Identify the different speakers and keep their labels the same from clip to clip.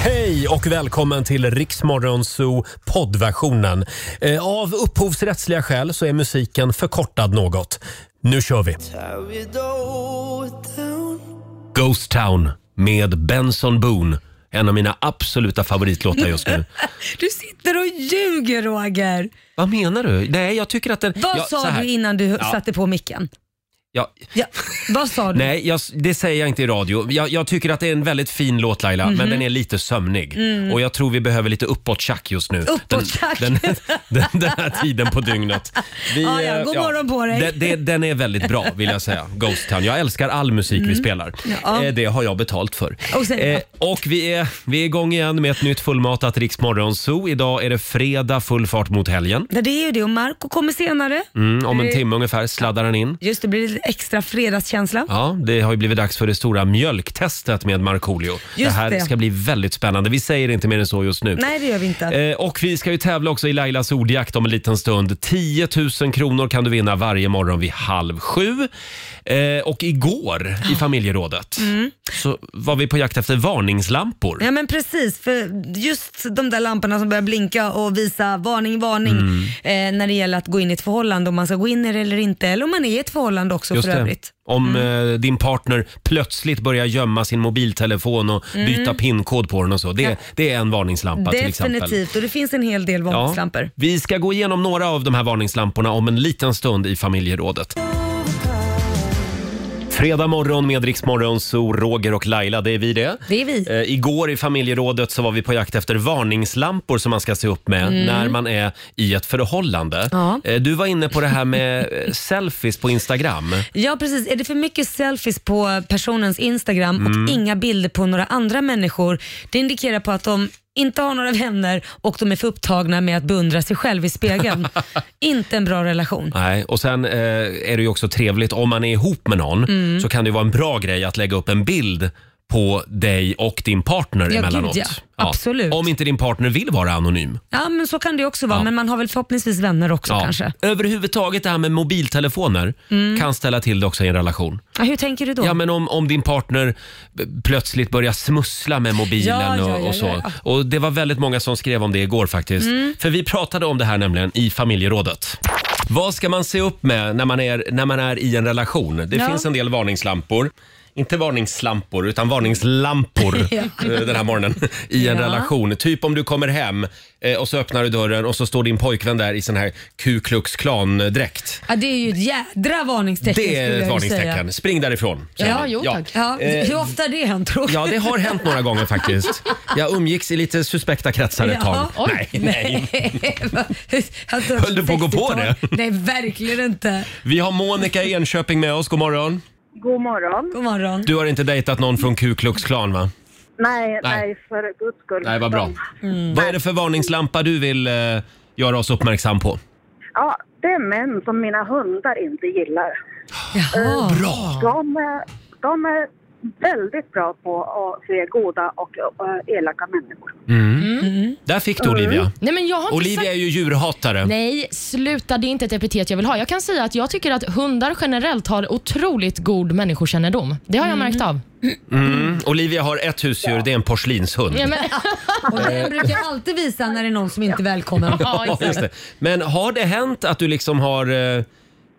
Speaker 1: Hej och välkommen till Riksmorgonzoo poddversionen. Eh, Av upphovsrättsliga skäl så är musiken förkortad något. Nu kör vi! Ghost Town med Benson Boone. En av mina absoluta favoritlåtar just nu.
Speaker 2: Du sitter och ljuger Roger.
Speaker 1: Vad menar du? Nej, jag tycker att den...
Speaker 2: Vad
Speaker 1: ja, så
Speaker 2: sa
Speaker 1: här.
Speaker 2: du innan du
Speaker 1: Ja.
Speaker 2: satte på micken?
Speaker 1: Ja,
Speaker 2: Ja, vad sa du?
Speaker 1: nej, jag, det säger jag inte i radio. Jag, jag tycker att det är en väldigt fin låt Laila,
Speaker 2: Mhm.
Speaker 1: men den är lite sömnig.
Speaker 2: Mm.
Speaker 1: Och jag tror vi behöver lite uppåt-tjack just nu.
Speaker 2: Uppåt-tjack.
Speaker 1: Den, den, den, den här tiden på dygnet. Vi,
Speaker 2: Ja, ja,
Speaker 1: eh,
Speaker 2: god morgon på dig.
Speaker 1: Den, den, den är väldigt bra vill jag säga, Ghost Town. Jag älskar all musik vi spelar.
Speaker 2: Mm. Ja.
Speaker 1: Eh, Det har jag betalt för.
Speaker 2: Och sen-
Speaker 1: Eh, och vi är, vi är igång igen med ett nytt fullmatat Rix Morgon Zoo. Idag är det fredag, full fart mot helgen.
Speaker 2: Ja, Det är ju det och Marco kommer senare.
Speaker 1: Mm, om en timme ungefär sladdar den in.
Speaker 2: Just det, blir det lite extra fredagskänsla.
Speaker 1: Ja, det har ju blivit dags för det stora mjölktestet med Markoolio. Det här
Speaker 2: det.
Speaker 1: ska bli väldigt spännande. Vi säger inte mer än så just nu.
Speaker 2: Nej, det gör vi inte.
Speaker 1: Eh, Och vi ska ju tävla också i Lailas ordjakt om en liten stund. 10 000 kronor kan du vinna varje morgon vid halv sju. Eh, Och igår i familjerådet så var vi på jakt efter varningslampor.
Speaker 2: Mm. Ja men precis, för just de där lamporna som börjar blinka och visa varning, varning
Speaker 1: Mm.
Speaker 2: eh, när det gäller att gå in i ett förhållande, om man ska gå in i det eller inte, eller om man är i ett förhållande också
Speaker 1: Just
Speaker 2: för
Speaker 1: det.
Speaker 2: övrigt. Mm.
Speaker 1: Om eh, din partner plötsligt börjar gömma sin mobiltelefon och byta
Speaker 2: Mm.
Speaker 1: pinkod på den och så. Det, det är en varningslampa till exempel.
Speaker 2: Definitivt, och det finns en hel del varningslampor.
Speaker 1: Ja, vi ska gå igenom några av de här varningslamporna om en liten stund i familjerådet. Fredag morgon med Rix Morgon, så Roger och Laila, det är vi det.
Speaker 2: Det är vi.
Speaker 1: Eh, igår i familjerådet så var vi på jakt efter varningslampor som man ska se upp med när man är i ett förhållande.
Speaker 2: Ja.
Speaker 1: Eh, du var inne på det här med eh, selfies på Instagram.
Speaker 2: Ja precis, är det för mycket selfies på personens Instagram
Speaker 1: Mm.
Speaker 2: och inga bilder på några andra människor, det indikerar på att de inte har några vänner och de är för upptagna med att beundra sig själv i spegeln. inte en bra relation.
Speaker 1: Nej, och sen eh, är det ju också trevligt om man är ihop med någon
Speaker 2: Mm.
Speaker 1: så kan det ju vara en bra grej att lägga upp en bild på dig och din partner
Speaker 2: Ja,
Speaker 1: emellanåt.
Speaker 2: gud, ja. Absolut.
Speaker 1: Om inte din partner vill vara anonym.
Speaker 2: Ja men så kan det ju också vara,
Speaker 1: Ja.
Speaker 2: men man har väl förhoppningsvis vänner också
Speaker 1: Ja.
Speaker 2: kanske. Mm.
Speaker 1: Överhuvudtaget det här med mobiltelefoner kan ställa till det också i en relation.
Speaker 2: Ja, hur tänker du då?
Speaker 1: Ja, men om, om din partner b- plötsligt börjar smussla med mobilen
Speaker 2: Ja, ja,
Speaker 1: och,
Speaker 2: ja, ja,
Speaker 1: och så.
Speaker 2: ja. Mm.
Speaker 1: Och det var väldigt många som skrev om det igår faktiskt. För vi pratade om det här nämligen i familjerådet. Vad ska man se upp med när man är, när man är i en relation? Det
Speaker 2: Ja.
Speaker 1: finns en del varningslampor. Inte varningslampor, utan varningslampor
Speaker 2: Ja.
Speaker 1: eh, den här morgonen i en
Speaker 2: Ja.
Speaker 1: relation. Typ om du kommer hem eh, och så öppnar du dörren och så står din pojkvän där i sån här Ku Klux Klan-dräkt.
Speaker 2: Ja, det är ju ett jädra varningstecken
Speaker 1: Det
Speaker 2: skulle
Speaker 1: är ett
Speaker 2: jag ju säga.
Speaker 1: varningstecken. Spring därifrån. säger
Speaker 3: Ja,
Speaker 1: man.
Speaker 3: jo, tack.
Speaker 2: Ja,
Speaker 1: Eh,
Speaker 2: hur ofta har det hänt tror
Speaker 1: Ja,
Speaker 2: jag?
Speaker 1: det har hänt några gånger faktiskt. Jag umgicks i lite suspekta kretsar ett tag.
Speaker 2: Ja, oj.
Speaker 1: Nej, nej.
Speaker 2: alltså,
Speaker 1: Höll du på att gå på
Speaker 2: 60-tal?
Speaker 1: det?
Speaker 2: Nej, verkligen inte.
Speaker 1: Vi har Monica i Enköping med oss. God morgon.
Speaker 4: God morgon.
Speaker 2: God morgon.
Speaker 1: Du har inte dejtat någon från Ku Klux Klan, va?
Speaker 4: Nej, nej,
Speaker 1: Nej.
Speaker 4: för guds skull.
Speaker 1: Nej, vad bra. Mm. Vad är det för varningslampa du vill eh, göra oss uppmärksam på?
Speaker 4: Ja, det är män som mina hundar inte gillar.
Speaker 2: Jaha.
Speaker 1: Bra!
Speaker 4: De, är- de är väldigt bra på att se goda och eh, elaka människor.
Speaker 1: Där fick du
Speaker 2: Mm.
Speaker 1: Olivia.
Speaker 3: Nej, men jag har inte
Speaker 1: Olivia
Speaker 3: sagt...
Speaker 1: är ju djurhatare.
Speaker 3: Nej, sluta. Det är inte ett epitet jag vill ha. Jag kan säga att jag tycker att hundar generellt har otroligt god människokännedom. Det har jag märkt av.
Speaker 1: Mm. Olivia har ett husdjur, det är en porslinshund.
Speaker 3: Ja, men,
Speaker 2: Och den brukar alltid visa när det är någon som inte är välkommen.
Speaker 3: ja,
Speaker 1: Eh. Ja, just
Speaker 3: exakt.
Speaker 1: det. Men har det hänt att du liksom har eh,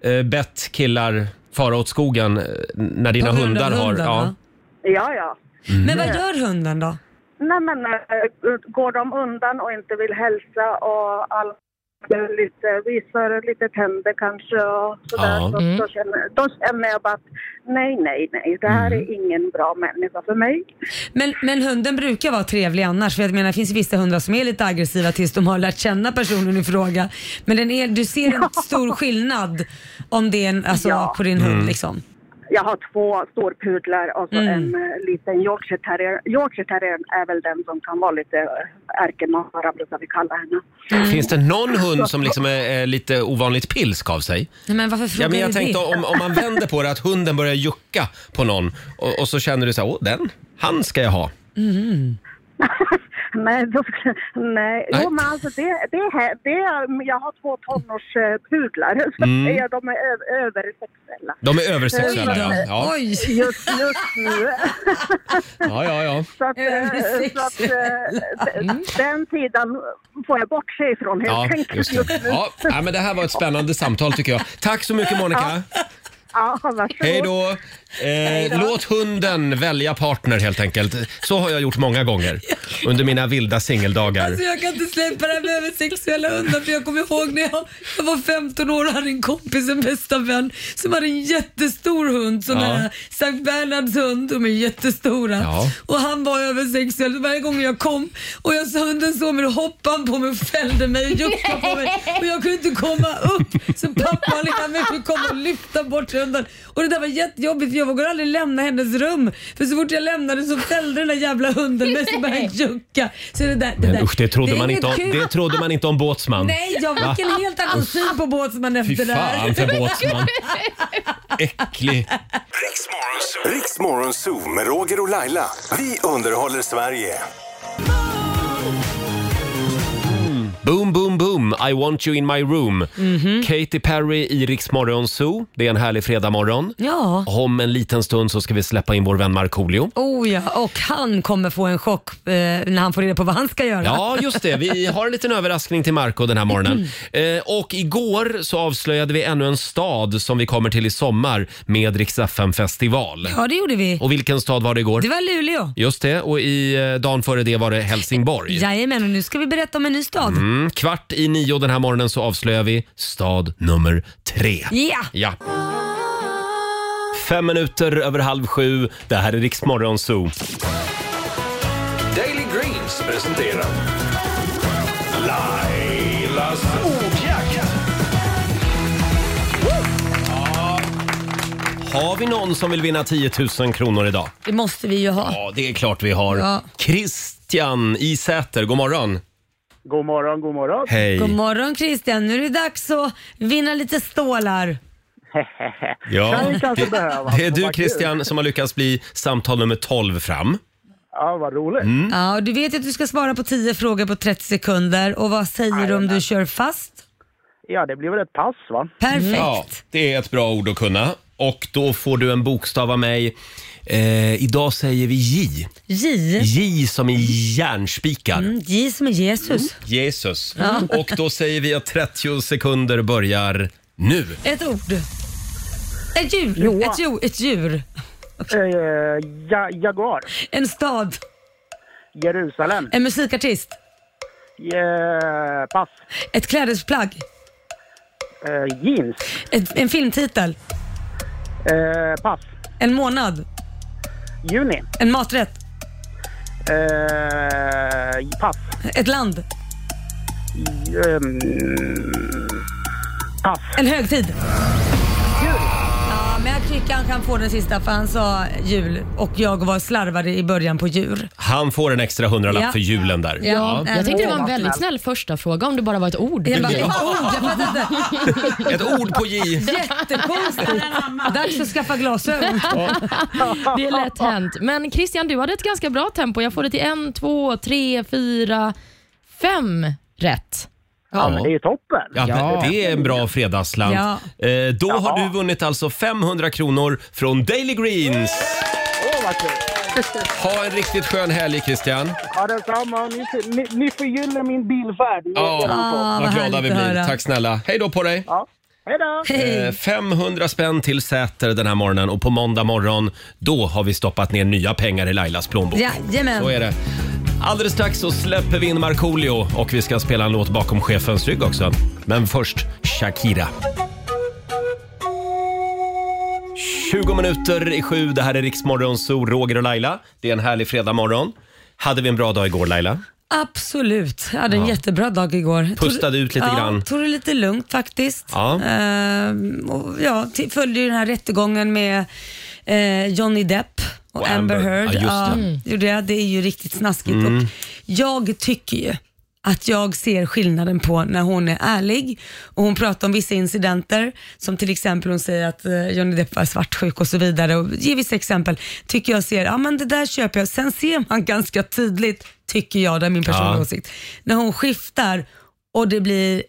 Speaker 1: eh, bett killar fara åt skogen eh, när dina
Speaker 2: På grund av
Speaker 1: hundar har...
Speaker 2: hunden,
Speaker 1: Ja.
Speaker 2: va?
Speaker 4: Ja, ja.
Speaker 1: Mm.
Speaker 2: Men vad gör hunden då?
Speaker 4: Nej, men eh, går de undan och inte vill hälsa och all, eh, lite, visar lite tänder kanske och sådär,
Speaker 1: Ja. Mm.
Speaker 4: så, så känner, då känner jag bara att nej, nej, nej, det
Speaker 1: Mm.
Speaker 4: här är ingen bra människa för mig.
Speaker 2: Men, men hunden brukar vara trevlig annars. För jag menar, det finns ju vissa hundar som är lite aggressiva tills de har lärt känna personen i fråga. Men den är, du ser en stor skillnad om det är en, alltså,
Speaker 4: Ja.
Speaker 2: på din
Speaker 1: Mm.
Speaker 2: hund. Liksom.
Speaker 4: Jag har två storpudlar och så en eh, liten Yorkshire terrier. Yorkshire terriern är väl den som kan vara lite eh, ärkemara brukar vi kalla henne.
Speaker 1: Finns det någon hund som liksom är, är lite ovanligt pilsk av sig?
Speaker 2: Nej, men varför frågar
Speaker 1: Ja, men jag
Speaker 2: du
Speaker 1: tänkte
Speaker 2: det?
Speaker 1: om, om man vänder på det, att hunden börjar jucka på någon och, och så känner du så här, åh den, han ska jag ha.
Speaker 4: Men, då, nej.
Speaker 1: Nej.
Speaker 4: Jo, men alltså det, det, här, det är, jag har två tonårspudlar.
Speaker 1: Mm.
Speaker 4: Mm. De är ö- översexuella.
Speaker 1: De är över
Speaker 2: Oj
Speaker 1: sexuella.
Speaker 2: då.
Speaker 1: Ja. Ja.
Speaker 2: Oj.
Speaker 4: Just, just nu.
Speaker 1: Ja, ja, ja.
Speaker 4: Så att, eh, så att, eh, d- den tiden får jag bortse ifrån helt
Speaker 1: Mm. Ja,
Speaker 4: enkelt
Speaker 1: just det.
Speaker 4: just nu.
Speaker 1: Ja, ja, men det här var ett spännande samtal tycker jag. Tack så mycket Monica.
Speaker 4: Ja, varsågod.
Speaker 1: Hej då. Eh, låt hunden välja partner helt enkelt. Så har jag gjort många gånger under mina vilda singeldagar.
Speaker 2: Alltså jag kan inte släppa det här med översexuella hundar för jag kommer ihåg när jag, jag var 15 år och hade en kompis, en bästa vän, som hade en jättestor hund, sån
Speaker 1: Ja.
Speaker 2: här Sankt Bernhards hund, de är jättestora.
Speaker 1: Ja.
Speaker 2: Och han var översexuell så varje gång jag kom och jag så hunden såg mig då hoppade han på mig och fällde mig och juckade på mig och jag kunde inte komma upp. Så pappa och lilla mig fick komma och lyfta bort hunden. Och det där var jättejobbigt för jag vågade aldrig lämna hennes rum. För så fort jag lämnade så fällde den där jävla hunden mig så började han jucka. Så det där, det
Speaker 1: Men
Speaker 2: där.
Speaker 1: usch, det trodde,
Speaker 2: är
Speaker 1: man
Speaker 2: inget
Speaker 1: inte om,
Speaker 2: kul.
Speaker 1: det trodde man inte om Båtsman.
Speaker 2: Nej, jag fick en helt annan syn på Båtsman efter
Speaker 1: Fy
Speaker 2: det där.
Speaker 1: fan för Båtsman. Äcklig.
Speaker 5: Riksmorgon Zoo med Roger och Laila. Vi underhåller Sverige.
Speaker 1: Boom, boom, boom, I want you in my room.
Speaker 2: Mhm.
Speaker 1: Katy Perry i Rix Morgon Zoo. Det är en härlig fredagmorgon.
Speaker 2: Ja.
Speaker 1: Om en liten stund så ska vi släppa in vår vän Markoolio.
Speaker 2: Oh ja, och han kommer få en chock eh, när han får reda på vad han ska göra.
Speaker 1: Ja, just det. Vi har en liten överraskning till Marco den här morgonen.
Speaker 2: Mm.
Speaker 1: Eh, och igår så avslöjade vi ännu en stad som vi kommer till i sommar med Rix festival
Speaker 2: ja det gjorde vi.
Speaker 1: Och vilken stad var det igår?
Speaker 2: Det var Luleå.
Speaker 1: Just det, och i eh, dagen före det var det Helsingborg.
Speaker 2: Jajamän, och nu ska vi berätta om en ny stad.
Speaker 1: Mm, kvart i nio den här morgonen så avslöjar vi stad nummer tre.
Speaker 2: Ja!
Speaker 1: Ja. Fem minuter över halv sju. Det här är Rix Morgon Zoo.
Speaker 5: Daily Greens presenterar Lailas ordjakt.
Speaker 1: Har vi någon som vill vinna 10 000 kronor idag?
Speaker 2: Det måste vi ju ha.
Speaker 1: Ja, det är klart vi har.
Speaker 2: Ja.
Speaker 1: Christian i Säter, god morgon.
Speaker 6: God morgon, god morgon.
Speaker 1: Hej.
Speaker 2: God morgon Christian, nu är det dags att vinna lite stålar.
Speaker 1: Ja,
Speaker 6: Kan vi kanske
Speaker 1: det,
Speaker 6: behöva.
Speaker 1: det är du
Speaker 6: Vad kul.
Speaker 1: Christian som har lyckats bli samtal nummer 12 fram.
Speaker 6: Ja, vad roligt.
Speaker 2: Ja, och du vet ju att du ska svara på 10 frågor på 30 sekunder och vad säger du om du
Speaker 1: alltså.
Speaker 2: kör fast?
Speaker 6: Ja, det blir väl ett pass, va?
Speaker 2: Perfekt.
Speaker 1: Ja, det är ett bra ord att kunna. Och då får du en bokstav av mig. Eh, idag säger vi J.
Speaker 2: J.
Speaker 1: J som i järnspikar.
Speaker 2: Mm, J som är Jesus.
Speaker 1: Jesus. Och då säger vi att 30 sekunder börjar nu.
Speaker 2: Ett ord. Ett djur.
Speaker 6: Joa.
Speaker 2: Ett, djur. ett djur.
Speaker 6: Eh, ja, Jaguar.
Speaker 2: En stad.
Speaker 6: Jerusalem.
Speaker 2: En musikartist.
Speaker 6: Eh, pass.
Speaker 2: Ett klädesplagg.
Speaker 6: Eh, jeans.
Speaker 2: Ett, en filmtitel.
Speaker 6: Eh, pass.
Speaker 2: En månad.
Speaker 6: Juni.
Speaker 2: En maträtt.
Speaker 6: Eh, pass.
Speaker 2: Ett land.
Speaker 6: Ehm, pass.
Speaker 2: En högtid. Jul. Ja, men jag tycker han kan få den sista för han sa jul och jag var slarvade i början på djur.
Speaker 1: Han får en extra hundralapp
Speaker 2: Ja.
Speaker 1: för julen där.
Speaker 2: Ja.
Speaker 3: Jag tänkte det var en väldigt snäll första fråga om det bara var ett ord.
Speaker 2: Jag bara, det var ord, jag fattar inte.
Speaker 1: Ett ord på J.
Speaker 2: Jättekonstigt. Dags att skaffa glasögon.
Speaker 3: Det är lätt hänt. Men Christian, du hade ett ganska bra tempo. Jag får det till en, två, tre, fyra, fem rätt.
Speaker 6: Ja, men det är ju toppen.
Speaker 1: Ja, Det är en bra fredagsslant.
Speaker 2: Ja.
Speaker 1: Eh, då har
Speaker 6: Ja.
Speaker 1: du vunnit alltså 500 kronor från Daily Greens.
Speaker 6: Åh, vad kul.
Speaker 1: Ha en riktigt skön helg Christian.
Speaker 6: Ja, detsamma. Ni, ni, ni förgyller min bilfärd. med
Speaker 1: Ja.
Speaker 6: er podd.
Speaker 2: Ah, vad
Speaker 1: vad glada
Speaker 2: härligt
Speaker 1: vi
Speaker 2: att
Speaker 1: blir.
Speaker 2: höra.
Speaker 1: Tack snälla. Hej då på dig.
Speaker 6: ja. Hej då!
Speaker 1: Eh, 500 spänn till Säter den här morgonen och på måndag morgon då har vi stoppat ner nya pengar i Lailas plånbok.
Speaker 2: Jajamän.
Speaker 1: Så är det. Alldeles strax så släpper vi in Markoolio och vi ska spela en låt bakom chefens rygg också. Men först Shakira. 20 minuter i sju, det här är Riksmorgon Zoo, Roger och Laila. Det är en härlig fredagmorgon. Hade vi en bra dag igår Laila?
Speaker 2: Absolut. Jag hade en jättebra dag igår. Jag tog-
Speaker 1: Pustade ut lite
Speaker 2: ja,
Speaker 1: grann.
Speaker 2: tog det lite lugnt faktiskt.
Speaker 1: Ja.
Speaker 2: Ehm, och ja, till- följde ju den här rättegången med eh, Johnny Depp och,
Speaker 1: Och
Speaker 2: Amber
Speaker 1: Amber.
Speaker 2: Heard.
Speaker 1: Ja, just det. Mm.
Speaker 2: gjorde jag. Det är ju riktigt snaskigt. Och jag tycker ju att jag ser skillnaden på när hon är ärlig och hon pratar om vissa incidenter som till exempel hon säger att eh, Johnny Depp var svartsjuk och så vidare och ger vissa exempel. Tycker jag ser, ja men det där köper jag. Sen ser man ganska tydligt, tycker jag, det är min personliga
Speaker 1: Ja.
Speaker 2: åsikt, när hon skiftar och det blir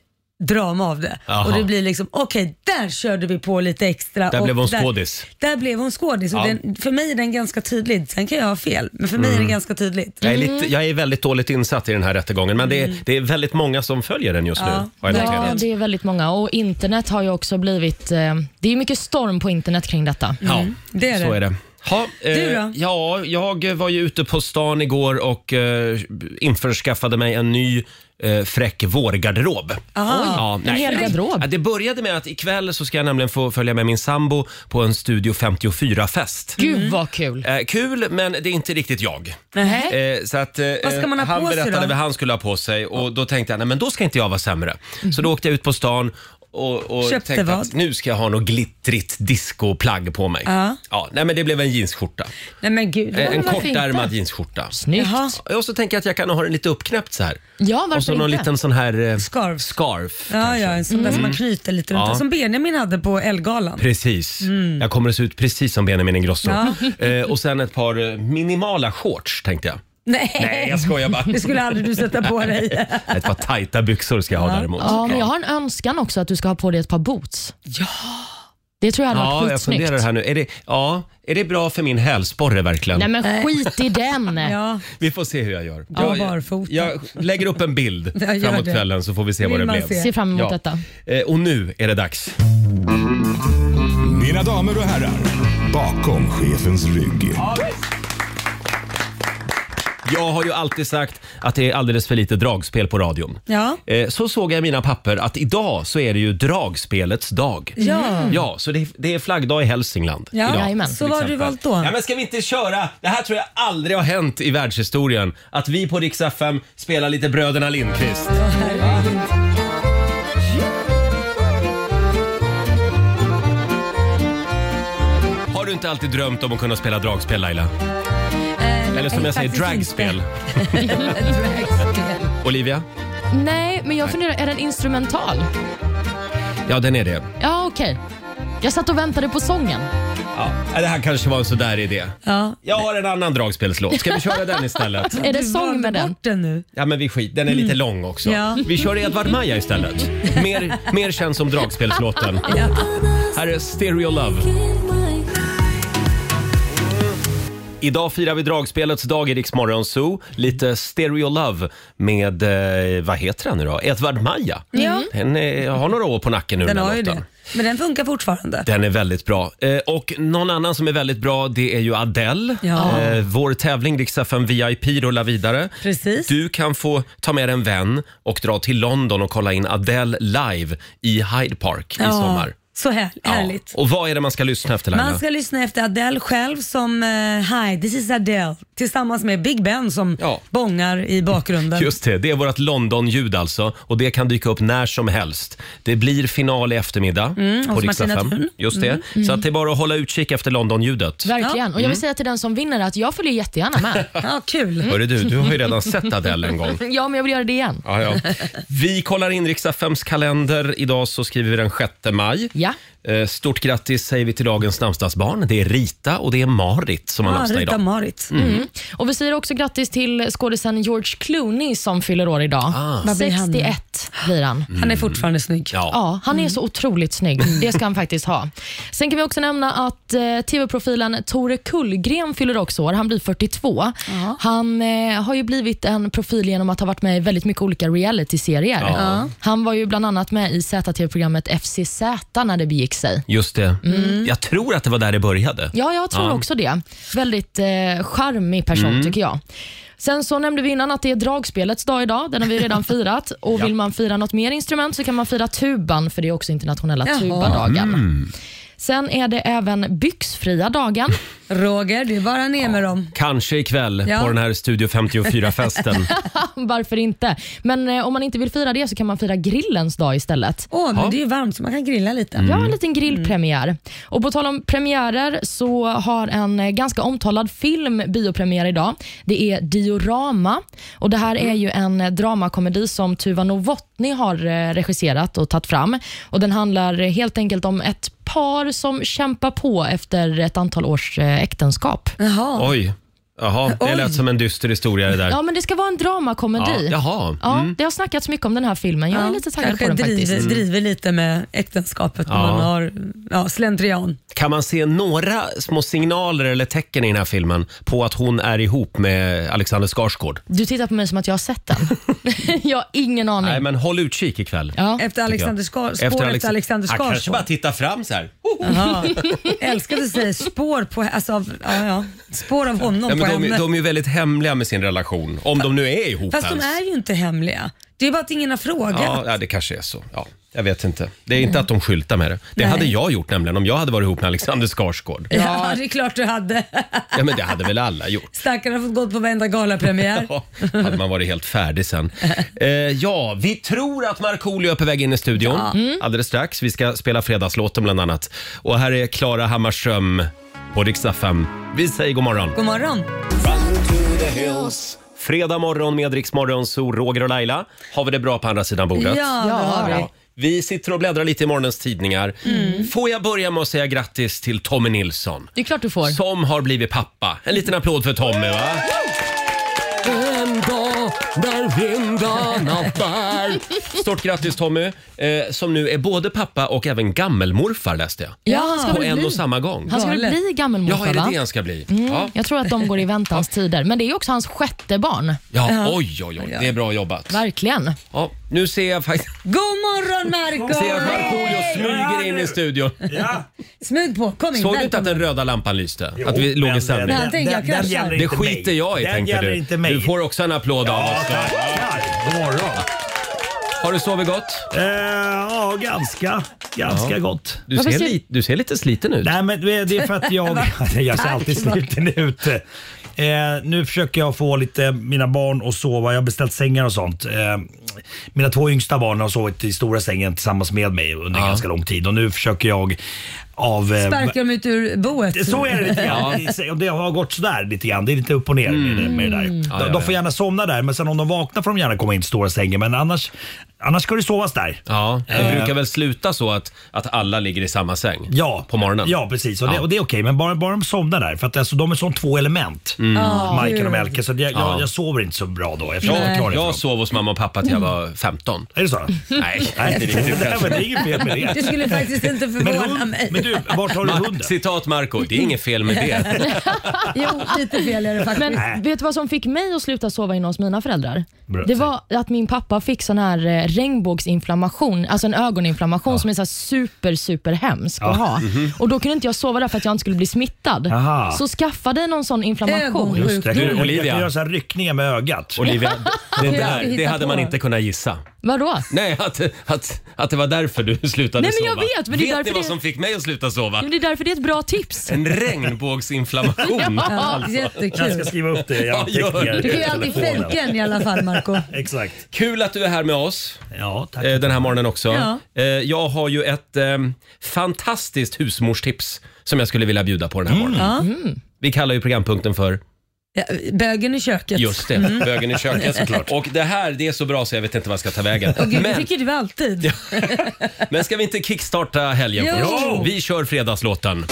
Speaker 2: drama av det.
Speaker 1: Jaha.
Speaker 2: Och det blir liksom, okej där körde vi på lite extra.
Speaker 1: Där
Speaker 2: och
Speaker 1: blev hon skådis.
Speaker 2: Där blev hon skådis och
Speaker 1: Ja.
Speaker 2: den, för mig är den ganska tydlig. Sen kan jag ha fel, men för mig
Speaker 1: Mm.
Speaker 2: är den ganska tydlig.
Speaker 1: Jag är, lite, jag är väldigt dåligt insatt i den här rättegången, men det, är, det är väldigt många som följer den just nu.
Speaker 2: Ja.
Speaker 1: Har jag
Speaker 3: Ja,
Speaker 1: noterat.
Speaker 3: det är väldigt många. Och internet har ju också blivit... Eh, det är mycket storm på internet kring detta.
Speaker 1: Ja,
Speaker 2: det är
Speaker 1: så
Speaker 2: det.
Speaker 1: är det. Ha, eh,
Speaker 2: Du då?
Speaker 1: Ja, jag var ju ute på stan igår och eh, införskaffade mig en ny eh, fräck vårgarderob.
Speaker 2: Aha.
Speaker 1: Ja,
Speaker 3: En hel garderob.
Speaker 1: Ja, det började med att ikväll så ska jag nämligen få följa med min sambo på en Studio 54-fest.
Speaker 3: Gud vad kul.
Speaker 1: Eh, kul, men det är inte riktigt jag.
Speaker 2: Mm. Nähä.
Speaker 1: Eh, så att, eh,
Speaker 2: Vad ska man ha
Speaker 1: han
Speaker 2: på sig
Speaker 1: berättade
Speaker 2: då?
Speaker 1: vad han skulle ha på sig och då tänkte jag, nej men då ska inte jag vara sämre. Så då åkte jag ut på stan och, och
Speaker 2: Mhm. Köpte
Speaker 1: tänkte att
Speaker 2: vad?
Speaker 1: nu ska jag ha något glittrigt discoplagg på mig.
Speaker 2: Ja.
Speaker 1: Ja, nej men det blev en jeansskjorta.
Speaker 2: Nej men gud.
Speaker 1: Eh, en
Speaker 3: men varför
Speaker 1: kortärmad
Speaker 3: inte?
Speaker 1: jeansskjorta.
Speaker 3: Snyggt.
Speaker 2: Jaha.
Speaker 1: Och så tänker jag att jag kan ha den lite uppknäppt så här.
Speaker 3: Ja, varför
Speaker 1: och så någon
Speaker 3: inte?
Speaker 1: liten sån här... Eh,
Speaker 2: Scarf.
Speaker 1: Scarf.
Speaker 2: Ja, ja, en sån där som man knyter lite runt.
Speaker 1: Mm. Ja.
Speaker 2: Som Benjamin hade på Elgalan.
Speaker 1: Precis.
Speaker 2: Mm.
Speaker 1: Jag kommer att se ut precis som Benjamin Ingrosso. Eh, och sen ett par eh, minimala shorts tänkte jag.
Speaker 2: Nej.
Speaker 1: Nej, jag skojar bara.
Speaker 2: Det skulle aldrig du sätta på dig.
Speaker 1: Ett par tajta byxor ska jag ha däremot.
Speaker 3: Ja, men jag har en önskan också att du ska ha på dig ett par boots. Ja. Det tror jag hade
Speaker 1: Ja,
Speaker 3: varit
Speaker 1: jag
Speaker 3: skitsnyggt.
Speaker 1: funderar här nu. Är det, ja, är det bra för min hälsporre verkligen?
Speaker 3: Nej men skit i den.
Speaker 2: Ja,
Speaker 1: Vi får se hur jag gör.
Speaker 2: Ja,
Speaker 1: Jag,
Speaker 2: barfota.
Speaker 1: jag lägger upp en bild
Speaker 2: Ja, gör
Speaker 1: framåt
Speaker 2: det.
Speaker 1: kvällen så får vi se
Speaker 2: Vill
Speaker 1: vad det
Speaker 2: man
Speaker 1: blev.
Speaker 2: se?
Speaker 3: Ser fram emot
Speaker 1: Ja.
Speaker 3: detta.
Speaker 1: Eh, Och nu är det dags.
Speaker 7: Mina damer och herrar, bakom chefens rygg.
Speaker 1: Jag har ju alltid sagt att det är alldeles för lite dragspel på radion.
Speaker 2: Ja.
Speaker 1: Eh, Så såg jag i mina papper att idag så är det ju dragspelets dag.
Speaker 2: Ja.
Speaker 1: Ja, så det, det är flaggdag i Hälsingland
Speaker 2: ja.
Speaker 1: idag.
Speaker 3: Jajamän.
Speaker 2: så vad har du valt då?
Speaker 1: Ja, men ska vi inte köra? Det här tror jag aldrig har hänt i världshistorien. Att vi på Rix FM spelar lite Bröderna Lindqvist. Har du inte alltid drömt om att kunna spela dragspel Laila?
Speaker 2: Eh,
Speaker 1: Eller som
Speaker 2: nej,
Speaker 1: jag säger,
Speaker 2: faktiskt
Speaker 1: dragspel.
Speaker 2: inte. dragspel.
Speaker 1: Olivia?
Speaker 3: Nej, men jag funderar, är den instrumental?
Speaker 1: Ja, den är det.
Speaker 3: Ja, okej. Jag satt och väntade på sången.
Speaker 1: Ja. Det här kanske var en sådär idé.
Speaker 2: Ja.
Speaker 1: Jag har en annan dragspelslåt. Ska vi köra den istället?
Speaker 3: Är det
Speaker 2: Du
Speaker 3: sång
Speaker 2: valde
Speaker 3: med den?
Speaker 2: bort den nu.
Speaker 1: Ja, men vi skit. Den är lite lång också.
Speaker 2: Mm. Ja.
Speaker 1: Vi kör Edvard Maja istället. Mer, mer känns som dragspelslåten. Här är Stereo Love. Idag firar vi dragspelets dag i Rix Morgon Zoo. Lite Stereo Love med, eh, vad heter han nu då? Edvard Maja.
Speaker 2: Ja.
Speaker 1: Den eh, har några år på nacken nu
Speaker 2: Den
Speaker 1: den
Speaker 2: har ju
Speaker 1: låten.
Speaker 2: det. Men den funkar fortfarande.
Speaker 1: Den är väldigt bra. Eh, och någon annan som är väldigt bra det är ju Adele.
Speaker 2: Ja.
Speaker 1: Eh, vår tävling Rix FM VIP rullar vidare.
Speaker 2: Precis.
Speaker 1: Du kan få ta med en vän och dra till London och kolla in Adele live i Hyde Park i sommar.
Speaker 2: Så här,
Speaker 1: Ja.
Speaker 2: härligt.
Speaker 1: Och vad är det man ska lyssna efter Laila?
Speaker 2: Man ska lyssna efter Adele själv som eh, Hi, this is Adele tillsammans med Big Ben som
Speaker 1: Ja.
Speaker 2: bångar i bakgrunden.
Speaker 1: Just det, det är vårt London-ljud alltså och det kan dyka upp när som helst. Det blir final i eftermiddag på
Speaker 2: Mm, hos
Speaker 1: Rix
Speaker 2: Martina
Speaker 1: FM.
Speaker 2: Thun. Mm.
Speaker 1: Just det. Så att det är bara att hålla utkik efter London-ljudet.
Speaker 3: Verkligen. Och jag vill säga till den som vinner att jag följer jättegärna med.
Speaker 2: Ja, kul.
Speaker 1: Hörru du, du har ju redan sett Adele en gång.
Speaker 3: ja, men jag vill göra det igen.
Speaker 1: Ja, ja. Vi kollar in riks kalender. Idag så skriver vi den 6 maj.
Speaker 3: Ja.
Speaker 1: Eh, Stort grattis säger vi till dagens namnsdagsbarn. Det är Rita och det är Marit som har
Speaker 2: Ja,
Speaker 1: namnsdag
Speaker 2: Rita
Speaker 1: idag. Mm.
Speaker 2: Marit.
Speaker 3: Och Vi säger också grattis till skådisen George Clooney som fyller år idag.
Speaker 2: Vad blir han nu?
Speaker 3: 61 blir han.
Speaker 2: Han är fortfarande snygg.
Speaker 1: Ja. Mm.
Speaker 3: Ja, han är så otroligt snygg. Det ska han faktiskt ha. Sen kan vi också nämna att eh, tv-profilen Tore Kullgren fyller också år. Han blir 42. Han eh, har ju blivit en profil genom att ha varit med i väldigt mycket olika reality-serier.
Speaker 1: Ja.
Speaker 3: Han var ju bland annat med i ZTV-programmet FCZ när det begick sig.
Speaker 1: Just det. Jag tror att det var där det började.
Speaker 3: Ja, jag tror
Speaker 1: Ja.
Speaker 3: också det. Väldigt eh, charmig person tycker jag. Sen så nämnde vi innan att det är dragspelets dag idag. Den har vi redan firat. Och Vill man fira något mer instrument så kan man fira tuban, för det är också internationella
Speaker 2: Jaha.
Speaker 3: tubadagen. Sen är det även byxfria dagen.
Speaker 2: Roger, det är bara ner med dem.
Speaker 1: Kanske ikväll
Speaker 2: Ja.
Speaker 1: på den här Studio 54-festen.
Speaker 3: Varför inte? Men eh, om man inte vill fira det så kan man fira grillens dag istället.
Speaker 2: Åh, men
Speaker 1: Ja. Mm.
Speaker 2: det är ju varmt så man kan grilla lite.
Speaker 3: Ja, en liten grillpremiär. Och på tal om premiärer så har en eh, ganska omtalad film biopremiär idag. Det är Diorama och det här
Speaker 1: Mm.
Speaker 3: är ju en eh, dramakomedi som Tuva Novotny har eh, regisserat och tagit fram. Och den handlar eh, helt enkelt om ett par som kämpar på efter ett antal års eh, äktenskap.
Speaker 1: Mm.
Speaker 2: Jaha.
Speaker 1: Oj. Jaha, det
Speaker 2: Oj.
Speaker 1: lät som en dyster historia det där.
Speaker 3: Ja, men det ska vara en
Speaker 1: Ja,
Speaker 3: dramakomedi.
Speaker 1: jaha. Mm.
Speaker 3: Ja, det har snackats mycket om den här filmen. Jag är lite taggad på
Speaker 2: kanske
Speaker 3: den
Speaker 2: driver,
Speaker 3: faktiskt. Mm.
Speaker 2: driver lite med äktenskapet
Speaker 1: Ja.
Speaker 2: om man har ja, slentrian.
Speaker 1: Kan man se några små signaler eller tecken i den här filmen på att hon är ihop med Alexander Skarsgård?
Speaker 3: Du tittar på mig som att jag har sett den. jag har ingen aning.
Speaker 1: Nej, men håll utkik ikväll.
Speaker 3: ja.
Speaker 2: Efter Alexander Skar, spår efter,
Speaker 1: Alex-
Speaker 2: Alexander
Speaker 1: Han kanske bara
Speaker 2: Skarsgård.
Speaker 1: tittar fram så här. Oh!
Speaker 2: Jaha. Älskade att säga spår, på, alltså, av, ja, ja. spår av honom
Speaker 1: Ja,
Speaker 2: på
Speaker 1: men de,
Speaker 2: henne.
Speaker 1: de är ju väldigt hemliga med sin relation, om de nu är ihop
Speaker 2: Fast de
Speaker 1: ens.
Speaker 2: är ju inte hemliga. Det är bara att ingen har frågat.
Speaker 1: Ja, ja, det kanske är så. Ja, jag vet inte. Det är inte att de skyltar med det. Det
Speaker 2: Nej.
Speaker 1: hade jag gjort nämligen om jag hade varit ihop med Alexander Skarsgård.
Speaker 2: Ja, det är klart du hade.
Speaker 1: Ja, men det hade väl alla gjort.
Speaker 2: Stackarn har fått gå på varenda galapremiär.
Speaker 1: Ja, hade man varit helt färdig sen. Eh, ja, vi tror att Markoolio är på väg in i studion
Speaker 2: Mm.
Speaker 1: alldeles strax. Vi ska spela fredagslåten bland annat. Och här är Klara Hammarström på riksdag 5. Vi säger god morgon.
Speaker 2: God morgon.
Speaker 1: Fredag morgon med Rix Morgon, så Roger och Laila. Har vi det bra på andra sidan bordet?
Speaker 2: Ja, det har vi.
Speaker 1: Ja. Vi sitter och bläddrar lite i morgonens tidningar. Får jag börja med att säga grattis till Tommy Nilsson
Speaker 3: Det är klart du får.
Speaker 1: som har blivit pappa. En liten applåd för Tommy va? En dag när vindarna bär. Stort grattis Tommy, eh, som nu är både pappa och även gammelmorfar läste jag.
Speaker 3: Ja, han ska
Speaker 1: På
Speaker 3: väl
Speaker 1: en
Speaker 3: bli.
Speaker 1: och samma gång.
Speaker 3: Han ska väl
Speaker 2: Galet.
Speaker 3: bli
Speaker 1: Ja, är
Speaker 3: gammelmorfar,
Speaker 1: det
Speaker 3: va?
Speaker 1: det han ska bli? Ja.
Speaker 3: Jag tror att de går i väntans tider. Men det är ju också hans sjätte barn.
Speaker 1: ja, oj, oj, oj. Det är bra jobbat.
Speaker 3: Verkligen.
Speaker 1: Ja, nu ser jag faktiskt...
Speaker 2: God morgon Marco!
Speaker 1: Ser jag att Markoolio smyger in i studion.
Speaker 8: Ja.
Speaker 2: Smyg på, kom in.
Speaker 1: Såg du inte att
Speaker 2: Välkommen.
Speaker 1: den röda lampan lyste? att vi låg i sändning?
Speaker 2: den- tänker jag kraschar.
Speaker 8: gäller
Speaker 1: Det
Speaker 8: inte
Speaker 1: skiter
Speaker 8: mig.
Speaker 1: jag i
Speaker 8: den
Speaker 1: tänkte
Speaker 8: gäller
Speaker 1: du.
Speaker 8: inte mig.
Speaker 1: Du får också en applåd av
Speaker 8: Ja,
Speaker 1: oss.
Speaker 8: tackar. God morgon.
Speaker 1: Har du sovit gott?
Speaker 8: Eh, Ja, ganska. Ganska gott.
Speaker 1: Du
Speaker 3: Varför
Speaker 1: ser,
Speaker 3: ser-
Speaker 1: li- du ser lite sliten ut.
Speaker 8: Nej, men eh, det är för att jag... jag ser alltid sliten ut. Eh, nu försöker jag få lite mina barn att sova. Jag har beställt sängar och sånt. Eh, mina två yngsta barn har sovit i stora sängen tillsammans med mig under ganska lång tid och nu försöker jag av... eh,
Speaker 2: Sparkar dem ut ur boet?
Speaker 8: Så är det lite grann. Och Det har gått sådär lite grann. Det är lite upp och ner med, det, med det där.
Speaker 1: Mm. ja,
Speaker 8: De,
Speaker 1: ja.
Speaker 8: de får gärna somna där, men sen om de vaknar får de gärna komma in till stora sängen. Men annars, annars ska det sovas där.
Speaker 1: Ja, det
Speaker 8: Eh.
Speaker 1: brukar väl sluta så att, att alla ligger i samma säng
Speaker 8: Ja,
Speaker 1: på morgonen.
Speaker 8: Ja, precis. Och,
Speaker 1: Ja.
Speaker 8: Det, och det är okej, men bara, bara de somnar där. För att alltså, de är som två element,
Speaker 1: Mm.
Speaker 8: Michael och Melke. Så jag, jag, jag sover inte så bra då. Jag försöker förklara
Speaker 1: Jag,
Speaker 8: det för
Speaker 1: jag
Speaker 8: dem.
Speaker 1: sov hos mamma och pappa till jag var 15.
Speaker 3: Mm.
Speaker 8: Är det så?
Speaker 1: Nej,
Speaker 8: Nej,
Speaker 1: inte riktigt
Speaker 8: Nej, men
Speaker 1: kanske.
Speaker 8: det är inget fel med
Speaker 2: Det
Speaker 8: det.
Speaker 2: skulle faktiskt inte
Speaker 8: Men,
Speaker 2: förvåna
Speaker 8: hund,
Speaker 2: mig.
Speaker 8: men du, vart har du hunden?
Speaker 1: Citat Marco, det är inget fel med det.
Speaker 2: Jo, lite fel är det faktiskt.
Speaker 3: Men vet du vad som fick mig att sluta sova inne hos mina föräldrar?
Speaker 8: Bra,
Speaker 3: Det var att min pappa fick sån här eh, regnbågsinflammation, alltså en ögoninflammation som är så här super, super hemsk att ha. Och då kunde inte jag sova där för att jag inte skulle bli smittad.
Speaker 8: Aha.
Speaker 3: Så skaffa dig någon sån inflammation.
Speaker 2: Ögon.
Speaker 8: Just det. Du,
Speaker 1: Du, Olivia.
Speaker 8: Olivia. Jag kan göra så här ryckningar med ögat.
Speaker 1: Olivia, det, där,
Speaker 2: hitta
Speaker 1: det hade
Speaker 2: på.
Speaker 1: man inte kunnat gissa.
Speaker 3: Vadå?
Speaker 1: Nej, att, att, att det var därför du slutade
Speaker 3: Nej, men
Speaker 1: sova.
Speaker 3: jag vet, men det
Speaker 1: vet
Speaker 3: är
Speaker 1: ni
Speaker 3: därför
Speaker 1: vad
Speaker 3: det-
Speaker 1: som fick mig att sluta sova?
Speaker 3: Men Det är därför det är ett bra tips.
Speaker 1: En regnbågsinflammation.
Speaker 2: Ja,
Speaker 8: Jag
Speaker 2: jättekul.
Speaker 8: ska skriva upp det i
Speaker 1: Ja, gör det.
Speaker 8: anteckningar.
Speaker 2: Du kan ju
Speaker 8: i
Speaker 2: alltid
Speaker 8: telefonen.
Speaker 2: fejka en i alla fall Marco.
Speaker 8: Exakt.
Speaker 1: Kul att du är här med oss
Speaker 8: Ja, tack.
Speaker 1: eh, den här morgonen också.
Speaker 2: Ja.
Speaker 1: Eh, jag har ju ett eh, fantastiskt husmorstips som jag skulle vilja bjuda på den här morgonen.
Speaker 2: Ja.
Speaker 1: Vi kallar ju programpunkten för
Speaker 2: Ja, Bögen i köket.
Speaker 1: Just det,
Speaker 3: Mm.
Speaker 1: bögen i köket. Och det här, det är så bra så jag vet inte vad jag ska ta vägen.
Speaker 2: Och Gud, det
Speaker 1: Men,
Speaker 2: tycker du alltid.
Speaker 1: men ska vi inte kickstarta helgen
Speaker 2: Jo.
Speaker 1: först? Vi kör fredagslåten.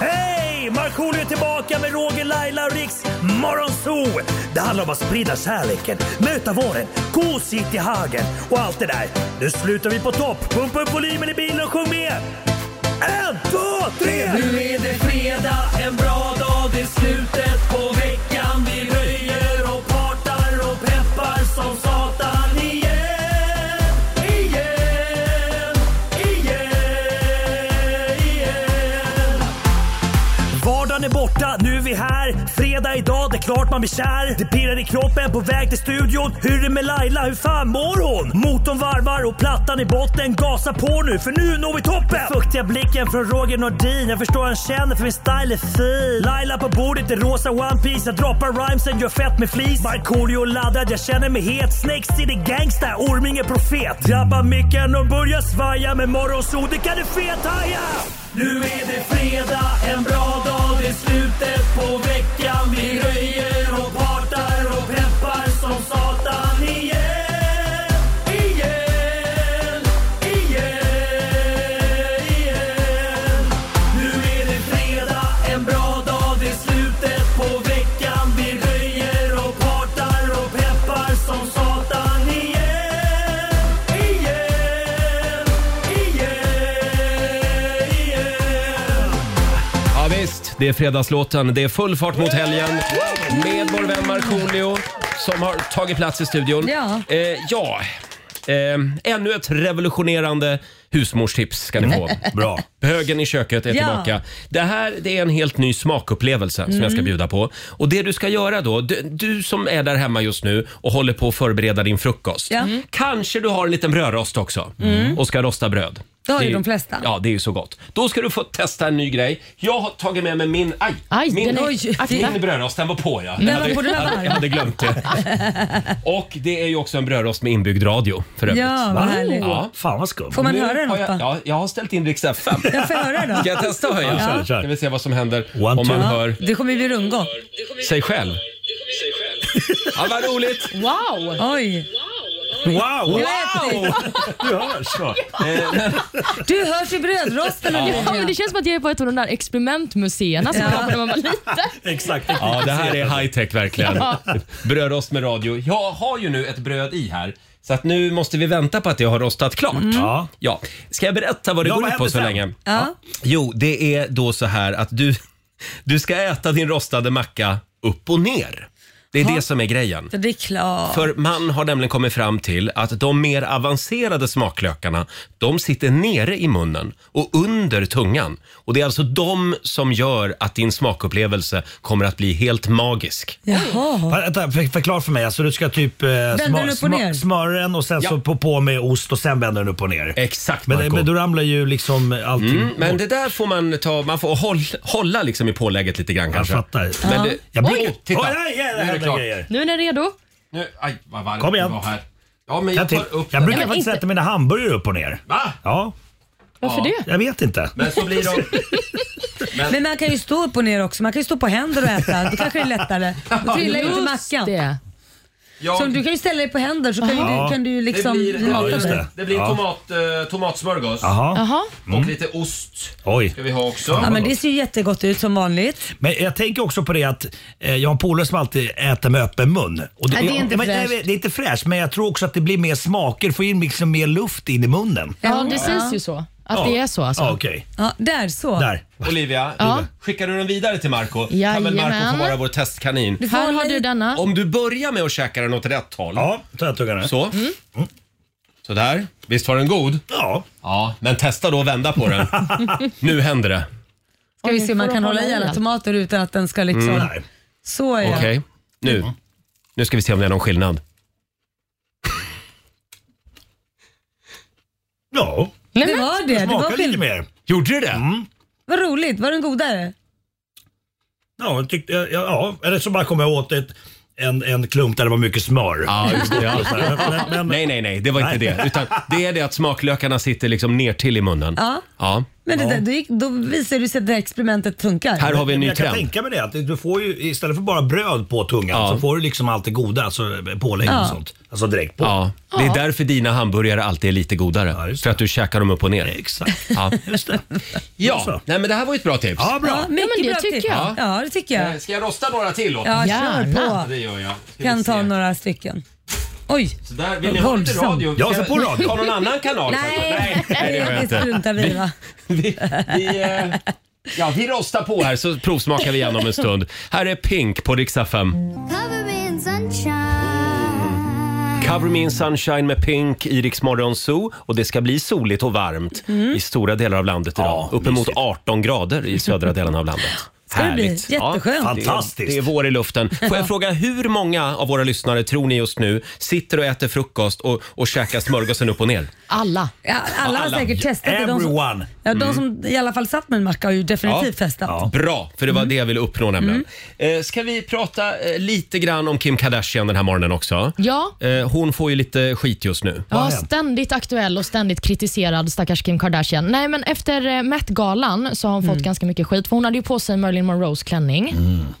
Speaker 8: Hej! Markoolio är tillbaka med Roger, Laila och Riks Morgonzoo! Det handlar om att sprida kärleken, möta våren, gosigt i hagen och allt det där. Nu slutar vi på topp! Pumpa upp volymen i bilen och sjung med! En, två, tre! Nu är det fredag, en bra dag, det är slutet på veckan. Vi röjer och partar och peppar som satan igen, igen, igen, igen. Vardagen är borta, nu är vi här. Fredag idag Ja, det är klart man blir kär. Det pirrar i kroppen på väg till studion. Hur är det med Laila? Hur fan mår hon? Motorn varvar och plattan i botten. Gasa på nu, för nu når vi toppen! Den fuktiga blicken från Roger Nordin. Jag förstår han känner för min style är fin. Laila på bordet i rosa One Piece Jag droppar rhymesen, gör fett med flis. Markoolio laddad, jag känner mig het. Snake City gangsta, Orminge profet. Drabbar micken och börjar svaja. Med morgonsol, det kan du fethaja! Nu är det fredag, en bra dag. Det är slutet på veckan. Vi röjer och partar och peppar som satan igen. Igen, igen, igen. Nu är det fredag, en bra dag. Det är slutet på veckan. Vi röjer och partar och peppar som satan igen. Igen, igen, igen.
Speaker 1: Ja, visst, det är fredagslåten. Det är full fart mot helgen med vår vän Markoolio som har tagit plats i studion.
Speaker 2: Ja.
Speaker 1: Eh, ja. Eh, ännu ett revolutionerande husmorstips ska ni få. Bra. Högen i köket är
Speaker 2: Ja.
Speaker 1: tillbaka. Det här det är en helt ny smakupplevelse som
Speaker 2: Mm.
Speaker 1: jag ska bjuda på. Och Det du ska göra då, du, du som är där hemma just nu och håller på att förbereda din frukost.
Speaker 2: Ja. Mm.
Speaker 1: Kanske du har en liten brödrost också och ska rosta bröd.
Speaker 2: Det har ju
Speaker 1: är-
Speaker 2: de flesta.
Speaker 1: Ja, det är ju så gott. Då ska du få testa en ny grej. Jag har tagit med mig min... Aj!
Speaker 3: Aj,
Speaker 1: min,
Speaker 3: den är-
Speaker 2: Oj,
Speaker 3: akta.
Speaker 1: min brödrost, den var på ja.
Speaker 2: var
Speaker 1: jag, hade,
Speaker 2: på, den
Speaker 1: jag,
Speaker 2: var
Speaker 1: hade,
Speaker 2: varm.
Speaker 1: jag hade glömt det. Och det är ju också en brödrost med inbyggd radio för övrigt.
Speaker 2: Ja, vad härligt.
Speaker 1: Ja.
Speaker 8: Fan vad skumt.
Speaker 2: Får man
Speaker 1: Nu
Speaker 2: höra den
Speaker 1: har jag,
Speaker 2: Otto?
Speaker 1: ja, jag har ställt in riks FM.
Speaker 2: Jag får höra då.
Speaker 1: Ska jag testa att höja?
Speaker 8: Ja, kör, kör.
Speaker 1: Ska vi se vad som händer
Speaker 8: One,
Speaker 1: om
Speaker 8: two.
Speaker 1: man
Speaker 2: Ja,
Speaker 1: hör
Speaker 2: Det kommer bli rundgång.
Speaker 1: sig själv. Ja, vad roligt!
Speaker 3: Wow!
Speaker 2: Oj,
Speaker 8: Wow!
Speaker 2: det var häftigt.
Speaker 8: Du hörs så.
Speaker 2: Du hörs i brödrosten
Speaker 3: Ja, men
Speaker 2: Olivia.
Speaker 3: det känns som att jag är på ett av de där experimentmuseerna som man var på när man var liten.
Speaker 8: Exakt.
Speaker 1: Ja, det här är high tech verkligen. Brödrost med radio. Jag har ju nu ett bröd i här. Så att nu måste vi vänta på att det har rostat klart.
Speaker 2: Mm.
Speaker 8: Ja.
Speaker 1: Ja. Ska jag berätta vad det
Speaker 8: Ja,
Speaker 1: går
Speaker 8: vad
Speaker 1: ut på
Speaker 8: händer
Speaker 1: så
Speaker 8: sen?
Speaker 1: länge?
Speaker 2: Ja.
Speaker 1: Jo, det är då så här att du, du ska äta din rostade macka upp och ner. Det är det som är grejen.
Speaker 2: Så det är klart.
Speaker 1: För man har nämligen kommit fram till att de mer avancerade smaklökarna, de sitter nere i munnen och under tungan. Och det är alltså de som gör att din smakupplevelse kommer att bli helt magisk.
Speaker 2: Jaha.
Speaker 8: Vänta, för- förklara för mig. Alltså, du ska typ eh, smör,
Speaker 2: den upp och ner?
Speaker 8: smör, smörja den och sen
Speaker 1: Ja.
Speaker 8: så på, på med ost och sen vänder den upp och ner.
Speaker 1: Exakt,
Speaker 8: men,
Speaker 1: Marco.
Speaker 8: men då ramlar ju liksom allting bort.
Speaker 1: Men det där får man ta, man får håll, hålla liksom i pålägget lite grann
Speaker 8: Jag
Speaker 1: kanske.
Speaker 8: fattar.
Speaker 1: Men det,
Speaker 8: Jag blir...
Speaker 1: Oj, titta.
Speaker 8: Oj, nej,
Speaker 1: Nu
Speaker 8: nej,
Speaker 1: är det
Speaker 8: nej,
Speaker 1: klart.
Speaker 8: grejer.
Speaker 3: Nu är ni redo?
Speaker 1: Nu, aj, vad varmt
Speaker 8: Kom igen.
Speaker 1: det var här. Ja, men jag
Speaker 8: Jag, till,
Speaker 1: tar upp
Speaker 8: jag
Speaker 1: den.
Speaker 8: brukar
Speaker 3: Nej, men
Speaker 8: faktiskt
Speaker 3: inte-
Speaker 8: sätta mina hamburgare upp och ner.
Speaker 1: Va?
Speaker 8: Ja,
Speaker 3: Varför det?
Speaker 8: jag vet inte.
Speaker 1: Men så blir de...
Speaker 2: Men man kan ju stå upp och ner också. Man kan ju stå på händer och äta. Då kanske det är lättare. Då trillar ju inte mackan.
Speaker 3: det.
Speaker 1: Ja,
Speaker 2: Så du kan ju ställa dig på händer så kan, ju, du, kan du ju
Speaker 1: det
Speaker 2: liksom...
Speaker 1: blir,
Speaker 2: mata
Speaker 1: ja, just
Speaker 2: dig.
Speaker 1: det. det blir tomat, eh, tomatsmörgås
Speaker 8: Jaha.
Speaker 3: Jaha.
Speaker 1: och
Speaker 8: Mm.
Speaker 1: lite ost
Speaker 8: Oj.
Speaker 1: ska vi ha också.
Speaker 2: Ja, men det ser ju jättegott ut som vanligt.
Speaker 8: Men jag tänker också på det att eh, jag har en polare som alltid äter med öppen mun. Och
Speaker 3: Nej, det är inte
Speaker 8: men- nej,
Speaker 3: fräscht.
Speaker 8: det är inte fräscht, men jag tror också att det blir mer smaker. Får in liksom mer luft in i munnen.
Speaker 3: Ja, det sägs ju så. Att det är så alltså.
Speaker 8: Ja, Okej,
Speaker 2: Ja, där så.
Speaker 8: där.
Speaker 1: Olivia, skickar du den vidare till Marco kan väl Marco
Speaker 3: Jajamän.
Speaker 1: få vara vår testkanin.
Speaker 2: Du får
Speaker 3: Här har
Speaker 2: hålla i-
Speaker 3: du denna.
Speaker 1: Om du börjar med att käka den åt rätt håll.
Speaker 8: Ja, Mm. tar jag tuggan här.
Speaker 1: Så. Sådär. Visst var den god?
Speaker 8: Ja.
Speaker 1: Ja, men testa då att vända på den. nu händer det.
Speaker 2: Ska vi se om man
Speaker 3: Får
Speaker 2: kan
Speaker 3: de
Speaker 2: hålla i
Speaker 3: hålla i
Speaker 2: alla
Speaker 3: den?
Speaker 2: tomater utan att den ska liksom...
Speaker 8: Nej.
Speaker 2: Så ja.
Speaker 1: Okej, nu.
Speaker 8: Mm.
Speaker 1: Nu ska vi se om det är någon skillnad.
Speaker 8: Ja,
Speaker 3: Nej,
Speaker 2: Det
Speaker 3: men,
Speaker 2: var det. det var
Speaker 8: smakar lite
Speaker 2: skill-
Speaker 8: mer. Mm.
Speaker 1: Gjorde du det?
Speaker 2: Vad roligt. Var den godare?
Speaker 8: Ja, jag tyckte, ja, ja, eller så bara kom jag åt ett, en, en klump där det var mycket smör.
Speaker 1: Ja, just det. Ja.
Speaker 8: Men, men,
Speaker 1: Nej, nej, nej, det var inte
Speaker 8: Nej.
Speaker 1: det. Utan det är det att smaklökarna sitter liksom ner till i munnen.
Speaker 2: Ja.
Speaker 1: ja.
Speaker 2: Men det där, då, gick, då visar du sig att det här experimentet funkar.
Speaker 1: Här har vi en
Speaker 8: men
Speaker 1: ny
Speaker 8: jag kan
Speaker 1: trend.
Speaker 8: tänka mig det att du får ju istället för bara bröd på tungan
Speaker 1: Ja.
Speaker 8: så får du liksom allt det goda, alltså pålägg och sånt. Alltså direkt på.
Speaker 1: Ja, det är därför dina hamburgare alltid är lite godare.
Speaker 8: Ja, just det.
Speaker 1: för att du käkar dem upp och ner.
Speaker 8: Exakt.
Speaker 1: Ja,
Speaker 8: Just det.
Speaker 1: ja. Nej, men det här var ju ett bra tips.
Speaker 8: Ja, bra.
Speaker 2: Ja, mycket
Speaker 3: men det
Speaker 2: bra
Speaker 3: tycker
Speaker 2: tips.
Speaker 3: jag.
Speaker 2: Ja, det tycker jag.
Speaker 1: Eh, Ska jag rosta några till åt
Speaker 2: Ja,
Speaker 3: Gärna.
Speaker 2: kör på.
Speaker 1: Det gör jag. Ska vi
Speaker 2: Kan ta
Speaker 1: se.
Speaker 2: några stycken. Oj!
Speaker 1: Så där, vill ni ha lite
Speaker 2: Våldsam.
Speaker 1: radio?
Speaker 8: Ja,
Speaker 1: Ska
Speaker 8: så på radio.
Speaker 1: Ta någon annan kanal kanske?
Speaker 2: Nej,
Speaker 1: nej, det gör jag
Speaker 2: det
Speaker 1: inte.
Speaker 2: struntar vi i va?
Speaker 1: Vi, vi, eh, ja, vi rostar på här så provsmakar vi igen om en stund. Här är Pink på riksdag 5. Cover Me In Sunshine med Pink i Rix Morgon Zoo. Och det ska bli
Speaker 2: Mm.
Speaker 1: soligt och varmt i stora delar av landet idag. Uppemot 18 grader i södra delen av landet.
Speaker 2: Ska det bli?
Speaker 1: Härligt.
Speaker 2: Jätteskönt.
Speaker 1: det är-
Speaker 8: Fantastiskt.
Speaker 1: Det är vår i luften. Får jag fråga hur många av våra lyssnare tror ni just nu sitter och äter frukost och, och käkar smörgåsen upp och ner?
Speaker 3: Alla.
Speaker 2: Ja, alla har
Speaker 1: Alla. Mm.
Speaker 2: säkert testat det. De som,
Speaker 8: Everyone.
Speaker 2: ja, de som i alla fall satt med en macka har ju definitivt
Speaker 1: Ja.
Speaker 2: testat.
Speaker 8: Ja.
Speaker 1: Bra, för det
Speaker 2: Mm.
Speaker 1: var det jag ville uppnå nämligen. Eh, ska vi prata eh, lite grann om Kim Kardashian den här morgonen också?
Speaker 3: Ja.
Speaker 1: Eh, hon får ju lite skit just nu.
Speaker 8: Vad
Speaker 3: Ja,
Speaker 8: har hänt?
Speaker 3: ständigt aktuell och ständigt kritiserad stackars Kim Kardashian. Nej, men efter eh, Met-galan så har hon fått ganska mycket skit, för hon hade ju på sig Marilyn Monroes klänning.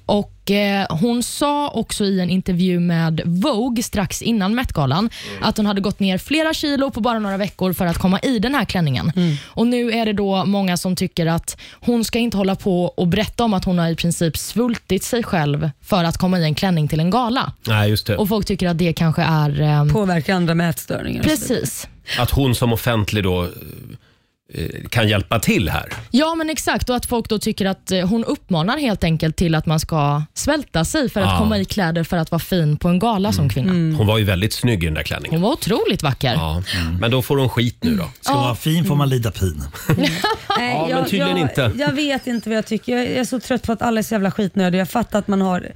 Speaker 3: Och eh, Hon sa också i en intervju med Vogue strax innan Met-galan att hon hade gått ner flera kilo på bara några veckor för att komma i den här klänningen. Och Nu är det då många som tycker att hon ska inte hålla på och berätta om att hon har i princip svultit sig själv för att komma i en klänning till en gala.
Speaker 1: Nej, just det.
Speaker 3: Och Folk tycker att det kanske är... ehm,
Speaker 2: Påverkar andra med ätstörningar. och så vidare.
Speaker 3: Precis.
Speaker 1: Att hon som offentlig då eh, kan hjälpa till här.
Speaker 3: Ja, men exakt. Och att folk då tycker att eh, hon uppmanar helt enkelt till att man ska svälta sig för att
Speaker 1: Ja.
Speaker 3: komma i kläder för att vara fin på en gala som kvinna.
Speaker 2: Mm.
Speaker 1: Hon var ju väldigt snygg i den där klänningen.
Speaker 3: Hon var otroligt vacker.
Speaker 1: Ja.
Speaker 2: Mm.
Speaker 1: Men då får hon skit nu då.
Speaker 8: Ska man vara fin får man lida pin.
Speaker 2: Nej,
Speaker 1: Ja, men tydligen
Speaker 2: jag,
Speaker 1: inte.
Speaker 2: Jag vet inte vad jag tycker. Jag är så trött på att alla är så jävla skitnödiga. Jag fattar att man har...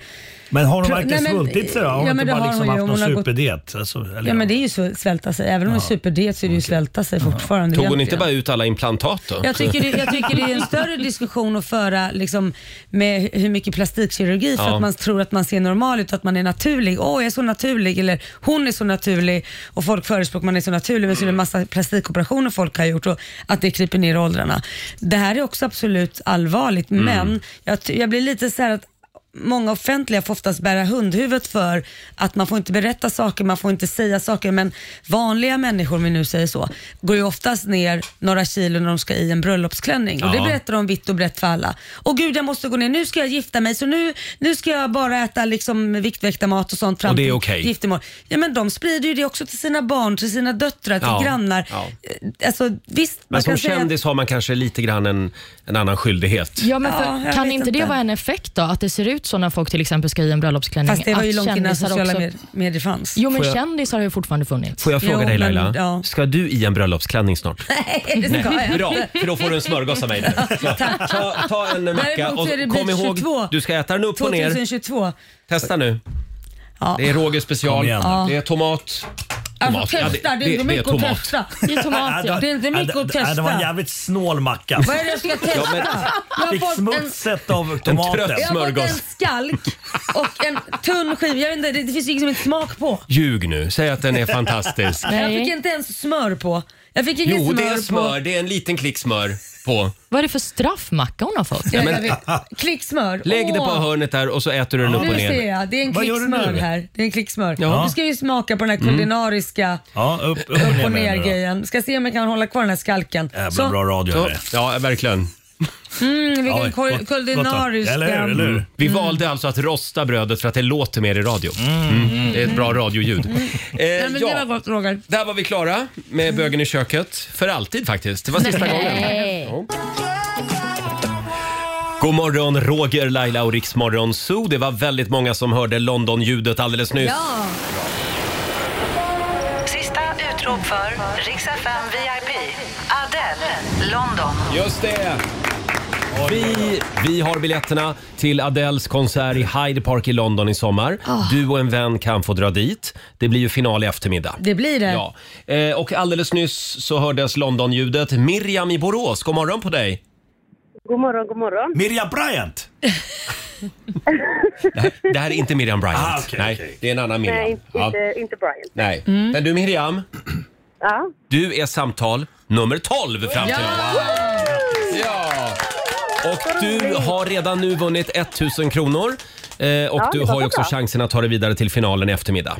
Speaker 8: Men har hon
Speaker 2: Pro-
Speaker 8: verkligen
Speaker 2: Nej, men-
Speaker 8: svultit sig då? Har hon
Speaker 2: Ja, men
Speaker 8: inte
Speaker 2: det
Speaker 8: bara
Speaker 2: har
Speaker 8: liksom
Speaker 2: hon ju.
Speaker 8: haft
Speaker 2: Hon
Speaker 8: någon
Speaker 2: har gått-
Speaker 8: superdiet? Alltså, eller-
Speaker 2: Ja men det är ju så, svälta sig. Även om det är superdiet så är det ju svälta sig fortfarande.
Speaker 1: Tog hon inte
Speaker 2: egentligen.
Speaker 1: bara ut alla implantat då?
Speaker 2: Jag tycker, det, jag tycker det är en större diskussion att föra liksom, med hur mycket plastikkirurgi för
Speaker 1: Ja.
Speaker 2: att man tror att man ser normal ut, att man är naturlig. Åh, jag är så naturlig eller hon är så naturlig och folk förespråkar man är så naturlig men så är det en massa plastikoperationer folk har gjort och att det kryper ner i åldrarna. Det här är också absolut allvarligt
Speaker 1: Mm.
Speaker 2: men jag, ty- jag blir lite så här att Många offentliga får oftast bära hundhuvudet för att man får inte berätta saker, man får inte säga saker. Men vanliga människor, om vi nu säger så, går ju oftast ner några kilo när de ska i en bröllopsklänning. Och det
Speaker 1: Ja.
Speaker 2: berättar de vitt och brett för alla. Och gud, jag måste gå ner, nu ska jag gifta mig, så nu, nu ska jag bara äta liksom viktväktarmat och sånt fram
Speaker 1: Och det är
Speaker 2: till
Speaker 1: okej.
Speaker 2: giftermål. Ja, men de sprider ju det också till sina barn, till sina döttrar, till
Speaker 1: Ja.
Speaker 2: grannar.
Speaker 1: Ja.
Speaker 2: Eh, Alltså, visst,
Speaker 1: Men
Speaker 2: man
Speaker 1: som
Speaker 2: kan säga att-
Speaker 1: kändis har man kanske lite grann en, en annan skyldighet.
Speaker 3: Ja, men för,
Speaker 2: Ja, jag
Speaker 3: kan
Speaker 2: vet
Speaker 3: inte det
Speaker 2: inte.
Speaker 3: vara en effekt då? Att det ser ut så när folk till exempel ska i en bröllopsklänning?
Speaker 2: Fast det var ju
Speaker 3: Att
Speaker 2: långt innan
Speaker 3: kändisar
Speaker 2: sociala
Speaker 3: också-
Speaker 2: med- medier fanns.
Speaker 3: Jo, men
Speaker 1: Får jag-
Speaker 3: kändisar har ju fortfarande funnits.
Speaker 1: Får jag fråga
Speaker 2: Jo,
Speaker 1: dig
Speaker 2: men-
Speaker 1: Laila,
Speaker 2: ja.
Speaker 1: ska du i en bröllopsklänning snart?
Speaker 2: Nej, det ska jag
Speaker 1: Bra, för då får du en smörgås av mig. nu. Ta, ta en macka
Speaker 2: Däremot
Speaker 1: och
Speaker 2: så är det
Speaker 1: kom
Speaker 2: Beach
Speaker 1: ihåg,
Speaker 2: 22.
Speaker 1: du ska äta den upp och ner.
Speaker 2: 2022.
Speaker 1: Testa nu.
Speaker 2: Ja.
Speaker 1: Det är Roger
Speaker 8: Kom
Speaker 1: special,
Speaker 8: igen.
Speaker 1: det är tomat.
Speaker 2: Alltså,
Speaker 1: Ja,
Speaker 2: testa, det, är inte mycket att testa.
Speaker 3: Det är
Speaker 8: Äh,
Speaker 3: tomat, ja.
Speaker 2: Det är inte mycket
Speaker 8: Ja,
Speaker 2: att
Speaker 8: det- ja, Det var en
Speaker 2: testa.
Speaker 8: äh, jävligt snål macka.
Speaker 2: Vad är det jag ska testa?
Speaker 1: men-
Speaker 2: jag har
Speaker 8: Fick
Speaker 2: fått en,
Speaker 8: smutset av tomaten.
Speaker 1: trött-
Speaker 2: jag har fått en
Speaker 1: smörgås.
Speaker 2: skalk och en tunn skiva. Jag vet inte, det, det finns ju liksom inte smak på.
Speaker 1: Ljug nu, säg att den är fantastisk.
Speaker 2: Jag
Speaker 3: Nej.
Speaker 2: fick inte ens smör på. Jag fick inget
Speaker 1: Jo,
Speaker 2: smör,
Speaker 1: det är smör.
Speaker 2: på.
Speaker 1: Det är en liten klick smör på.
Speaker 3: Vad är det för straffmacka hon har fått?
Speaker 2: Ja, jag vet. Klicksmör.
Speaker 1: Lägg det på
Speaker 2: Åh,
Speaker 1: hörnet där och så äter du den upp och
Speaker 2: Nu ser
Speaker 1: ner.
Speaker 2: jag, det är en
Speaker 8: Vad gör du
Speaker 2: klicksmör
Speaker 8: nu?
Speaker 2: här. Det är en klicksmör.
Speaker 1: Ja.
Speaker 2: Du ska ju smaka på den här kulinariska
Speaker 8: Ja, upp, upp och
Speaker 2: upp
Speaker 8: ner,
Speaker 2: och
Speaker 8: med den
Speaker 2: ner
Speaker 8: nu då.
Speaker 2: grejen. Ska se om jag kan hålla kvar den här skalken.
Speaker 8: Jävla
Speaker 2: Så,
Speaker 8: bra radio
Speaker 1: Ja,
Speaker 8: här.
Speaker 1: Ja, verkligen.
Speaker 2: mm, vilken
Speaker 8: Ja, gott- gott
Speaker 2: kul-
Speaker 8: då.
Speaker 2: kulinariska...
Speaker 8: Eller hur? Eller hur?
Speaker 1: Vi
Speaker 2: Mm.
Speaker 1: valde alltså att rosta brödet för att det låter mer i radio. Mm. Det är ett bra radioljud. Eh,
Speaker 2: Nej, men Det
Speaker 1: ja.
Speaker 2: var gott Roger.
Speaker 1: Där var vi klara med Bögen i köket. För alltid faktiskt. Det var sista gången. Ja. God morgon, Roger, Laila och Riksmorgon Zoo. Det var väldigt många som hörde London-ljudet alldeles nyss.
Speaker 9: Sista utrop för Rix FM VIP. Adele, London.
Speaker 1: Just det! Vi, vi har biljetterna till Adeles konsert i Hyde Park i London i sommar.
Speaker 4: Ah.
Speaker 1: Du och en vän kan få dra dit. Det blir ju final i eftermiddag.
Speaker 2: Det blir det.
Speaker 1: Ja. Eh, och alldeles nyss så hördes London-ljudet. Miriam i Borås, god morgon på dig!
Speaker 4: God morgon, god morgon.
Speaker 8: Miriam Bryant!
Speaker 1: Det här är inte Miriam Bryant.
Speaker 8: Ah, okej,
Speaker 1: Nej,
Speaker 8: okej.
Speaker 1: det är en annan Miriam.
Speaker 4: Nej, inte, Mm.
Speaker 1: Ja.
Speaker 4: inte, inte Brian.
Speaker 1: Nej. Men du Miriam,
Speaker 4: Ja.
Speaker 1: du är samtal nummer 12 fram till ja! ja! Och du har redan nu vunnit 1000 kronor. Eh, och
Speaker 4: Ja,
Speaker 1: du
Speaker 4: det
Speaker 1: har
Speaker 4: var
Speaker 1: ju också
Speaker 4: bra.
Speaker 1: chansen att ta dig vidare till finalen i eftermiddag.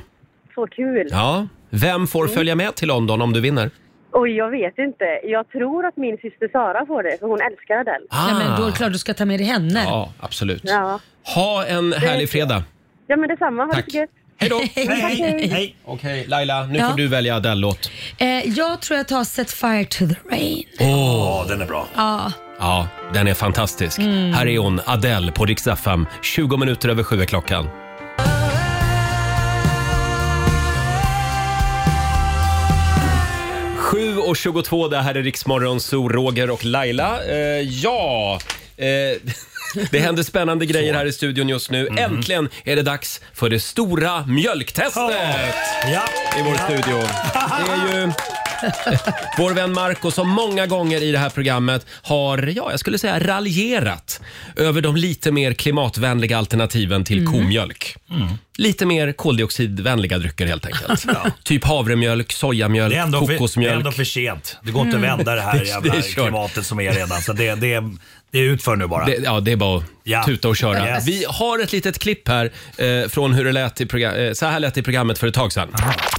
Speaker 4: Så kul.
Speaker 1: Ja. Vem får följa med till London om du vinner?
Speaker 4: Oj, jag vet inte. Jag tror att min syster Sara får det, för hon älskar Adele.
Speaker 1: Ah.
Speaker 2: Nej, men då är det klart du ska ta med dig henne.
Speaker 1: Ja, absolut.
Speaker 4: Ja.
Speaker 1: Ha en härlig fredag.
Speaker 4: Ja, men detsamma. Ha det
Speaker 1: Tack.
Speaker 4: så gött.
Speaker 1: Hej då!
Speaker 8: Hej, hej, hej!
Speaker 1: Okej, Laila, nu
Speaker 2: Ja.
Speaker 1: får du välja Adele-låt.
Speaker 2: Eh, jag tror jag tar Set Fire to the Rain.
Speaker 8: Ja, den är bra.
Speaker 1: Ja, den är fantastisk. Här är hon, Adele, på Rix FM. 20 minuter över sju är klockan. Sju och 22, det här är Riksmorgon, så Roger och Laila. Eh, ja, Eh, det händer spännande grejer här i studion just nu. Äntligen är det dags för det stora mjölktestet
Speaker 8: Ja.
Speaker 1: i vår
Speaker 8: ja.
Speaker 1: studio. Det är ju vår vän Marco som många gånger i det här programmet har, ja, jag skulle säga raljerat över de lite mer klimatvänliga alternativen till
Speaker 8: Mm.
Speaker 1: komjölk. Lite mer koldioxidvänliga drycker helt enkelt. Typ havremjölk, sojamjölk,
Speaker 8: Det är, ändå för, det är
Speaker 1: kokosmjölk.
Speaker 8: ändå för sent. Det går inte att vända det här jävla
Speaker 1: Mm. det är kört.
Speaker 8: klimatet som är redan. Så det, det, det är utför nu bara.
Speaker 1: Det, ja, det är bara att
Speaker 8: Ja.
Speaker 1: tuta och köra.
Speaker 8: Yes.
Speaker 1: Vi har ett litet klipp här eh, från hur det lät i, progra- eh, så här lät det i programmet för ett tag sedan.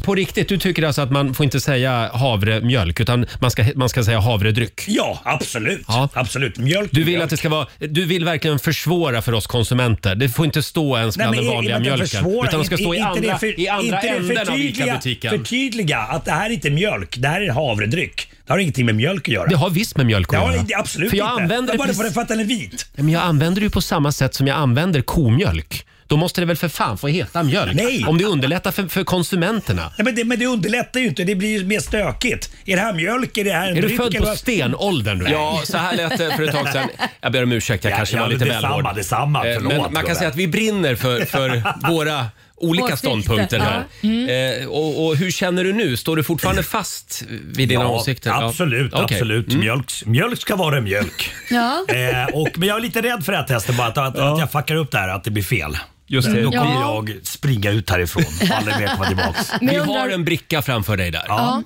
Speaker 1: På riktigt, du tycker alltså att man får inte säga havremjölk utan man ska, man ska säga havredryck?
Speaker 8: Ja, absolut.
Speaker 1: Ja.
Speaker 8: absolut. Mjölk
Speaker 1: Du vill, att det ska vara, du vill verkligen försvåra för oss konsumenter. Det får inte stå ens bland den vanliga mjölken. Utan de ska stå i andra, i andra änden av ICA-butiken.
Speaker 8: Förtydliga att det här är inte mjölk, det här är havredryck. Det har ingenting med mjölk att göra.
Speaker 1: Det har visst med mjölk
Speaker 8: Det
Speaker 1: att
Speaker 8: har
Speaker 1: göra.
Speaker 8: det absolut
Speaker 1: för jag
Speaker 8: inte.
Speaker 1: Använder det
Speaker 8: bara för
Speaker 1: precis-
Speaker 8: för att den är vit.
Speaker 1: Men jag använder det ju på samma sätt som jag använder komjölk. Då måste det väl för fan få heta mjölk?
Speaker 8: Nej.
Speaker 1: Om det underlättar för, för konsumenterna.
Speaker 8: Nej, men, det, men det underlättar ju inte. Det blir ju mer stökigt. Är det här mjölk? Är det här en
Speaker 1: Är du
Speaker 8: dryck
Speaker 1: född
Speaker 8: eller
Speaker 1: på
Speaker 8: vad-
Speaker 1: stenåldern? Du? Ja, så här lät det för ett tag sedan. Jag ber om ursäkt, jag
Speaker 8: Ja,
Speaker 1: kanske
Speaker 8: ja,
Speaker 1: var lite
Speaker 8: detsamma,
Speaker 1: välvård.
Speaker 8: detsamma.
Speaker 1: Eh,
Speaker 8: Förlåt,
Speaker 1: Men man kan
Speaker 8: Robert.
Speaker 1: säga att vi brinner för, för våra olika
Speaker 2: Åsikter.
Speaker 1: ståndpunkter här.
Speaker 3: Mm.
Speaker 1: Eh, och, och hur känner du nu? Står du fortfarande fast vid dina åsikter? Ja.
Speaker 8: Absolut,
Speaker 1: Okej. Mm.
Speaker 8: absolut. Mjölk, mjölk ska vara mjölk.
Speaker 3: Ja.
Speaker 8: eh, och, men jag är lite rädd för det här testet bara, att, att, att jag fuckar upp det här, att det blir fel.
Speaker 1: Just det.
Speaker 8: Då
Speaker 1: Ja.
Speaker 8: kommer jag springa ut härifrån och aldrig mer komma tillbaks.
Speaker 3: Men
Speaker 1: Vi
Speaker 3: jag
Speaker 1: har
Speaker 3: undrar,
Speaker 1: en bricka framför dig där.
Speaker 3: ja.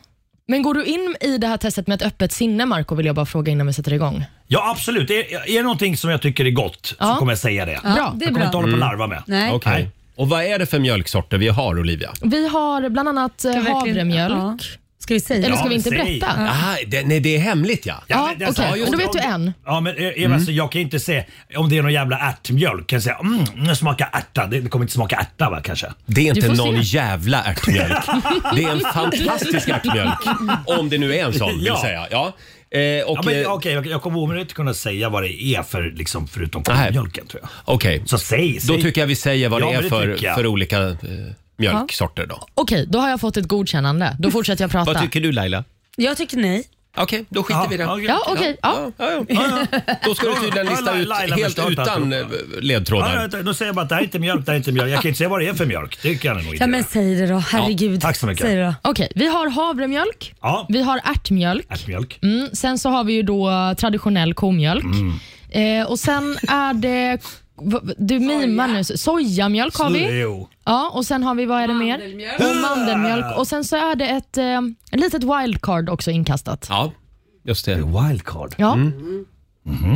Speaker 3: Men går du in i det här testet med ett öppet sinne, Marco, vill jag bara fråga innan vi sätter igång?
Speaker 8: Ja, absolut. Är, är det någonting som jag tycker är gott så
Speaker 3: Ja.
Speaker 8: kommer jag säga det.
Speaker 2: Ja, det är
Speaker 8: Jag kommer
Speaker 2: bra.
Speaker 8: inte hålla på
Speaker 1: Mm.
Speaker 8: och larva med.
Speaker 2: Nej.
Speaker 1: Okej.
Speaker 8: Nej.
Speaker 1: Och vad är det för mjölksorter vi har, Olivia?
Speaker 3: Vi har bland annat eh,
Speaker 2: Verkligen.
Speaker 3: havremjölk.
Speaker 2: Ja. Ska vi säga?
Speaker 3: Eller ska
Speaker 8: Ja,
Speaker 3: vi inte
Speaker 8: säg.
Speaker 3: berätta?
Speaker 1: Ah, det, nej, det är hemligt ja.
Speaker 3: Ja,
Speaker 8: men det är så-
Speaker 3: okej.
Speaker 8: just
Speaker 3: Men då
Speaker 8: det.
Speaker 3: vet du en.
Speaker 8: Ja, men eh, Eva,
Speaker 1: Mm.
Speaker 8: så jag kan inte säga om det är någon jävla ärtmjölk. Kan jag säga mm, den smakar ärta. Det det kommer inte smaka ärta va kanske?
Speaker 1: Det är inte
Speaker 3: Du får
Speaker 1: någon
Speaker 3: se.
Speaker 1: jävla ärtmjölk. Det är en fantastisk ärtmjölk. Om det nu är en sån vill
Speaker 8: Ja.
Speaker 1: säga. Ja. Eh, och,
Speaker 8: Ja, men,
Speaker 1: eh,
Speaker 8: Okej, jag, jag kommer omöjligt kunna säga vad det är för liksom, förutom
Speaker 1: Nej.
Speaker 8: mjölken tror jag.
Speaker 1: Okej,
Speaker 8: Så säg,
Speaker 1: då
Speaker 8: säg.
Speaker 1: tycker jag vi säger vad
Speaker 8: Ja,
Speaker 1: det är
Speaker 8: men det
Speaker 1: för,
Speaker 8: tycker jag.
Speaker 1: för olika eh, mjölksorter då.
Speaker 3: Okej, då har jag fått ett godkännande. Då fortsätter jag prata.
Speaker 1: Vad tycker du Laila?
Speaker 2: Jag tycker nej.
Speaker 1: Okej, då skiter vi i det.
Speaker 8: okej.
Speaker 3: Ja, okej. Ja.
Speaker 1: Ja, ja, ja. Då ska du tydligen
Speaker 8: Ja,
Speaker 1: lista
Speaker 8: Laila-
Speaker 1: ut
Speaker 8: Laila
Speaker 1: helt
Speaker 8: förstår inte
Speaker 1: utan eh,
Speaker 8: alltihopa. Ja,
Speaker 1: ledtrådar.
Speaker 8: ja, då säger jag bara att det här är inte mjölk, det här är inte mjölk. Jag kan inte säga vad det är för mjölk. Det kan jag nog inte
Speaker 2: Ja men
Speaker 8: göra.
Speaker 2: säg det då, herregud.
Speaker 8: tack så mycket.
Speaker 2: Säg det då.
Speaker 3: Okej, vi har havremjölk.
Speaker 8: Ja.
Speaker 3: Vi har ärtmjölk.
Speaker 8: Ärtmjölk.
Speaker 3: Mm, sen så har vi ju då traditionell komjölk.
Speaker 1: Mm.
Speaker 3: Eh, och sen är det... v- v- Du mimar nu. Sojamjölk har vi.
Speaker 8: Jo.
Speaker 3: Ja, och sen har vi, vad är det mer? Och mandelmjölk. Och sen så är det ett eh, litet wildcard också inkastat.
Speaker 1: Ja, just det.
Speaker 8: Wildcard.
Speaker 3: Ja,
Speaker 1: Mm.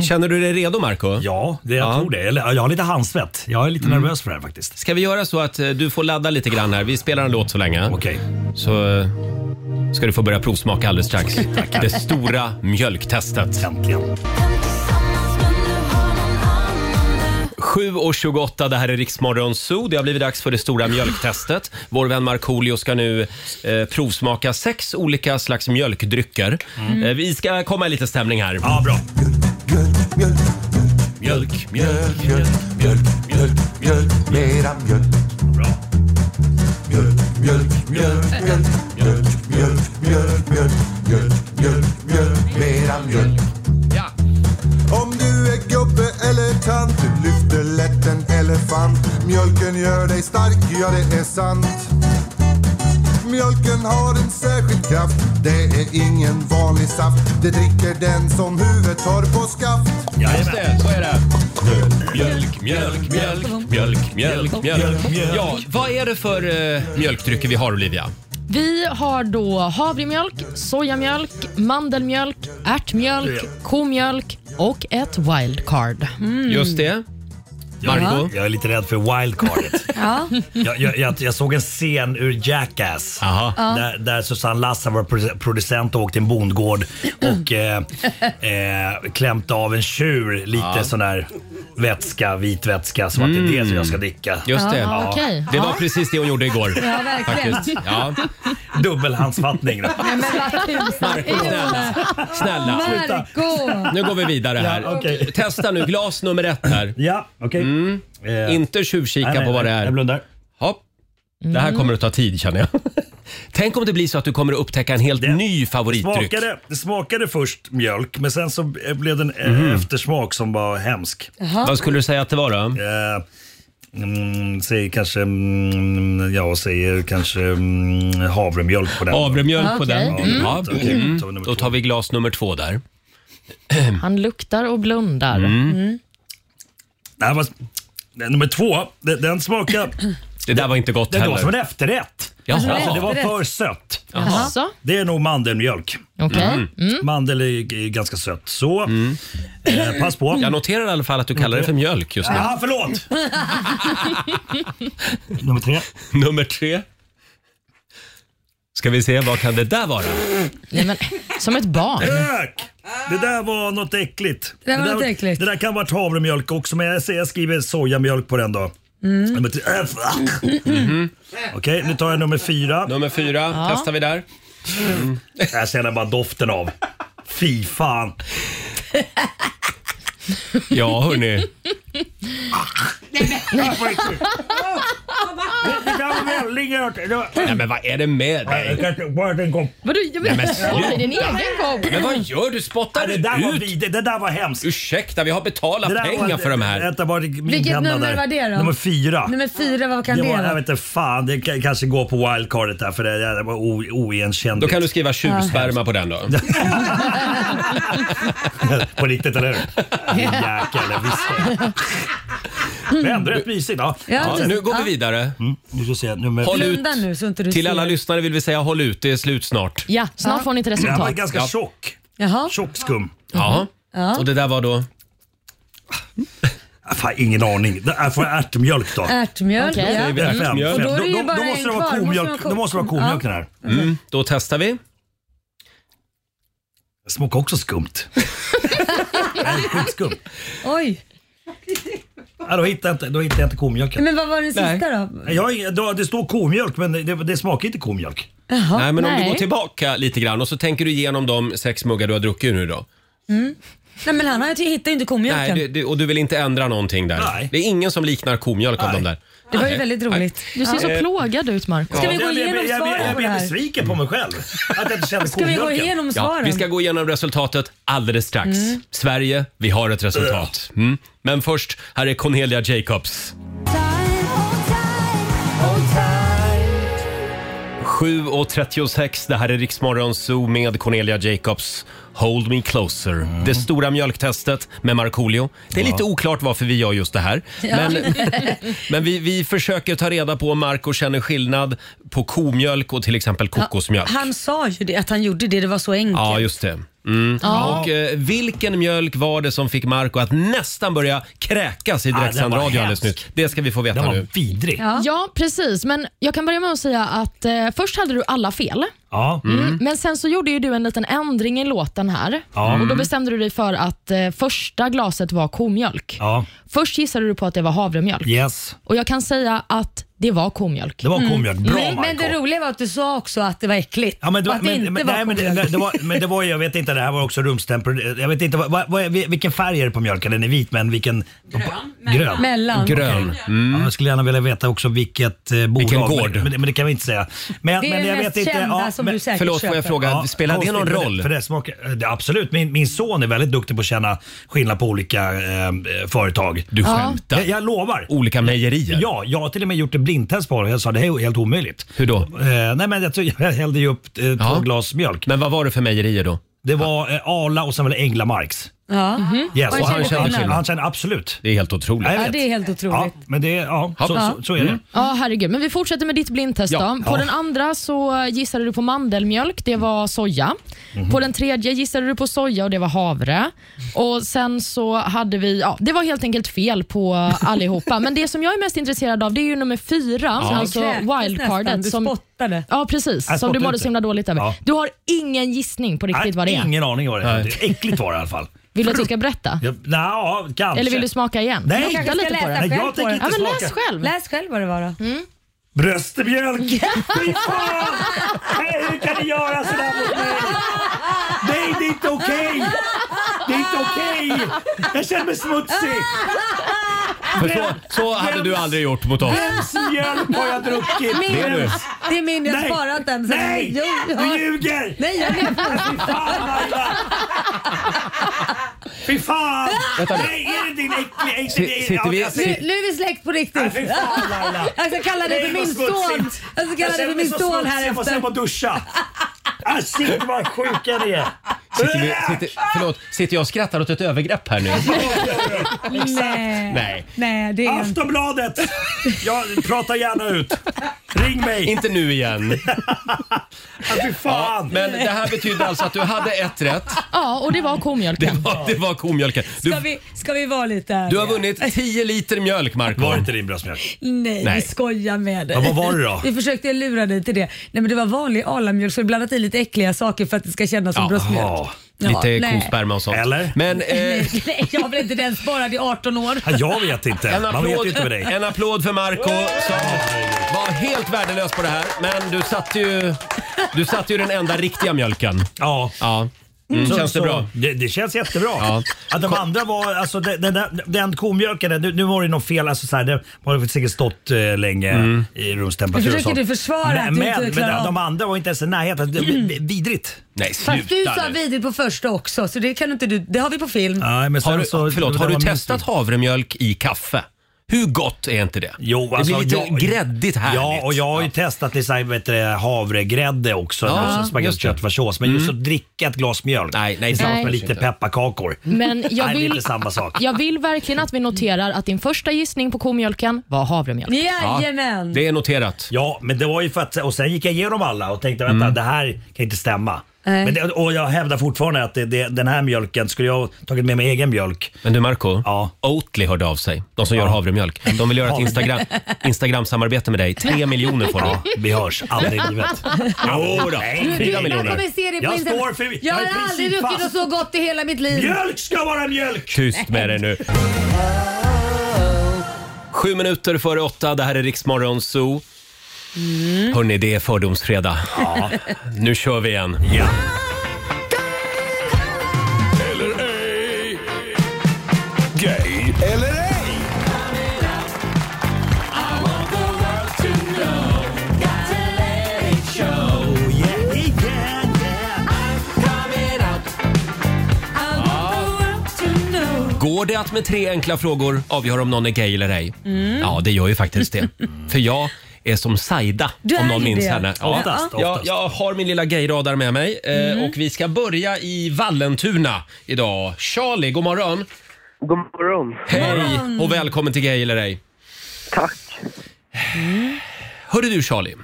Speaker 1: Känner du dig redo Marco?
Speaker 8: Ja, Mm. det, jag tror det. Eller, jag har lite handsvett. Jag är lite nervös för det här faktiskt.
Speaker 1: Ska vi göra så att eh, du får ladda lite grann här? Vi spelar en låt så länge.
Speaker 8: Okej.
Speaker 1: Så eh, ska du få börja provsmaka alldeles strax. Det stora mjölktestet.
Speaker 8: Äntligen.
Speaker 1: 7.28, det här är Riksmorgon Zoo. Det har blivit dags för det stora mjölktestet. Vår vän Markoolio ska nu eh, provsmaka sex olika slags mjölkdrycker. Eh, vi ska komma i lite stämning här.
Speaker 8: Ja, bra.
Speaker 1: Mjölk, mjölk.
Speaker 8: bra.
Speaker 1: Ja.
Speaker 10: Om du är gubbe eller tant, du lyfter lätt en elefant. Mjölken gör dig stark, ja det är sant. Mjölken har en särskild kraft, det är ingen vanlig saft. Det dricker den som huvudet har på skaft.
Speaker 1: Just det, så är det. Mjölk, mjölk, mjölk, mjölk, mjölk, mjölk, mjölk. Ja, vad är det för eh, mjölkdrycker vi har Olivia?
Speaker 3: Vi har då havremjölk, sojamjölk, mandelmjölk, ärtmjölk, komjölk och ett wildcard.
Speaker 8: Mm.
Speaker 1: Just det. Marco?
Speaker 8: Jag är lite rädd för wildcardet.
Speaker 2: Ja.
Speaker 8: jag, jag, jag, jag såg en scen ur Jackass.
Speaker 1: Aha.
Speaker 8: Där, där Susanne Lassa var produ- producent och åkte till en bondgård och eh, eh, klämte av en tjur lite sån där vätska, vit vätska som att det är det som jag
Speaker 1: Mm.
Speaker 8: ska dricka.
Speaker 1: Just det.
Speaker 3: Ja, okej.
Speaker 1: Det var precis det hon gjorde igår.
Speaker 2: Ja, verkligen.
Speaker 1: Faktiskt. Ja.
Speaker 8: Dubbelhandsfattning. då.
Speaker 2: Men vad tusan.
Speaker 1: Marco, snälla. Snälla.
Speaker 2: Marco!
Speaker 1: Nu går vi vidare här.
Speaker 8: Ja, okej.
Speaker 1: Testa nu glas nummer ett här.
Speaker 8: ja, okej. Eh,
Speaker 1: Inte tjuvkika
Speaker 8: nej, nej,
Speaker 1: på Mm, vad det
Speaker 8: Jag Mm.
Speaker 1: är.
Speaker 8: blundar.
Speaker 1: Hopp. Det här kommer att ta tid känner jag. Tänk om det blir så att du kommer att upptäcka en helt ny favoritdryck.
Speaker 8: Smakade, det smakade först mjölk, men sen så blev det en eh,
Speaker 1: Mhm.
Speaker 8: eftersmak som var hemsk. Eh,
Speaker 2: Jaha.
Speaker 1: Vad skulle du säga att det var då?
Speaker 8: Mm, säg kanske, mm, jag säger kanske mm, havremjölk på den.
Speaker 1: Havremjölk på den.
Speaker 8: Mm.
Speaker 1: Ja,
Speaker 8: okej.
Speaker 1: mm. Då tar vi glas nummer två där.
Speaker 3: Han luktar och blundar.
Speaker 1: Mm.
Speaker 8: Nej, men, den nummer två, den, den smakade...
Speaker 1: Det där var inte gott
Speaker 8: det, Det
Speaker 1: heller.
Speaker 8: var som en efterrätt.
Speaker 1: Jaha.
Speaker 8: Alltså, det var
Speaker 1: Efterrätt.
Speaker 8: för sött.
Speaker 1: Jaha. Jaså?
Speaker 8: Det är nog mandelmjölk.
Speaker 1: Okej. Mm.
Speaker 8: Mandel är är ganska sött. Så, eh, pass på.
Speaker 1: Jag noterar i alla fall att du kallar det för mjölk just nu.
Speaker 8: Ja, förlåt!
Speaker 1: Nummer tre. Nummer tre. Ska vi se, vad kan det där vara?
Speaker 3: Nej, men, som ett barn.
Speaker 8: Ök! Det där var något äckligt.
Speaker 2: Det där var något äckligt.
Speaker 8: Det där kan vara havremjölk också, men jag, säger- jag skriver sojamjölk på den då.
Speaker 2: Mm.
Speaker 8: Nummer tre. Äh, fuck. Okej, nu tar jag nummer fyra.
Speaker 1: Nummer fyra
Speaker 8: Ja.
Speaker 1: testar vi där.
Speaker 8: Jag känner bara doften av. Fy fan.
Speaker 1: Ja, hörni.
Speaker 8: Det där var väldigt gott. Det var-
Speaker 1: Nej, men vad är det med dig?
Speaker 8: Jag kan inte- bara en gång.
Speaker 3: Vadå? Jag
Speaker 1: Nej, men sluta.
Speaker 3: din egen kopp.
Speaker 1: Men vad gör du? Spottar du
Speaker 8: Det där var
Speaker 1: ut?
Speaker 8: vidrigt. Det där var hemskt.
Speaker 1: Ursäkta, vi har betalat
Speaker 8: Det där var-
Speaker 1: pengar för de här.
Speaker 8: Vänta, var det min
Speaker 2: Vilket
Speaker 8: penna
Speaker 2: nummer
Speaker 8: där?
Speaker 2: var det då?
Speaker 8: Nummer fyra.
Speaker 2: Nummer fyra, vad kan det,
Speaker 8: det var, jag
Speaker 2: vara?
Speaker 8: vet inte fan, det k- kanske går på wildcardet där för det, det var o- oigenkännligt.
Speaker 1: Då kan du skriva tjuvsperma på den då.
Speaker 8: på riktigt, eller hur? Jäklar, visst det. Det är ändå rätt mysigt. Ja.
Speaker 2: Ja,
Speaker 1: Ja, nu går vi vidare.
Speaker 8: Mm, nu ska vi se, nummer...
Speaker 1: Håll ut.
Speaker 2: Blunda nu så inte du
Speaker 1: Till
Speaker 2: ser.
Speaker 1: alla lyssnare vill vi säga håll ut, det är slut snart.
Speaker 3: Ja, snart får ni ett
Speaker 8: Den var
Speaker 3: resultat.
Speaker 8: ganska tjock.
Speaker 2: Jaha.
Speaker 8: Tjock skum.
Speaker 1: Ja.
Speaker 2: Ja.
Speaker 1: Och det där var då?
Speaker 8: Ah, Fan, ingen aning. Det här får jag ärtmjölk då.
Speaker 2: Ärtmjölk,
Speaker 3: Okej.
Speaker 2: ja.
Speaker 1: Säger vi
Speaker 8: Det är fem.
Speaker 1: ärtmjöl?
Speaker 2: Och Äh, då är det ju
Speaker 8: Då- då-
Speaker 2: bara
Speaker 8: då måste
Speaker 2: en
Speaker 8: det vara
Speaker 2: kvar. Måste
Speaker 8: komjölk-
Speaker 2: det vara ko-
Speaker 8: Då måste det vara komjölk den här.
Speaker 1: Mm, då testar vi.
Speaker 8: Det smakar också skumt. Det här är skitskumt.
Speaker 2: Oj.
Speaker 8: Ja, då hittar jag inte, då hittar jag inte komjölken.
Speaker 2: Men vad var den
Speaker 1: Nej.
Speaker 2: sista då?
Speaker 8: Jag, har ingen- då- det står komjölk men det, det smakar inte komjölk.
Speaker 2: Jaha.
Speaker 1: Nej, men om du
Speaker 3: nej.
Speaker 1: går tillbaka lite grann och så tänker du igenom de sex muggar du har druckit nu då.
Speaker 2: Nej men han har, ju- hittar ju inte komjölken.
Speaker 1: Nej,
Speaker 2: det,
Speaker 1: det, det, och du vill inte ändra någonting där.
Speaker 8: Nej.
Speaker 1: Det är ingen som liknar komjölk av
Speaker 8: Nej.
Speaker 1: de där.
Speaker 2: var ju
Speaker 1: Nej.
Speaker 2: väldigt
Speaker 1: Nej.
Speaker 2: roligt.
Speaker 3: Du ser så
Speaker 1: Ja.
Speaker 3: plågad ut Marco.
Speaker 2: Ska vi gå
Speaker 8: Jag- jag-
Speaker 2: igenom
Speaker 8: jag- jag-
Speaker 2: svaren
Speaker 8: Jag
Speaker 2: på det
Speaker 8: blev
Speaker 2: här?
Speaker 8: besviken på mig själv att jag inte kände
Speaker 2: Ska vi gå
Speaker 8: komjölken.
Speaker 2: igenom
Speaker 1: Ja,
Speaker 2: svaren?
Speaker 1: vi ska gå igenom resultatet alldeles strax. Sverige, vi har ett resultat. Mm. Men först, här är Cornelia Jacobs. 7.36, det här är Riksmorgon Zoo med Cornelia Jacobs. Hold me closer. Det stora mjölktestet med Markoolio. Det är lite oklart varför vi gör just det här. Men, men vi, vi försöker ta reda på om Marco känner skillnad på komjölk och till exempel kokosmjölk.
Speaker 2: Han sa ju det, att han gjorde det. Det var så enkelt.
Speaker 1: Ja, just det. Mm.
Speaker 3: Ja.
Speaker 1: Och eh, vilken mjölk var det som fick Marco att nästan börja kräkas i
Speaker 8: Ah, den var
Speaker 1: direktsänd radio alldeles
Speaker 8: hemsk.
Speaker 1: nyss? Det ska vi få veta
Speaker 8: Den var
Speaker 1: nu.
Speaker 8: vidrig. Ja.
Speaker 3: Ja, precis. Men jag kan börja med att säga att eh, först hade du alla fel. Mm. Men sen så gjorde ju du en liten ändring i låten här.
Speaker 8: Ja.
Speaker 3: Och Då bestämde du dig för att eh, första glaset var komjölk.
Speaker 8: ja.
Speaker 3: Först gissade du på att det var havremjölk.
Speaker 8: Yes.
Speaker 3: Och jag kan säga att det var komjölk.
Speaker 8: Det var komjölk. Bra
Speaker 2: Mm. men, men
Speaker 8: Marco.
Speaker 2: det roliga var att du sa också att det var äckligt.
Speaker 8: Ja, men det
Speaker 2: och
Speaker 8: var,
Speaker 2: att det inte
Speaker 8: men, men,
Speaker 2: var
Speaker 8: nej, men, det,
Speaker 2: komjölk.
Speaker 8: det var, men det var ju, jag vet inte, det här var också rumstemperatur. Jag vet inte, vad, vad, vad, är- vilken färg är det på mjölken? Den är vit men vilken? Grön. Grön.
Speaker 2: Mellan.
Speaker 1: Grön. Mm.
Speaker 8: Ja, jag skulle gärna vilja veta också vilket eh, bolag.
Speaker 1: Vilken
Speaker 8: men-
Speaker 1: gård.
Speaker 8: Men, det- men det kan vi inte säga. Men,
Speaker 2: Det är
Speaker 8: men
Speaker 2: den
Speaker 8: jag
Speaker 2: mest
Speaker 8: vet inte,
Speaker 2: kända
Speaker 8: ja,
Speaker 2: som
Speaker 8: men-
Speaker 2: du säkert
Speaker 1: Förlåt, får jag
Speaker 2: köper.
Speaker 1: fråga, spelar det någon
Speaker 8: konstigt, för
Speaker 1: roll?
Speaker 8: För det smakar, eh, det, absolut, min, min son är väldigt duktig på att känna skillnad på olika eh, företag.
Speaker 1: Du skämtar?
Speaker 8: Jag, jag lovar.
Speaker 1: Olika mejerier?
Speaker 8: Mm. Ja, jag har till och med gjort ett blindtest på det. Jag sa det här är helt omöjligt.
Speaker 1: Hur då?
Speaker 8: Eh, nej men jag, tror- jag hällde ju upp eh,
Speaker 1: Ja.
Speaker 8: två glas mjölk.
Speaker 1: Men vad var det för mejerier då?
Speaker 8: Det var eh, Arla och sen var det Änglamarks.
Speaker 2: Ja.
Speaker 8: Yes.
Speaker 2: Och
Speaker 8: Och han,
Speaker 2: han känner
Speaker 8: känner,
Speaker 2: skillnad.
Speaker 8: han känner absolut.
Speaker 1: Det är helt otroligt.
Speaker 8: jag
Speaker 2: Ja,
Speaker 8: vet.
Speaker 2: det är helt
Speaker 8: Ja,
Speaker 2: otroligt.
Speaker 8: men det, ja, så,
Speaker 1: Ja. Mm.
Speaker 8: så, så är det.
Speaker 3: Ja, herregud. Men vi fortsätter med ditt blindtest
Speaker 1: Ja.
Speaker 3: då. På
Speaker 8: Ja.
Speaker 3: den andra så gissade du på mandelmjölk, det var soja.
Speaker 8: Mhm.
Speaker 3: På den tredje gissade du på soja och det var havre. Och sen så hade vi, ja, det var helt enkelt fel på allihopa. Men det som jag är mest intresserad av det är ju nummer fyra, alltså
Speaker 2: Kräktes nästan,
Speaker 3: wildcardet.
Speaker 2: Du
Speaker 3: Som,
Speaker 2: spottade.
Speaker 3: ja, precis.
Speaker 8: Jag
Speaker 3: Som du
Speaker 8: spottar
Speaker 3: mådde
Speaker 8: ut
Speaker 3: så himla
Speaker 8: det.
Speaker 3: dåligt över.
Speaker 8: Ja.
Speaker 3: Du har ingen gissning på riktigt vad det är.
Speaker 8: Ingen aning vad det är.
Speaker 1: Nej.
Speaker 8: Det är Äckligt var det i alla fall.
Speaker 3: Vill du att jag ska berätta?
Speaker 8: Ja, ja, kanske.
Speaker 3: Eller vill du smaka igen?
Speaker 8: Nej.
Speaker 3: Lukta
Speaker 8: Jag
Speaker 2: kanske
Speaker 3: lite
Speaker 2: ska
Speaker 3: på
Speaker 2: läsa
Speaker 3: den.
Speaker 8: Nej,
Speaker 2: själv
Speaker 8: jag
Speaker 2: på
Speaker 8: tänker
Speaker 2: den.
Speaker 3: Ja,
Speaker 8: inte
Speaker 3: men
Speaker 8: smaka.
Speaker 3: läs själv.
Speaker 2: Läs själv vad det var då.
Speaker 8: Bröstmjölk! Fy fan! Nej, hur kan ni göra sådär mot mig? Nej, det är inte okej! Det är inte okej! Jag känner mig smutsig!
Speaker 1: För så, så hade du aldrig gjort mot oss.
Speaker 8: Vems hjälm har jag druckit?
Speaker 2: Min
Speaker 1: Det är du.
Speaker 2: hjälm. Det är min, jag har
Speaker 8: Nej.
Speaker 2: sparat den. sen-
Speaker 8: Nej!
Speaker 2: Jo, jag har-
Speaker 8: Du ljuger!
Speaker 2: Nej, jag lever.
Speaker 8: Fy fan!
Speaker 1: Vänta nu.
Speaker 8: Nej, är det din äckliga... Inte
Speaker 1: Si-
Speaker 8: det-
Speaker 1: sitter vi-
Speaker 8: jag
Speaker 2: Nu,
Speaker 8: ser-
Speaker 2: nu är vi släkt på riktigt.
Speaker 8: Nej, fy fan, Laila.
Speaker 2: jag ska kalla dig för
Speaker 8: Nej, vad
Speaker 2: min son.
Speaker 8: smutsigt.
Speaker 2: Jag ska kalla dig för min son här
Speaker 8: Jag måste
Speaker 2: efter.
Speaker 8: hem och duscha. Ah, shit vad sjuka ni är.
Speaker 1: Sitter, vi, sitter, förlåt, sitter jag och skrattar åt ett övergrepp här nu?
Speaker 2: Nej.
Speaker 1: Nej,
Speaker 2: Nej, det är
Speaker 8: Ah,
Speaker 2: inte.
Speaker 8: Äh, Aftonbladet! Jag pratar gärna ut. Ring mig.
Speaker 1: inte nu igen.
Speaker 8: Ah, fy
Speaker 1: Ja,
Speaker 8: fan.
Speaker 1: men det här betyder alltså att du hade ett rätt.
Speaker 3: Ja, och det var
Speaker 1: Det
Speaker 3: komjölken.
Speaker 1: var, det var komjölken.
Speaker 2: Ska
Speaker 1: Du,
Speaker 2: vi, ska vi vara lite
Speaker 1: du
Speaker 2: ärliga?
Speaker 1: har vunnit 10 liter mjölk, Marco.
Speaker 8: Var det inte din bröstmjölk?
Speaker 2: Nej,
Speaker 1: Nej.
Speaker 2: vi skojar med dig.
Speaker 8: Ja, vad var det då?
Speaker 2: Vi försökte lura dig till det. Nej, men det var vanlig alamjölk så vi blandat i lite äckliga saker för att det ska kännas som
Speaker 1: Jaha.
Speaker 2: bröstmjölk.
Speaker 1: Lite
Speaker 2: nej.
Speaker 1: kosperma och sånt.
Speaker 8: Eller?
Speaker 1: Men, eh,
Speaker 2: Nej, jag har väl inte den sparad i 18 år.
Speaker 8: Ah, Jag vet inte.
Speaker 1: en,
Speaker 8: Man vet ju
Speaker 1: applåd,
Speaker 8: inte med dig.
Speaker 1: en applåd för Marco som var helt värdelös på det här. Men du satte ju, du satte ju den enda riktiga mjölken.
Speaker 8: Ja.
Speaker 1: Ja. Mm,
Speaker 8: Så-
Speaker 1: känns det
Speaker 8: så-
Speaker 1: bra?
Speaker 8: Det, det känns jättebra.
Speaker 1: Ja.
Speaker 8: Att de andra var, alltså den, den, där- den komjölken, där, nu, nu var det något fel, alltså så här, det har säkert stått eh, länge
Speaker 1: Mm.
Speaker 8: i rumstemperatur
Speaker 2: Nu
Speaker 8: och
Speaker 2: försöker
Speaker 8: sånt.
Speaker 2: du försvara
Speaker 8: Nej,
Speaker 2: att du
Speaker 8: men,
Speaker 2: inte
Speaker 8: men
Speaker 2: klarar
Speaker 8: de-
Speaker 2: av- Mm.
Speaker 8: de andra var inte ens i närheten. Det- det- Vidrigt.
Speaker 1: Nej,
Speaker 2: Fast du
Speaker 1: sluta
Speaker 2: sa
Speaker 1: nu.
Speaker 2: vidrigt på första också så det kan inte du. Det har vi på film.
Speaker 8: Nej, men
Speaker 1: Har
Speaker 8: sen
Speaker 1: du,
Speaker 8: så,
Speaker 1: förlåt,
Speaker 8: det
Speaker 1: har du
Speaker 8: var min
Speaker 1: testat
Speaker 8: stil.
Speaker 1: havremjölk i kaffe? Hur gott är inte det?
Speaker 8: Jo, alltså,
Speaker 1: det blir lite
Speaker 8: jag-
Speaker 1: gräddigt härligt.
Speaker 8: Ja, och jag har ju testat liksom, vet du, havregrädde också.
Speaker 1: Ja,
Speaker 8: Ja,
Speaker 1: just
Speaker 8: Spagetti
Speaker 1: det. Mm.
Speaker 8: köttfärssås. Men just att dricka ett glas mjölk
Speaker 1: Nej, nej,
Speaker 8: tillsammans
Speaker 1: nej.
Speaker 8: med lite
Speaker 1: inte.
Speaker 8: pepparkakor.
Speaker 3: Men jag
Speaker 8: Nej, det är
Speaker 3: vill,
Speaker 8: inte samma sak.
Speaker 3: jag vill verkligen att vi noterar att din första gissning på komjölken var havremjölk.
Speaker 2: Jajamän.
Speaker 1: Det är noterat.
Speaker 8: Ja, men det var ju för att, och sen gick jag igenom alla och tänkte vänta, det här kan inte stämma.
Speaker 2: Nej.
Speaker 8: Men det, och jag hävdar fortfarande att det, det, den här mjölken, skulle jag ha tagit med mig egen mjölk?
Speaker 1: Men du Marco,
Speaker 8: Ja.
Speaker 1: Oatly hörde av sig. De som gör
Speaker 8: Ja.
Speaker 1: havremjölk. De vill göra ett
Speaker 8: Ja.
Speaker 1: Instagram, Instagram-samarbete med dig. Tre miljoner får du.
Speaker 8: Vi hörs aldrig i livet.
Speaker 1: Jo då.
Speaker 8: Nej,
Speaker 1: Fyra
Speaker 2: Jag
Speaker 1: miljoner.
Speaker 2: kommer se det på
Speaker 8: Jag
Speaker 2: internet.
Speaker 8: står för-
Speaker 2: Jag
Speaker 8: jag
Speaker 2: har
Speaker 8: är i princip
Speaker 2: aldrig druckit
Speaker 8: fast.
Speaker 2: något så gott i hela mitt liv.
Speaker 8: Mjölk ska vara mjölk!
Speaker 1: Tyst med dig nu. Sju minuter före åtta, det här är Riksmorgon Zoo. Hörni, det är fördomsfredag. Nu kör vi igen.
Speaker 8: Ja.
Speaker 7: Gay eller ej?
Speaker 8: Oh, yeah, yeah, yeah.
Speaker 1: Går det att med tre enkla frågor avgöra om någon är gay eller ej? Ja, det gör ju faktiskt det. För jag är som Saida,
Speaker 2: Du
Speaker 1: om
Speaker 2: är
Speaker 1: någon
Speaker 2: ju
Speaker 1: minns
Speaker 2: det.
Speaker 1: henne. Ja.
Speaker 8: Oftast,
Speaker 1: Jag,
Speaker 8: oftast.
Speaker 1: jag har min lilla gayradar med mig eh, och vi ska börja i Vallentuna idag. Charlie, god morgon!
Speaker 11: God morgon.
Speaker 1: Hej och välkommen till Gay eller ej. Eh,
Speaker 11: Tack.
Speaker 1: Hörru du Charlie,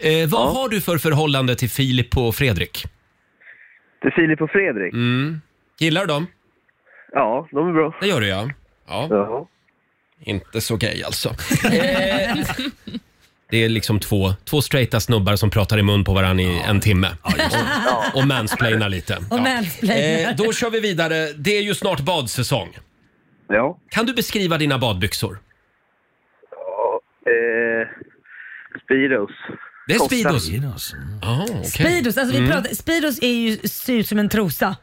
Speaker 1: eh, vad har du för förhållande till Filip och Fredrik?
Speaker 11: Det är Filip och Fredrik.
Speaker 1: Mm. Gillar du dem?
Speaker 11: Ja, de är bra.
Speaker 1: Det gör du ja. Ja,
Speaker 11: Ja.
Speaker 1: inte så gay alltså. Eh, Det är liksom två, två straighta snubbar som pratar i mun på varandra i en timme. och, och mansplainar lite.
Speaker 2: Och
Speaker 1: Ja.
Speaker 2: mansplainar.
Speaker 1: Eh, då kör vi vidare. Det är ju snart badsäsong.
Speaker 11: ja.
Speaker 1: Kan du beskriva dina badbyxor?
Speaker 11: Eh, Speedos.
Speaker 1: Det är
Speaker 11: Korta.
Speaker 1: Speedos. Ah, okej. Mm.
Speaker 2: Speedos, alltså vi pratar, Speedos är ju syr som en trosa.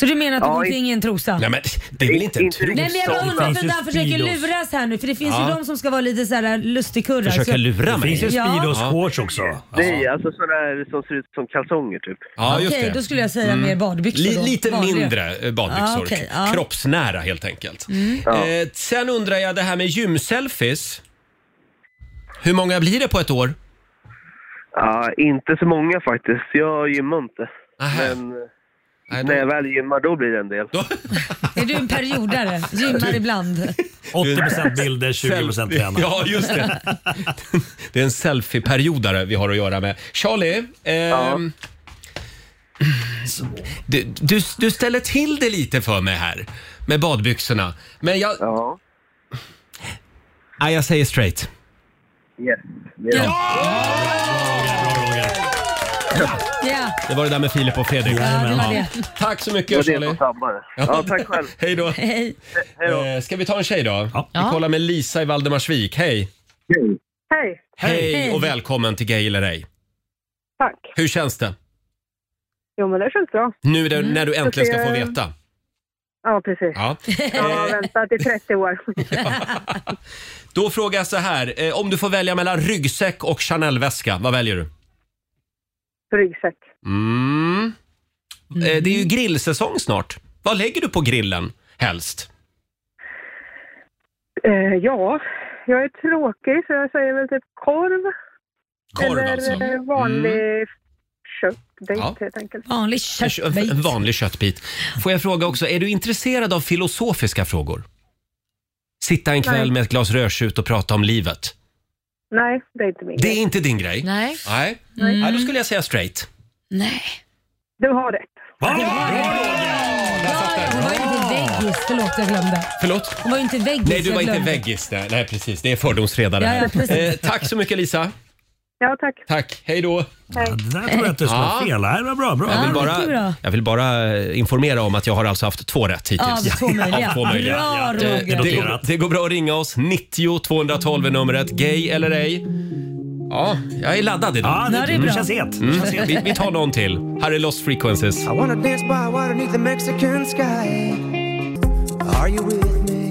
Speaker 2: Så du menar att
Speaker 11: Ja,
Speaker 2: omkring är en trosa?
Speaker 1: Nej men det är väl inte en
Speaker 11: Inte
Speaker 1: tro?
Speaker 2: Nej men jag bara undrar
Speaker 8: finns
Speaker 2: för
Speaker 8: ju
Speaker 2: han försöker
Speaker 8: Speedos.
Speaker 2: luras här nu för det finns
Speaker 1: Ja.
Speaker 2: ju de som ska vara lite såhär lustigkurrar.
Speaker 1: Försöker
Speaker 2: så-
Speaker 1: lura
Speaker 8: Det finns ju
Speaker 1: mig?
Speaker 2: Ja.
Speaker 8: Speedos shorts också.
Speaker 11: Nej, alltså sådana där som ser ut som kalsonger typ.
Speaker 1: Ja, just
Speaker 2: Okej,
Speaker 1: det. Mm.
Speaker 2: då skulle jag säga mer badbyxor
Speaker 1: Li-
Speaker 2: då.
Speaker 1: lite
Speaker 2: Vanliga.
Speaker 1: mindre eh, badbyxor.
Speaker 2: Ah, okej, ja. Mm.
Speaker 1: K- Kroppsnära helt enkelt. Eh, sen undrar jag det här med gymselfies. Hur många blir det på ett år?
Speaker 11: Ja, inte så många faktiskt. Jag gymmar inte.
Speaker 1: Aha.
Speaker 11: Men eh,
Speaker 1: Nej, då-
Speaker 11: när jag väl gymmar då blir det en del.
Speaker 2: Är du en periodare? Gymmar ibland?
Speaker 8: 80% bilder, 20%
Speaker 1: Selfie.
Speaker 8: tränar.
Speaker 1: Ja, just det. Det är en selfie-periodare vi har att göra med. Charlie, ehm, du, du, du ställer till det lite för mig här med badbyxorna. Men jag,
Speaker 11: Ja.
Speaker 1: nej, jag säger straight.
Speaker 11: Yes. Det är det.
Speaker 2: Ja,
Speaker 1: Det var det där med Filip och Fredrik.
Speaker 2: ja det var
Speaker 8: ja.
Speaker 2: det.
Speaker 1: Tack så
Speaker 11: Det var
Speaker 1: mycket
Speaker 11: det
Speaker 1: Charlie.
Speaker 11: som sabbade. Ja, tack själv.
Speaker 1: Hej då.
Speaker 2: Hej.
Speaker 1: Eh, Ska vi ta en tjej då?
Speaker 8: Ja.
Speaker 1: Vi kollar med Lisa i Valdemarsvik. Hej!
Speaker 4: Hej,
Speaker 1: Hej,
Speaker 2: Hej.
Speaker 1: och välkommen till Gay eller ej.
Speaker 4: tack.
Speaker 1: Hur känns det?
Speaker 4: Jo men det känns bra.
Speaker 2: Mm.
Speaker 1: Nu är det, när du äntligen ska
Speaker 4: Jag
Speaker 1: få
Speaker 4: ser-
Speaker 1: veta.
Speaker 4: Ja, precis.
Speaker 1: Ja. Eh.
Speaker 4: Jag har väntat i 30 år.
Speaker 1: Då frågar jag så här. eh, Om du får välja mellan ryggsäck och Chanel-väska, vad väljer du?
Speaker 4: Ryggsäck.
Speaker 1: Mm. Eh, Det är ju grillsäsong snart. Vad lägger du på grillen helst?
Speaker 4: Eh, ja, jag är tråkig så jag säger väl typ korv.
Speaker 1: Korv
Speaker 4: Eller
Speaker 1: alltså.
Speaker 4: eh, vanlig köttbit
Speaker 1: Ja.
Speaker 4: helt enkelt.
Speaker 2: Vanlig
Speaker 1: En- En vanlig köttbit. Får jag fråga också, är du intresserad av filosofiska frågor? Sitta en kväll
Speaker 4: Nej.
Speaker 1: med ett glas rödtjut och prata om livet.
Speaker 4: Nej, det är inte min
Speaker 1: Det
Speaker 4: grej.
Speaker 1: är inte din grej?
Speaker 2: Nej.
Speaker 1: Nej,
Speaker 4: Nej.
Speaker 1: Nej, då skulle jag säga straight.
Speaker 2: Nej.
Speaker 4: Du har rätt.
Speaker 2: Hon var ju inte veggis. Förlåt, jag glömde.
Speaker 1: Förlåt?
Speaker 2: Hon var ju inte veggis.
Speaker 1: Nej, du var
Speaker 2: jag
Speaker 1: inte
Speaker 2: glömde.
Speaker 1: veggis. Nej, nej, precis. Det är fördomsfredag det
Speaker 2: Ja,
Speaker 1: här. Eh,
Speaker 2: ja, precis.
Speaker 1: tack så mycket Lisa.
Speaker 4: Ja, tack.
Speaker 1: Tack. Hej då.
Speaker 8: Det där tror jag inte det
Speaker 1: Ja.
Speaker 8: var fel. Det här var bra. bra.
Speaker 1: Jag vill, bara, jag vill bara eh, informera om att jag har alltså haft två rätt hittills.
Speaker 2: Av två möjliga.
Speaker 1: Av två möjliga.
Speaker 2: Bra,
Speaker 1: Eh,
Speaker 2: Roger.
Speaker 1: det, går,
Speaker 8: Noterat.
Speaker 1: det går bra att ringa oss. 90 212 är numret. Gay eller ej? Ja, jag är laddad idag.
Speaker 8: Ja, det- Ja, det är bra. det känns het. Det
Speaker 1: Mm.
Speaker 8: känns het.
Speaker 1: Vi, vi tar någon till. Här är Lost Frequencies.
Speaker 12: Wanna dance by water beneath the Mexican sky. Are you with me?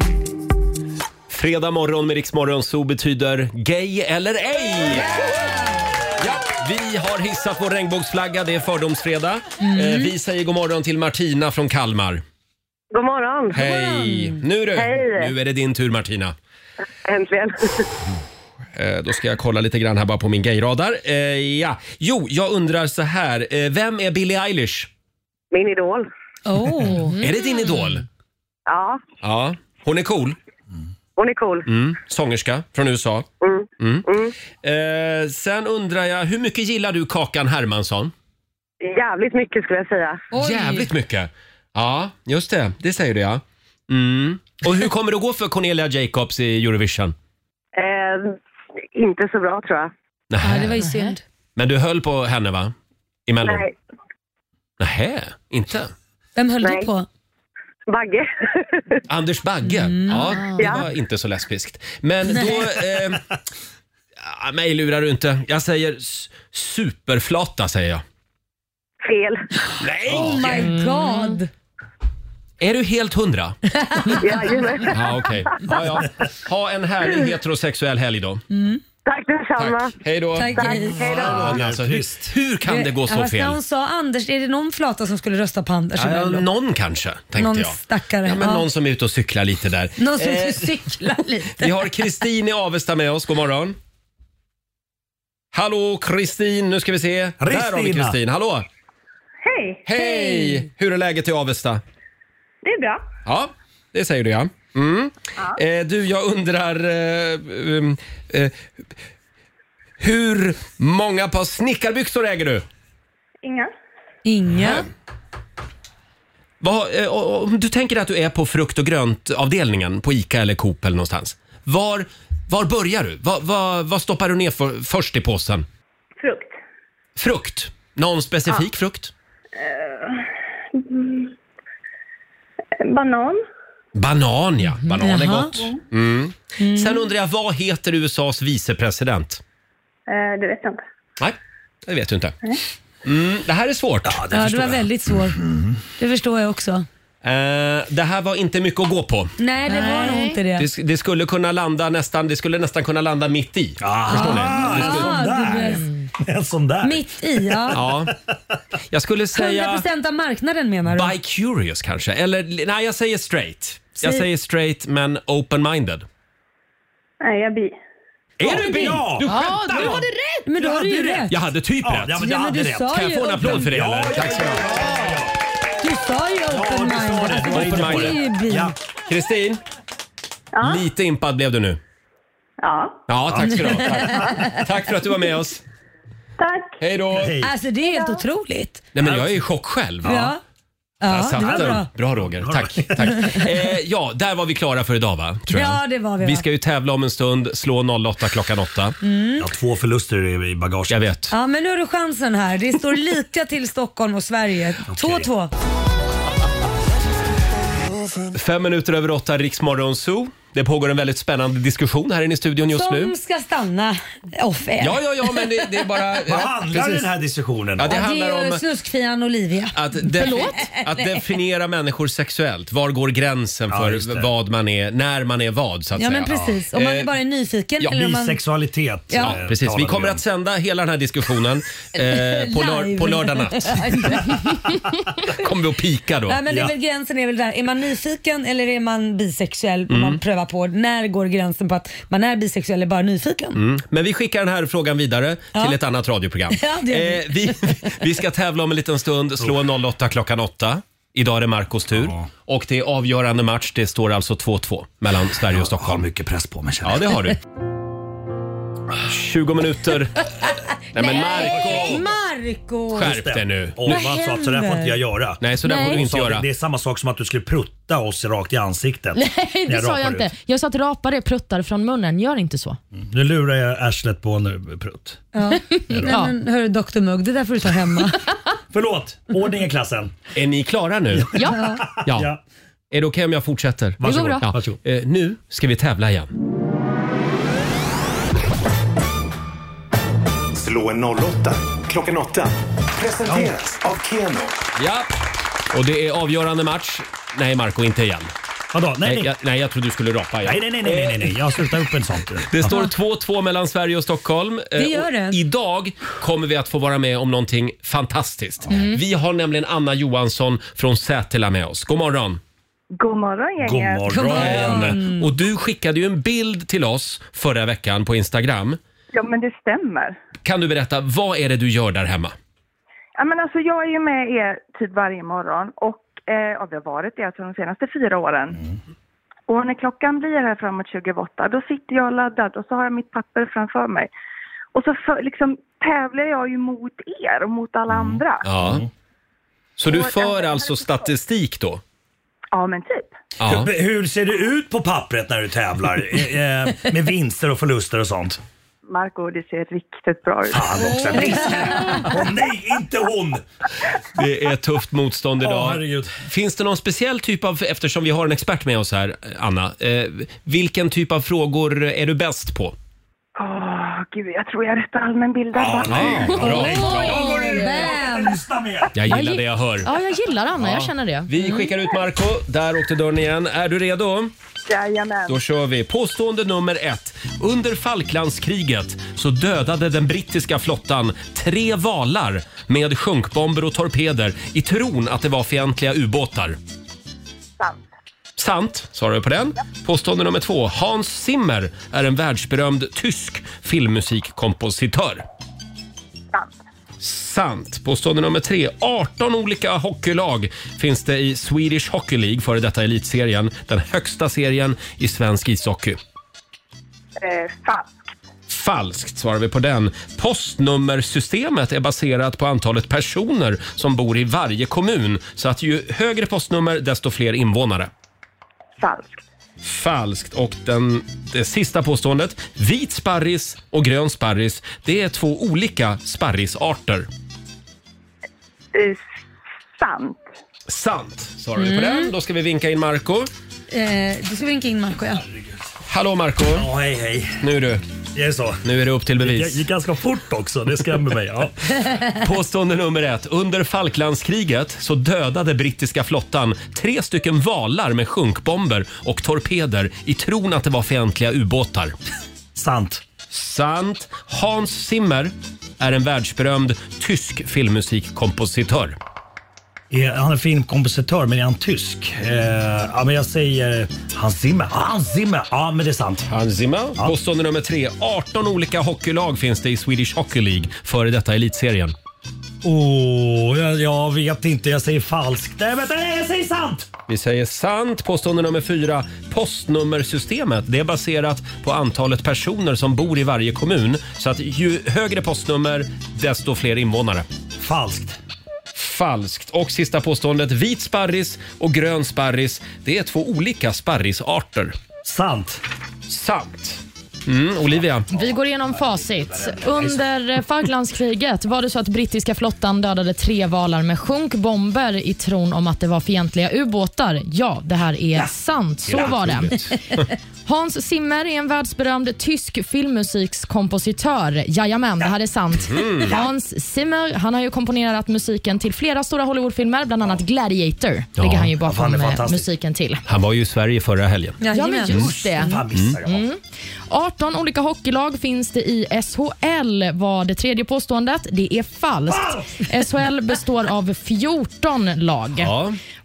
Speaker 1: Fredag morgon med Rix Morgon så betyder gay eller ej. Ja, vi har hissat vår regnbågsflagga. Det är fördomsfredag.
Speaker 13: Mm.
Speaker 1: Eh, vi säger god morgon till Martina från Kalmar.
Speaker 13: God morgon.
Speaker 1: Hej! Nu du!
Speaker 13: Hej.
Speaker 1: Nu är det din tur Martina.
Speaker 13: Äntligen.
Speaker 1: Eh, Då ska jag kolla lite grann här bara på min gayradar. Eh, ja. Jo, jag undrar så här. Eh, vem är Billie Eilish?
Speaker 13: Min idol.
Speaker 2: Oh.
Speaker 1: Är det din idol?
Speaker 13: Mm. Ja,
Speaker 1: Ja. Hon är cool.
Speaker 13: hon är cool.
Speaker 1: Mm. Sångerska från USA. Mm. Eh, sen undrar jag, hur mycket gillar du Kakan Hermansson?
Speaker 13: Jävligt mycket skulle jag säga.
Speaker 1: Jävligt mycket. Ja, just det. Det säger du ja. Mm. Och hur kommer det att gå för Cornelia Jacobs i Eurovision?
Speaker 14: Ehm,
Speaker 13: Eh, inte så bra tror jag.
Speaker 2: Ja, det var ju synd.
Speaker 1: Men du höll på henne va? I Mello?
Speaker 13: Nej.
Speaker 1: Nähä, inte?
Speaker 2: Vem höll du på?
Speaker 13: Bagge.
Speaker 1: Anders Bagge?
Speaker 2: Mm.
Speaker 1: Ja, det var inte så lesbiskt. Men då... Eh, ah, mig lurar du inte. Jag säger s- superflata, säger jag.
Speaker 13: Fel.
Speaker 1: Nej!
Speaker 2: Oh my
Speaker 1: Mm.
Speaker 2: god.
Speaker 1: Är du helt hundra?
Speaker 13: Jajamän.
Speaker 1: Ja, okej. Ja, ja. Ha en härlig heterosexuell helg då.
Speaker 13: Tack detsamma.
Speaker 1: Hej då.
Speaker 2: Tack, hej. Hej då.
Speaker 1: Fan, alltså, hur, hur kan det gå så
Speaker 2: Fast När
Speaker 1: fel?
Speaker 2: hon sa Anders, är det någon flata som skulle rösta på Anders? i
Speaker 1: Ja,
Speaker 2: Mello?
Speaker 1: någon kanske, tänkte
Speaker 2: någon
Speaker 1: jag.
Speaker 2: stackare.
Speaker 1: Ja, men
Speaker 2: Ja.
Speaker 1: Någon som är ute och cyklar lite där.
Speaker 2: någon som
Speaker 1: Eh,
Speaker 2: cyklar lite.
Speaker 1: vi har Kristin i Avesta med oss. God morgon. Hallå Kristin, nu ska vi se. Där har vi
Speaker 8: Kristina.
Speaker 1: Kristin. Hallå!
Speaker 14: Hej!
Speaker 1: Hej! Hur är läget i Avesta?
Speaker 14: Det är bra.
Speaker 1: Ja, det säger du ja. Mm. Eh, du, jag undrar... Eh, um, eh, hur många par snickarbyxor äger du?
Speaker 14: Inga.
Speaker 2: Inga.
Speaker 1: Vad, eh, o- om du tänker att du är på frukt och grönt-avdelningen på ICA eller Coop eller någonstans. Var, var börjar du? Vad- vad- vad stoppar du ner för, först i påsen?
Speaker 14: Frukt.
Speaker 1: Frukt? Någon specifik frukt?
Speaker 14: Mm. Banan.
Speaker 1: Banan, ja. Banan är
Speaker 14: Jaha.
Speaker 1: gott. Mm. Sen undrar jag, vad heter USAs vicepresident?
Speaker 14: Eh, det vet jag inte.
Speaker 1: Nej, det vet du inte. Mm, det här är svårt. Ja,
Speaker 2: Ja, det var väldigt svår. Det förstår jag också.
Speaker 1: Eh, det här var inte mycket att gå på.
Speaker 2: Nej, det var nog inte det.
Speaker 1: Det, sk- det skulle kunna landa nästan, det skulle nästan kunna landa mitt i. Förstår ni? Det skulle-
Speaker 2: Ah, det
Speaker 8: En sån där.
Speaker 2: blev mitt i, ja.
Speaker 1: Ja. Jag skulle säga
Speaker 2: 100% av marknaden menar du?
Speaker 1: by curious kanske. Eller nej, jag säger straight. Jag
Speaker 2: Säg-
Speaker 1: säger straight men open-minded.
Speaker 14: Nej, jag är bi.
Speaker 1: Är du bi?
Speaker 8: Ja.
Speaker 1: Du skämtar?
Speaker 2: Ja, du hade rätt! Men då har du ju rätt.
Speaker 1: Jag hade typ
Speaker 8: Ja,
Speaker 1: rätt.
Speaker 8: ja, men jag Ja, men hade du rätt. sa
Speaker 1: Kan jag
Speaker 2: ju
Speaker 1: få en
Speaker 2: open-
Speaker 1: applåd för det eller? Tack så mycket.
Speaker 2: Du sa ju open-minded.
Speaker 1: det.
Speaker 2: Alltså,
Speaker 1: Open
Speaker 2: det är ju
Speaker 1: minded.
Speaker 2: bi.
Speaker 1: Ja. Kristin, lite impad blev du nu.
Speaker 14: Ja.
Speaker 1: Ja, tack ska du ha. Tack. tack för att du var med oss.
Speaker 14: Tack.
Speaker 1: Hej då.
Speaker 2: Alltså det är helt otroligt.
Speaker 1: Nej, men jag är i chock själv.
Speaker 2: Ja,
Speaker 1: Jag
Speaker 2: ja
Speaker 1: satt
Speaker 2: det var
Speaker 1: den.
Speaker 2: bra.
Speaker 1: Alltså, Bra Roger, tack. tack. Eh, ja, där var vi klara för idag va? Tror jag.
Speaker 2: Ja, det var vi,
Speaker 1: Vi
Speaker 2: va? Mm.
Speaker 1: ska ju tävla om en stund, slå 08 klockan 8.
Speaker 8: Ja, två förluster i bagaget.
Speaker 1: Jag vet.
Speaker 2: Ja, men nu har du chansen här. Det står lika till Stockholm och Sverige. 2-2.
Speaker 1: Fem minuter över åtta, Riksmorgon Zoo. Det pågår en väldigt spännande diskussion här inne i studion just
Speaker 2: Som
Speaker 1: nu.
Speaker 2: ska stanna off air.
Speaker 1: Ja, ja, ja, men det, det är bara...
Speaker 8: Vad handlar den här
Speaker 1: diskussionen ja,
Speaker 2: Ja,
Speaker 1: det
Speaker 2: det
Speaker 1: handlar
Speaker 2: är ju
Speaker 1: om
Speaker 2: snuskfian Olivia.
Speaker 1: att, defi-
Speaker 2: Förlåt?
Speaker 1: att definiera människor sexuellt. Var går gränsen
Speaker 8: Ja, just
Speaker 1: för
Speaker 8: det.
Speaker 1: vad man är, när man är vad så att
Speaker 2: Ja
Speaker 1: säga.
Speaker 2: men precis, om man
Speaker 1: Eh,
Speaker 2: bara är nyfiken.
Speaker 1: ja,
Speaker 2: eller om man...
Speaker 8: Bisexualitet.
Speaker 2: Ja.
Speaker 1: Ja, precis. Vi kommer att sända hela den här diskussionen eh, på, lör-
Speaker 2: Live.
Speaker 1: på lördag natt. kommer vi att pika då.
Speaker 2: Nej, men det är väl, gränsen är väl där. Är man nyfiken eller är man bisexuell?
Speaker 1: Mm.
Speaker 2: Om man prövar på. När går gränsen på att man är bisexuell eller bara nyfiken?
Speaker 1: Mm. Men vi skickar den här frågan vidare
Speaker 2: Ja.
Speaker 1: till ett annat radioprogram. Eh,
Speaker 2: Ja, det gör vi.
Speaker 1: vi, vi ska tävla om en liten stund. Slå en 08 klockan 8. Idag är det Marcos tur. Och det är avgörande match. Det står alltså 2-2 mellan Sverige och Stockholm. Jag har mycket press på mig känner Ja, det har du. 20 minuter. Nej men Marco!
Speaker 2: Marco!
Speaker 1: Skärp dig nu.
Speaker 8: Åh, vad han sa, så där får inte jag göra.
Speaker 1: Nej, så där
Speaker 3: Nej.
Speaker 1: får du inte
Speaker 8: Sa det-
Speaker 1: göra.
Speaker 8: Det är samma sak som att du skulle prutta oss rakt i ansiktet.
Speaker 3: Nej,
Speaker 8: När
Speaker 3: det sa
Speaker 8: rapar
Speaker 3: jag inte.
Speaker 8: ut.
Speaker 3: Jag sa att rapar är pruttar från munnen. Gör inte så.
Speaker 8: Nu lurar jag arslet på en prutt.
Speaker 2: Ja. Nej, men, hörru, Dr Mugg, det där får du ta hemma.
Speaker 8: Förlåt, ordning i klassen.
Speaker 1: Är ni klara nu?
Speaker 2: ja.
Speaker 1: Ja. Är det okej om jag fortsätter?
Speaker 2: Varsågod. bra.
Speaker 1: Ja. Eh, nu ska vi tävla igen.
Speaker 5: Slå en 08 klockan 8. Presenteras av Keno.
Speaker 1: Ja. Och det är avgörande match. Nej, Marco, inte igen.
Speaker 8: Vadå? Nej, nej.
Speaker 1: Jag, nej, jag trodde du skulle rapa igen.
Speaker 8: Nej, nej, nej, nej, nej, nej. jag slutar upp en sånt.
Speaker 1: Det står 2-2 mellan Sverige och Stockholm. Eh,
Speaker 2: Det gör
Speaker 1: och
Speaker 2: det.
Speaker 1: Idag kommer vi att få vara med om någonting fantastiskt.
Speaker 2: Mm.
Speaker 1: Vi har nämligen Anna Johansson från Sätela med oss. God morgon!
Speaker 14: God morgon gänget.
Speaker 2: Mm.
Speaker 1: Och du skickade ju en bild till oss förra veckan på Instagram.
Speaker 14: Ja men det stämmer.
Speaker 1: Kan du berätta, vad är det du gör där hemma?
Speaker 14: Ja, men alltså, jag är ju med er typ varje morgon och eh, ja, vi har varit det alltså, de senaste fyra åren.
Speaker 1: Mm.
Speaker 14: Och när klockan blir här framåt 28 då sitter jag laddad och så har jag mitt papper framför mig. Och så för, liksom, tävlar jag ju mot er och mot alla andra.
Speaker 1: Mm. Ja. Så du
Speaker 14: Och-
Speaker 1: för alltså statistik då?
Speaker 14: Ja men typ.
Speaker 1: Ja.
Speaker 8: Hur, hur ser det ut på pappret när du tävlar? Eh, eh, med vinster och förluster och sånt?
Speaker 14: Marco det ser riktigt bra ut.
Speaker 8: Fan också. Åh nej, inte hon!
Speaker 1: Det är tufft motstånd idag.
Speaker 8: Ja, herregud.
Speaker 1: Finns det någon speciell typ av, eftersom vi har en expert med oss här, Anna, eh, vilken typ av frågor är du bäst på?
Speaker 14: Åh gud jag tror jag är rätt allmänbildad. va?
Speaker 1: Ja, bra. Jag
Speaker 3: Jag
Speaker 1: gillar
Speaker 3: gi-
Speaker 1: det jag hör.
Speaker 3: Ja, jag gillar Anna.
Speaker 1: Ja.
Speaker 3: Jag känner det.
Speaker 1: Vi skickar ut Marco. Där åkte dörren igen. Är du redo?
Speaker 14: Jajamän.
Speaker 1: Då kör vi. Påstående nummer ett. Under Falklandskriget så dödade den brittiska flottan tre valar med sjunkbomber och torpeder i tron att det var fientliga ubåtar.
Speaker 14: Sant.
Speaker 1: Sant, svarar vi på den. Påstående nummer två. Hans Zimmer är en världsberömd tysk filmmusikkompositör.
Speaker 14: Sant.
Speaker 1: Sant. Påstående nummer tre. 18 olika hockeylag finns det i Swedish Hockey League, före detta elitserien. Den högsta serien i svensk ishockey.
Speaker 14: Eh, falskt.
Speaker 1: Falskt svarar vi på den. Postnummersystemet är baserat på antalet personer som bor i varje kommun. Så att ju högre postnummer, desto fler invånare.
Speaker 14: Falskt.
Speaker 1: Falskt. Och den, det sista påståendet. Vit sparris och grön sparris, det är två olika sparrisarter.
Speaker 14: Eh, sant.
Speaker 1: Sant, svarar vi på
Speaker 2: Mm.
Speaker 1: den. Då ska vi vinka in Marco.
Speaker 2: Eh, du ska vinka in Marco ja.
Speaker 1: Hallå Marco
Speaker 8: Ja, hej, hej.
Speaker 1: Nu du.
Speaker 8: Jag är så.
Speaker 1: Nu är det upp till
Speaker 8: Det
Speaker 1: bevis.
Speaker 8: gick ganska fort också, det skrämmer mig. Ja.
Speaker 1: Påstående nummer ett. Under Falklandskriget så dödade brittiska flottan tre stycken valar med sjunkbomber och torpeder i tron att det var fientliga ubåtar.
Speaker 8: Sant.
Speaker 1: Sant. Hans Zimmer är en världsberömd tysk filmmusikkompositör.
Speaker 8: Är Eh, han är filmkompositör, men är han tysk? Eh, ja, men jag säger Hans Zimmer. Ja, Hans Zimmer! Ja, men det är sant.
Speaker 1: Hans Zimmer.
Speaker 8: Ja.
Speaker 1: Påstående nummer tre. 18 olika hockeylag finns det i Swedish Hockey League, före detta elitserien.
Speaker 8: Åh, jag, jag vet inte. Jag säger falskt. Nej, vänta, nej, jag säger sant!
Speaker 1: Vi säger sant. Påstående nummer fyra. Postnummersystemet det är baserat på antalet personer som bor i varje kommun. Så att ju högre postnummer, desto fler invånare.
Speaker 8: Falskt.
Speaker 1: Falskt. Och sista påståendet. Vit sparris och grön sparris, det är två olika sparrisarter.
Speaker 8: Sant.
Speaker 1: Sant. Mm, Olivia.
Speaker 3: Vi går igenom facit. Under eh, Falklandskriget var det så att brittiska flottan dödade tre valar med sjunkbomber i tron om att det var fientliga ubåtar. Ja, det här är sant. Så
Speaker 1: Helt
Speaker 3: var det.
Speaker 1: otroligt.
Speaker 3: Hans Zimmer är en världsberömd tysk filmmusikskompositör. Jajamän, det här är sant.
Speaker 15: Mm.
Speaker 3: Hans Zimmer han har ju komponerat musiken till flera stora Hollywoodfilmer, bland annat Gladiator.
Speaker 1: Ja,
Speaker 3: ligger han ju
Speaker 1: han
Speaker 3: bakom
Speaker 1: är
Speaker 3: eh,
Speaker 1: fantastisk.
Speaker 3: musiken till.
Speaker 1: Han var ju i Sverige förra helgen.
Speaker 3: Ja, men just det.
Speaker 1: Mm.
Speaker 3: Mm. 18 olika hockeylag finns det i SHL var det tredje påståendet. Det är falskt. SHL består av 14 lag.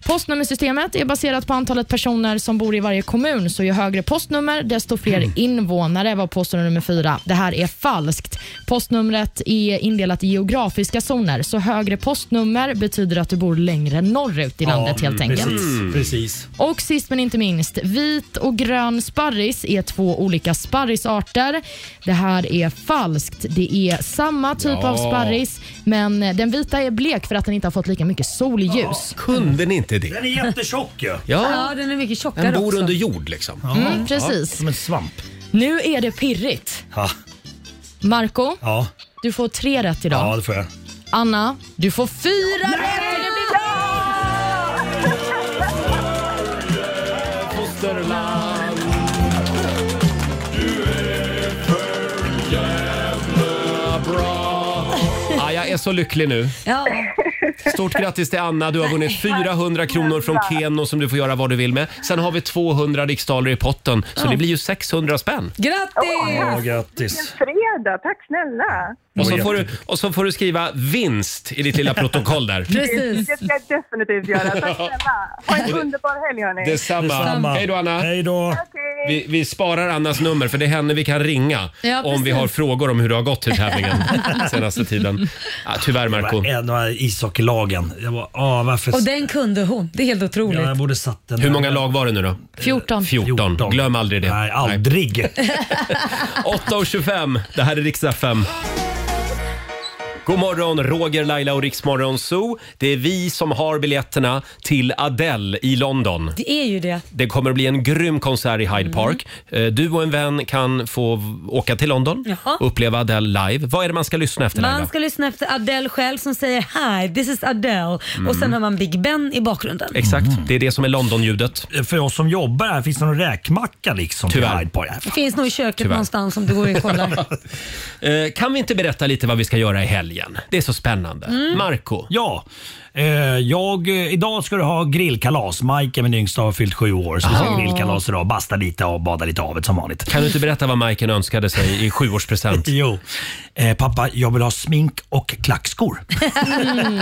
Speaker 3: Postnummersystemet är baserat på antalet personer som bor i varje kommun, så ju högre postnummer, desto fler
Speaker 1: Mm.
Speaker 3: invånare var påstående nummer fyra. Det här är falskt. Postnumret är indelat i geografiska zoner, så högre postnummer betyder att du bor längre norrut i landet helt enkelt. Mm.
Speaker 8: Precis, precis.
Speaker 3: Och sist men inte minst, vit och grön sparris är två olika sparrisarter. Det här är falskt. Det är samma typ
Speaker 1: Ja.
Speaker 3: av sparris, men den vita är blek för att den inte har fått lika mycket solljus.
Speaker 1: Kunde ni inte det?
Speaker 8: Den är jättetjock ju.
Speaker 1: Ja.
Speaker 3: den är mycket
Speaker 1: Den bor under jord liksom.
Speaker 3: Mm, precis.
Speaker 1: Ja.
Speaker 3: Som
Speaker 8: en svamp.
Speaker 3: Nu är det pirrigt.
Speaker 8: Ja.
Speaker 3: Marco,
Speaker 8: Ja.
Speaker 3: du får tre rätt idag.
Speaker 8: ja, det får jag.
Speaker 3: Anna, du får fyra rätt!
Speaker 1: Ah, jag är så lycklig nu.
Speaker 2: Ja.
Speaker 1: Stort grattis till Anna. Du har vunnit 400 kronor från Keno som du får göra vad du vill med. Sen har vi 200 riksdaler i potten, så
Speaker 13: Ja.
Speaker 1: det blir ju 600 spänn.
Speaker 13: Åh,
Speaker 1: grattis.
Speaker 13: fredag, tack snälla.
Speaker 1: Och så, får du, och så får du skriva vinst i ditt lilla protokoll där.
Speaker 13: Det ska jag definitivt göra. Tack snälla. Ha en underbar helg hörni.
Speaker 1: Detsamma. Hej då Anna. Hej
Speaker 8: då.
Speaker 1: Vi, vi sparar Annas nummer för det är henne vi kan ringa
Speaker 13: Ja,
Speaker 1: om vi
Speaker 13: precis.
Speaker 1: har frågor om hur det har gått i tävlingen senaste tiden. Ja, tyvärr Marco.
Speaker 8: En av ishockeylagen. Jag bara, ah, varför?
Speaker 2: Och den kunde hon. Det är helt otroligt.
Speaker 8: Ja, jag borde satt den
Speaker 1: Hur
Speaker 8: där.
Speaker 1: många lag var det nu då?
Speaker 2: 14.
Speaker 1: 14. Glöm aldrig det. Nej,
Speaker 8: aldrig.
Speaker 1: 8.25. Det här är riksdag 5. God morgon, Roger, Laila och Riksmorgon Zoo. Det är vi som har biljetterna till Adele i London.
Speaker 2: Det är ju det.
Speaker 1: Det kommer bli en grym konsert i
Speaker 2: Mm.
Speaker 1: Hyde Park. Eh, Du och en vän kan få v- åka till London
Speaker 2: Jaha.
Speaker 1: och uppleva Adele live. Vad är det man ska lyssna efter
Speaker 2: Man
Speaker 1: Laila?
Speaker 2: ska lyssna efter Adele själv som säger “Hi, this is Adele” och sen
Speaker 1: Mm.
Speaker 2: har man Big Ben i bakgrunden.
Speaker 1: Exakt, det är det som är London-ljudet.
Speaker 8: För oss som jobbar här, finns det någon räkmacka liksom? Tyvärr.
Speaker 2: Det finns nog i köket
Speaker 1: Tyvärr.
Speaker 2: någonstans om du går och kollar.
Speaker 1: Eh, Kan vi inte berätta lite vad vi ska göra i helgen? Det är så spännande.
Speaker 2: Mm.
Speaker 1: Marco.
Speaker 8: Ja, eh, jag, eh, idag ska du ha grillkalas. Mike, min yngsta, har fyllt sju år. Så vi
Speaker 1: Ah.
Speaker 8: ska grillkalas idag. Basta lite och bada lite i havet som vanligt.
Speaker 1: Kan du inte berätta vad Majken önskade sig i sjuårspresent?
Speaker 8: jo. Eh, pappa, jag vill ha smink och klackskor.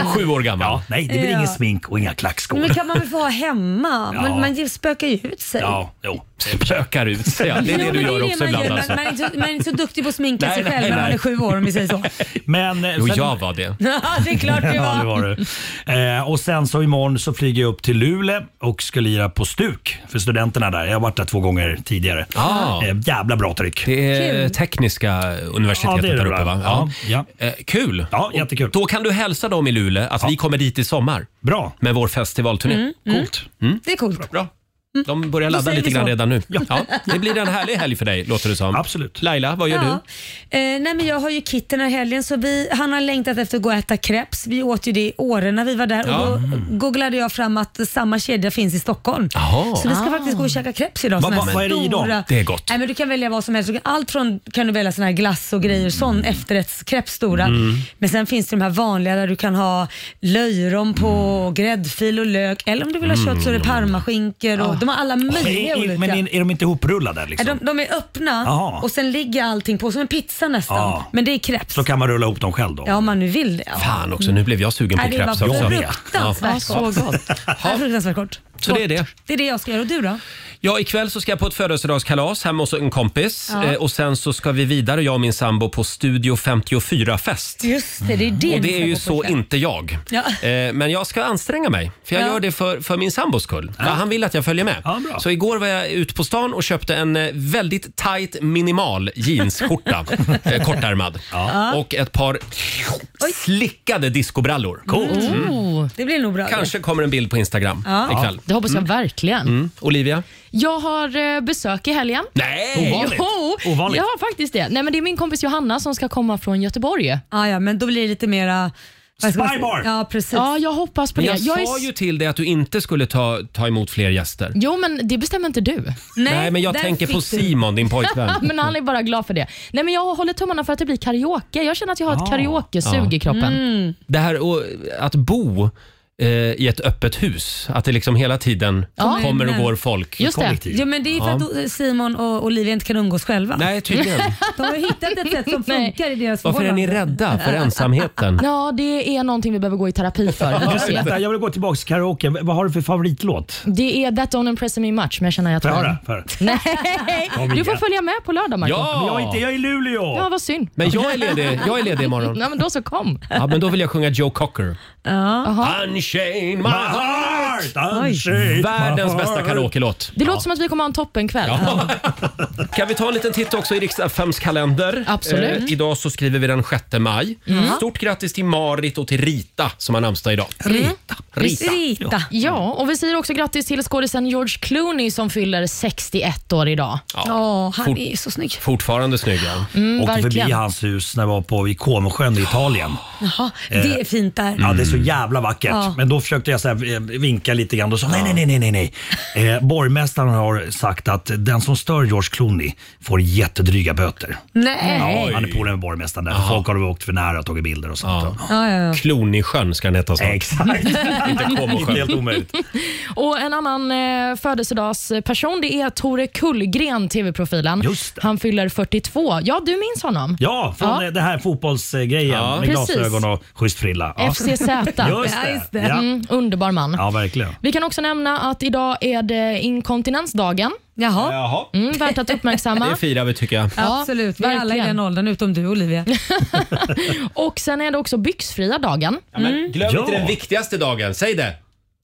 Speaker 1: Sju år gammal.
Speaker 8: Ja, nej, det blir
Speaker 2: Mm. Ja.
Speaker 8: ingen smink och inga klackskor.
Speaker 2: Men kan man väl få ha hemma?
Speaker 8: Ja.
Speaker 2: Man, man spökar ju ut sig.
Speaker 8: Ja, jo.
Speaker 1: Spökar ut sig, ja. Det är det du
Speaker 2: Jo, men
Speaker 1: gör
Speaker 2: det
Speaker 1: också
Speaker 2: man
Speaker 1: ibland
Speaker 2: gör. Man,
Speaker 1: alltså.
Speaker 2: man, är inte, man är inte så duktig på att sminka
Speaker 1: Nej,
Speaker 2: sig
Speaker 1: nej,
Speaker 2: själv när man
Speaker 1: nej.
Speaker 2: är sju år om vi säger så.
Speaker 8: Men, eh,
Speaker 1: Jo,
Speaker 8: sen-
Speaker 1: jag var det.
Speaker 2: Ja, det är klart du
Speaker 8: Ja,
Speaker 2: var.
Speaker 8: det var du. Eh, och sen så imorgon så flyger jag upp till Luleå och ska lira på Stuk för studenterna där. Jag har varit där två gånger tidigare.
Speaker 1: Ah.
Speaker 8: Eh, jävla bra tryck.
Speaker 1: Det är Kul. Tekniska universitetet
Speaker 8: Ja, det är det
Speaker 1: där uppe
Speaker 8: väl.
Speaker 1: va? Ja.
Speaker 8: Ja.
Speaker 1: Eh, kul!
Speaker 8: Ja, jättekul.
Speaker 1: Då kan du hälsa dem i Luleå att vi kommer dit i sommar.
Speaker 8: Bra.
Speaker 1: Med vår festivalturné.
Speaker 2: Mm, mm.
Speaker 1: Coolt. Mm.
Speaker 2: Det är coolt.
Speaker 1: Bra. De börjar
Speaker 2: Då
Speaker 1: ladda
Speaker 2: säger vi
Speaker 1: lite grann
Speaker 2: så.
Speaker 1: redan nu. Ja. det blir en härlig helg för dig låter det som.
Speaker 8: Absolut.
Speaker 1: Laila, vad gör
Speaker 2: Ja. Eh, nej men jag har ju Kit den här helgen så vi, han har längtat efter att gå och äta crepes. Vi åt ju det i Åre när vi var där
Speaker 1: Ja.
Speaker 2: och då
Speaker 1: Mm.
Speaker 2: googlade jag fram att samma kedja finns i Stockholm.
Speaker 1: Jaha.
Speaker 2: Så vi ska
Speaker 1: Ah.
Speaker 2: faktiskt gå och käka crepes idag.
Speaker 1: Vad-
Speaker 2: Såna här
Speaker 1: vad- vad är det i dem?
Speaker 2: stora-
Speaker 1: Det är gott.
Speaker 2: Nej, men du kan välja vad som helst. Allt från kan du välja såna här glass och grejer, sån efterrättscrepes stora.
Speaker 1: Mm.
Speaker 2: Men sen finns det de här vanliga där du kan ha löjrom på,
Speaker 1: Mm.
Speaker 2: gräddfil och lök. Eller om du vill ha kött så är det parmaskinkor. Och, De har alla möjliga
Speaker 8: Men, är,
Speaker 2: olika.
Speaker 8: men är, är de inte ihoprullade liksom?
Speaker 2: Äh, De, de är öppna
Speaker 8: Jaha.
Speaker 2: och sen ligger allting på som en pizza nästan.
Speaker 8: Ja.
Speaker 2: Men det är crepes.
Speaker 8: Så kan man rulla ihop dem själv då?
Speaker 2: Ja, om man nu vill det. Ja.
Speaker 1: Fan också, nu blev jag sugen
Speaker 2: Mm. Nej,
Speaker 1: på
Speaker 2: det
Speaker 1: crepes
Speaker 2: var
Speaker 1: också.
Speaker 2: fruktansvärt
Speaker 1: Ja.
Speaker 2: gott.
Speaker 1: Ja.
Speaker 2: Det var fruktansvärt gott.
Speaker 1: Så det är det.
Speaker 2: Det är det jag ska göra. Och du då?
Speaker 1: Ja, ikväll så ska jag på ett födelsedagskalas hemma hos en kompis.
Speaker 2: Ja.
Speaker 1: Eh, och sen så ska vi vidare, jag och min sambo, på Studio 54-fest.
Speaker 2: Just det, det är det
Speaker 1: Och
Speaker 2: ni
Speaker 1: det
Speaker 2: ska
Speaker 1: är ju
Speaker 2: gå på
Speaker 1: så
Speaker 2: ikväll.
Speaker 1: inte jag.
Speaker 2: Ja.
Speaker 1: Eh, Men jag ska anstränga mig, för jag
Speaker 2: Ja.
Speaker 1: gör det för, för min sambos skull. Ja, han vill att jag följer med. så igår var jag ute på stan och köpte en eh, väldigt tight minimal jeansskjorta, eh, kortärmad.
Speaker 2: Ja.
Speaker 1: Och ett par slickade discobrallor. Mm.
Speaker 3: Oh.
Speaker 2: Det blir nog bra.
Speaker 1: Kanske kommer en bild på Instagram ikväll.
Speaker 3: Det hoppas jag
Speaker 1: Mm.
Speaker 3: verkligen.
Speaker 1: Mm. Olivia?
Speaker 3: Jag har eh, besök i helgen.
Speaker 1: Nej! Ovanligt.
Speaker 3: Jo,
Speaker 1: Ovanligt.
Speaker 3: jag har faktiskt det. Nej, men det är min kompis Johanna som ska komma från Göteborg.
Speaker 2: Ah, ja, men då blir det lite mera Vad ska man säga?
Speaker 1: Spybar!
Speaker 2: Ja, precis.
Speaker 3: Ja, jag hoppas på
Speaker 1: Men
Speaker 3: det.
Speaker 1: jag,
Speaker 3: är
Speaker 1: sa
Speaker 3: s-
Speaker 1: ju till dig att du inte skulle ta, ta emot fler gäster.
Speaker 3: Jo, men det bestämmer inte du.
Speaker 1: Nej, men jag tänker på Simon, din pojkvän.
Speaker 3: men han är bara glad för det. Nej, men jag håller tummarna för att det blir karaoke. Jag känner att jag
Speaker 1: Ah.
Speaker 3: har ett karaokesug i kroppen.
Speaker 1: Det här och, att bo eh, i ett öppet hus, att det liksom hela tiden
Speaker 2: Ja.
Speaker 1: kommer och går folk i kollektiv.
Speaker 2: Ja, men det är ju för
Speaker 1: Ja.
Speaker 2: att O- Simon och Olivia inte kan umgås själva.
Speaker 1: Nej, tydligen.
Speaker 2: De har hittat ett sätt som funkar i deras
Speaker 1: Varför är ni rädda för ensamheten?
Speaker 3: Ja, det är någonting vi behöver gå i terapi för. Vi får se.
Speaker 8: Vänta, jag vill gå tillbaka till karaoke. Vad har du för favoritlåt?
Speaker 3: Det är That Don't Impress Me Much, men jag känner att
Speaker 8: Får
Speaker 3: jag
Speaker 8: jag
Speaker 3: tar den.
Speaker 8: höra? Får jag höra? Kom
Speaker 3: Nej,
Speaker 8: igen.
Speaker 3: du får följa med på lördag Marco.
Speaker 1: Ja! Men jag är inte- jag
Speaker 8: är i Luleå.
Speaker 3: Ja, vad synd.
Speaker 1: Men jag är ledig- jag är ledig imorgon.
Speaker 3: Nej, men då så kom.
Speaker 1: Ja, men då vill jag sjunga Joe Cocker.
Speaker 3: Jaha.
Speaker 1: Unchain my
Speaker 8: heart!
Speaker 3: unchain
Speaker 1: Världens
Speaker 8: my heart.
Speaker 1: bästa karaoke-låt.
Speaker 3: Det låter som att vi kommer ha en toppenkväll.
Speaker 1: Ja. Kan vi ta en liten titt också i Riks-FMs kalender? Eh,
Speaker 3: Absolut.
Speaker 1: idag så skriver vi den 6 maj.
Speaker 3: Mm.
Speaker 1: Stort grattis till Marit och till Rita som har namnsdag idag. Rita. Rita.
Speaker 3: Ja, och vi säger också grattis till skådisen George Clooney som fyller 61 år idag.
Speaker 1: Ja,
Speaker 2: han
Speaker 8: Fort-
Speaker 2: är så snygg.
Speaker 1: Fortfarande snygg ja.
Speaker 3: Mm,
Speaker 8: Åkte förbi
Speaker 3: verkligen.
Speaker 8: hans hus när jag var på vid Comosjön i Italien.
Speaker 2: Jaha,
Speaker 1: Eh,
Speaker 2: det är fint där.
Speaker 8: Ja, det är så
Speaker 3: Mm.
Speaker 8: jävla vackert.
Speaker 2: Ja.
Speaker 8: Men då försökte jag så här eh, vinka lite grann. Då sa nej, nej, nej, nej, nej, nej. Eh, borgmästaren har sagt att den som stör George Clooney får jättedryga böter.
Speaker 2: Nej.
Speaker 8: Ja, han är polare med borgmästaren där. Folk har åkt för nära och tagit bilder och sånt.
Speaker 2: Ja, ja, ja.
Speaker 1: Klonisjön ska den heta snart.
Speaker 8: Exakt.
Speaker 1: Inte
Speaker 8: Inte helt
Speaker 1: Comosjön.
Speaker 8: omöjligt.
Speaker 3: Och En annan eh, födelsedagsperson det är Tore Kullgren, tv-profilen. Han fyller 42. Ja, du minns honom?
Speaker 8: Ja, från eh,
Speaker 3: Ja.
Speaker 8: det- det här fotbollsgrejen med
Speaker 3: Precis.
Speaker 8: glasögon och schysst frilla. Ja.
Speaker 3: FCZ.
Speaker 8: Just det. Just det. Ja.
Speaker 3: Mm, underbar man.
Speaker 8: ja, verkligen.
Speaker 3: Vi kan också nämna att idag är det inkontinensdagen.
Speaker 2: Jaha.
Speaker 1: Jaha.
Speaker 3: Mm, värt att uppmärksamma.
Speaker 1: Det firar vi tycker jag.
Speaker 2: Ja, Absolut, vi är alla i den åldern utom du Olivia.
Speaker 3: Och Sen är det också byxfria dagen.
Speaker 1: Men glöm
Speaker 3: Ja.
Speaker 1: inte den viktigaste dagen, säg det!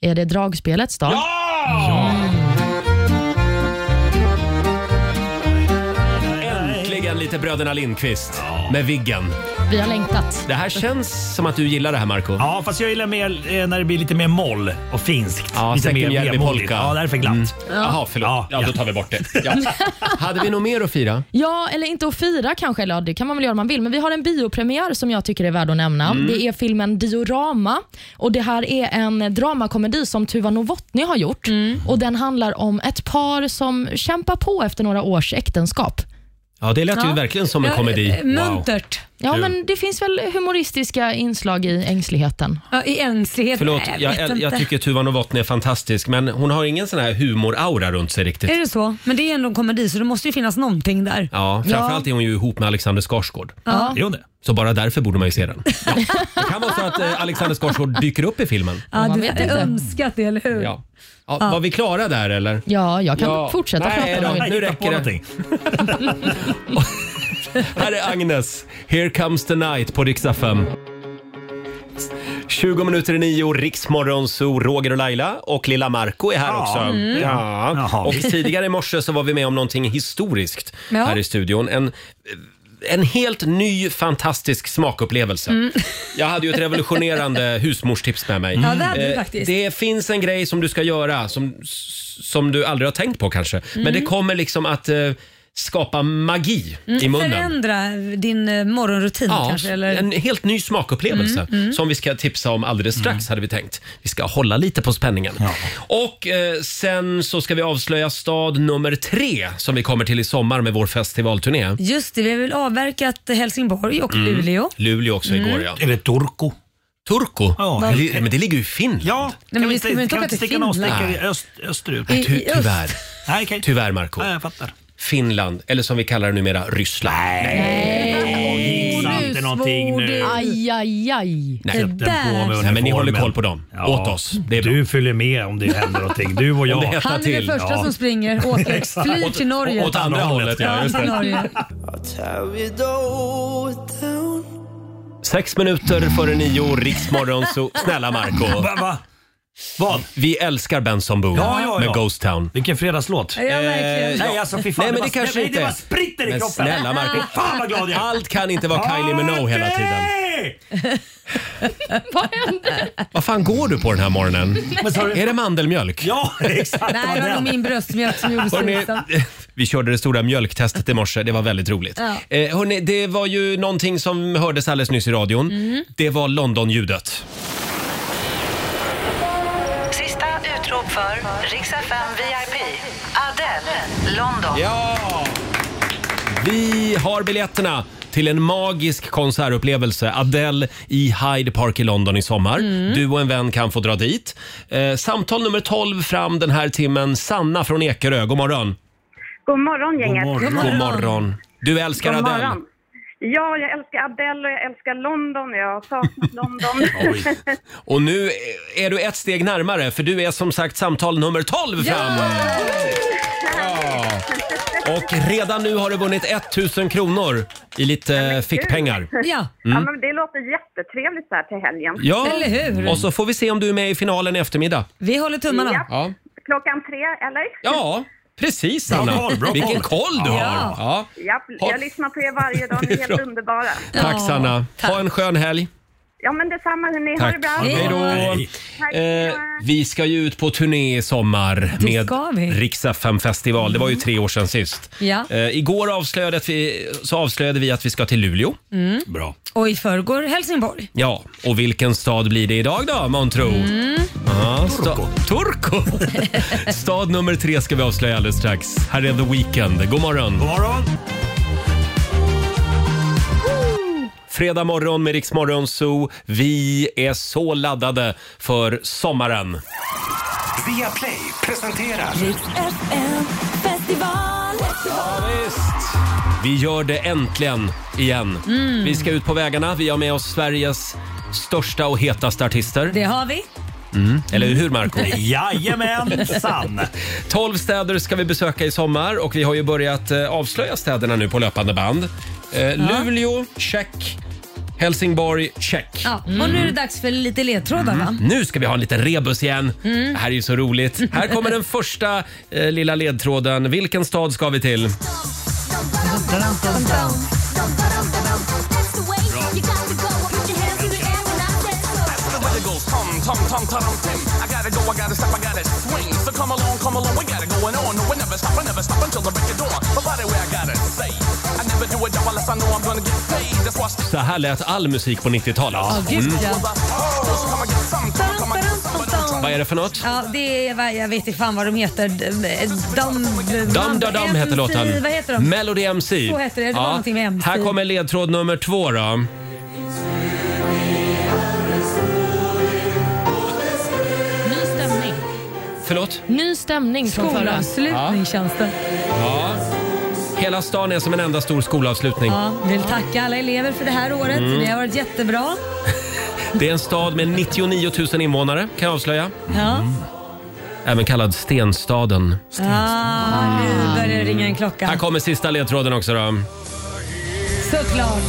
Speaker 3: Är det dragspelets dag?
Speaker 1: Äntligen lite Bröderna Lindqvist med Viggen.
Speaker 3: Vi har längtat.
Speaker 1: Det här känns som att du gillar det här Marco
Speaker 8: Ja, fast jag gillar mer eh, när det blir lite mer moll och finskt.
Speaker 1: Ja,
Speaker 8: lite mer
Speaker 1: Säckemjärvi
Speaker 8: vemodigt.
Speaker 1: polka.
Speaker 8: Ja, därför glatt.
Speaker 1: Jaha, förlåt. Ja, då tar vi bort det. Ja. Hade vi något mer att fira?
Speaker 3: Ja, eller inte att fira kanske, eller ja, det kan man väl göra om man vill. Men vi har en biopremiär som jag tycker är värd att nämna.
Speaker 1: Mm.
Speaker 3: Det är filmen Diorama. Och Det här är en dramakomedi som Tuva Novotny har gjort. Och Den handlar om ett par som kämpar på efter några års äktenskap.
Speaker 1: Ja, det lät ju verkligen som en
Speaker 2: eh,
Speaker 1: komedi.
Speaker 3: Ja,
Speaker 1: Kul.
Speaker 3: men det finns väl humoristiska inslag i ängsligheten.
Speaker 2: Ja, I ängslighet?
Speaker 1: Förlåt,
Speaker 2: Nej,
Speaker 1: jag,
Speaker 2: vet
Speaker 1: jag, jag
Speaker 2: inte.
Speaker 1: tycker Tuva Novotny är fantastisk, men hon har ingen sån här humoraura runt sig riktigt.
Speaker 2: Är det så? Men det är ändå en komedi så det måste ju finnas någonting där.
Speaker 1: Ja, framförallt är hon ju ihop med Alexander Skarsgård.
Speaker 2: Ja.
Speaker 1: Är hon det? Så bara därför borde man ju se den. Ja. Det kan vara så att eh, Alexander Skarsgård dyker upp i filmen.
Speaker 2: Ja, du hade önskat det, eller hur?
Speaker 1: Ja. Ja, Var vi klara där eller?
Speaker 3: Ja, jag kan fortsätta
Speaker 1: Nej,
Speaker 3: prata om
Speaker 1: då,
Speaker 3: det.
Speaker 1: nu räcker det. Här är Agnes. Here comes the night på riksdag 5. 20 minuter i nio, Riksmorgon, så Roger och Laila och lilla Marco är här
Speaker 8: Ja.
Speaker 1: också.
Speaker 8: Mm.
Speaker 1: Ja.
Speaker 8: Jaha.
Speaker 1: Och tidigare i morse så var vi med om någonting historiskt
Speaker 2: Ja.
Speaker 1: här i studion. En, en helt ny fantastisk smakupplevelse.
Speaker 2: Mm.
Speaker 1: Jag hade ju ett revolutionerande husmorstips med mig.
Speaker 2: Ja, det hade du
Speaker 1: Eh,
Speaker 2: faktiskt.
Speaker 1: Det finns en grej som du ska göra som, som du aldrig har tänkt på kanske. Men
Speaker 2: Mm.
Speaker 1: det kommer liksom att eh, skapa magi i munnen.
Speaker 2: Förändra din eh, morgonrutin kanske? Eller?
Speaker 1: en helt ny smakupplevelse
Speaker 2: Mm, mm.
Speaker 1: som vi ska tipsa om alldeles strax hade vi tänkt. Vi ska hålla lite på spänningen. Och eh, sen så ska vi avslöja stad nummer tre som vi kommer till i sommar med vår festivalturné.
Speaker 2: Just det, vi har väl avverkat Helsingborg och
Speaker 1: Mm.
Speaker 2: Luleå.
Speaker 1: Luleå också
Speaker 2: Mm.
Speaker 1: igår ja.
Speaker 8: Eller Turku.
Speaker 1: Turku?
Speaker 8: Ja.
Speaker 1: Det li- Men det ligger ju i Finland. Ja,
Speaker 2: men vi ska väl inte åka till
Speaker 8: sticka någon
Speaker 2: Finland?
Speaker 8: stickare
Speaker 1: Nej.
Speaker 8: öst, österut?
Speaker 1: Nej, ty, tyvärr.
Speaker 8: Nej, okay.
Speaker 1: Tyvärr Marco
Speaker 8: Nej, jag fattar.
Speaker 1: Finland, eller som vi kallar det numera, Ryssland.
Speaker 8: Nej.
Speaker 3: Åh,
Speaker 8: inte någonting nu.
Speaker 3: Aj, aj, aj.
Speaker 1: Nej. Nej, men ni håller koll på dem. Åt oss. Det är
Speaker 8: du följer med om det händer någonting. Du och
Speaker 1: Om
Speaker 8: jag.
Speaker 1: det hettar
Speaker 2: Han är den första som springer, åker,
Speaker 8: Exakt.
Speaker 2: flyr
Speaker 8: Åt-
Speaker 2: till Norge.
Speaker 1: Åt andra hållet, ja. Just
Speaker 2: till
Speaker 1: det.
Speaker 2: Norge.
Speaker 1: Sex minuter före nio, Riksmorgon, så snälla Marco
Speaker 8: Va, va? Vad?
Speaker 1: Vi älskar Benson Boone
Speaker 8: Ja, ja, ja.
Speaker 1: med Ghost Town.
Speaker 8: Vilken fredagslåt.
Speaker 1: Eh,
Speaker 8: Nej, alltså fy fan.
Speaker 1: Nej, men
Speaker 8: bara-
Speaker 1: det kanske
Speaker 8: nej,
Speaker 1: inte
Speaker 8: Det
Speaker 1: är.
Speaker 8: bara spritter i
Speaker 1: Men
Speaker 8: kroppen.
Speaker 1: snälla Marco
Speaker 8: Fan vad glad jag är.
Speaker 1: Allt kan inte vara Kylie Minogue hela tiden.
Speaker 8: Nej!
Speaker 1: Vad fan går du på den här morgonen?
Speaker 2: Men sa du-
Speaker 1: Är det mandelmjölk?
Speaker 8: Ja,
Speaker 2: Nej, det var nog min bröstmjölk som gjorde liksom.
Speaker 1: Hörrni,
Speaker 2: susen.
Speaker 1: Vi körde det stora mjölktestet i morse. Det var väldigt roligt.
Speaker 2: Ja.
Speaker 1: Eh, hörni, det var ju någonting som hördes alldeles nyss i radion.
Speaker 9: Mm.
Speaker 1: Det var Londonljudet.
Speaker 9: Sista utrop för Rix FM VIP. Adele, London.
Speaker 1: Ja! Vi har biljetterna till en magisk konsertupplevelse. Adele i Hyde Park i London i sommar.
Speaker 15: Mm.
Speaker 1: Du och en vän kan få dra dit. Eh, samtal nummer 12 fram den här timmen. Sanna från Ekerö, god morgon.
Speaker 16: God morgon gänget.
Speaker 1: God morgon. Du älskar
Speaker 16: God
Speaker 1: Adele.
Speaker 16: morgon. Ja, jag älskar Adele och jag älskar London. Jag har saknat London.
Speaker 1: Och nu är du ett steg närmare för du är som sagt samtal nummer 12 fram. Ja. Och redan nu har du vunnit 1000 kronor i lite fickpengar.
Speaker 16: ja,
Speaker 1: Mm.
Speaker 16: men det låter jättetrevligt så här till helgen.
Speaker 1: Ja, och så får vi se om du är med i finalen i eftermiddag.
Speaker 2: Vi håller tummarna.
Speaker 16: Ja.
Speaker 1: Ja,
Speaker 16: Klockan tre, eller?
Speaker 1: ja precis
Speaker 16: Bra
Speaker 1: Anna.
Speaker 16: koll, bra koll.
Speaker 1: Vilken koll du har.
Speaker 16: Ja.
Speaker 1: Ja.
Speaker 16: Japp,
Speaker 1: Ha-
Speaker 16: jag lyssnar på er varje dag. Ni är helt
Speaker 1: Bra.
Speaker 16: underbara.
Speaker 1: Tack Sanna. Ha en skön helg.
Speaker 16: Ja, men detsamma hörni. Ha
Speaker 1: Tack.
Speaker 16: det bra.
Speaker 1: Hej då.
Speaker 16: Tack.
Speaker 1: Eh, vi ska ju ut på turné i sommar
Speaker 2: Det
Speaker 1: med
Speaker 2: ska vi. Mm.
Speaker 1: Rix FM festival. Det var ju tre år sedan sist.
Speaker 2: Ja.
Speaker 1: Eh, igår avslöjade vi, så avslöjade vi att vi ska till Luleå.
Speaker 2: Mm.
Speaker 1: Bra.
Speaker 2: Och i förrgår Helsingborg.
Speaker 1: Ja, och vilken stad blir det idag då, månntro?
Speaker 2: Mm.
Speaker 1: Ja, sta- Turku! stad nummer tre ska vi avslöja alldeles strax. Här är The Weeknd. God morgon! God morgon! Fredag morgon med Rix Morgon Zoo. Vi är så laddade för sommaren.
Speaker 5: Via Play presenterar...
Speaker 1: Vi gör det äntligen igen.
Speaker 2: Mm.
Speaker 1: Vi ska ut på vägarna. Vi har med oss Sveriges största och hetaste artister.
Speaker 2: Det har vi.
Speaker 1: Mm. Eller hur Marco?
Speaker 8: Jajamensan.
Speaker 1: 12 städer ska vi besöka i sommar och vi har ju börjat eh, avslöja städerna nu på löpande band. Eh, Luleå, check. Helsingborg, check.
Speaker 2: Ja. Och nu är det dags för lite ledtrådar va?
Speaker 1: Nu ska vi ha en liten rebus igen.
Speaker 2: Mm.
Speaker 1: Det här är ju så roligt. Här kommer den första eh, lilla ledtråden. Vilken stad ska vi till? Så här lät all musik på 90-talet.
Speaker 2: gud
Speaker 1: Mm.
Speaker 2: ja.
Speaker 1: Vad är det för något?
Speaker 2: Ja, det är, vad- jag vet inte fan vad de heter. Dam...
Speaker 1: Dam da dam heter låten.
Speaker 2: Vad heter de?
Speaker 1: Melody MC.
Speaker 2: Så heter det. Det var någonting med MC.
Speaker 1: Här kommer ledtråd nummer två då.
Speaker 3: Ny stämning.
Speaker 1: Förlåt?
Speaker 3: Ny stämning från förra.
Speaker 2: Skolavslutning känns det.
Speaker 1: Ja. Hela stan är som en enda stor skolavslutning.
Speaker 2: Ja, vill tacka alla elever för det här året.
Speaker 1: Mm.
Speaker 2: Ni har varit jättebra.
Speaker 1: Det är en stad med 99 000 invånare, kan jag avslöja.
Speaker 2: Ja.
Speaker 1: Även kallad Stenstaden.
Speaker 2: Ah, nu börjar det ringa en klocka.
Speaker 1: Här kommer sista ledtråden också då.
Speaker 2: Såklart.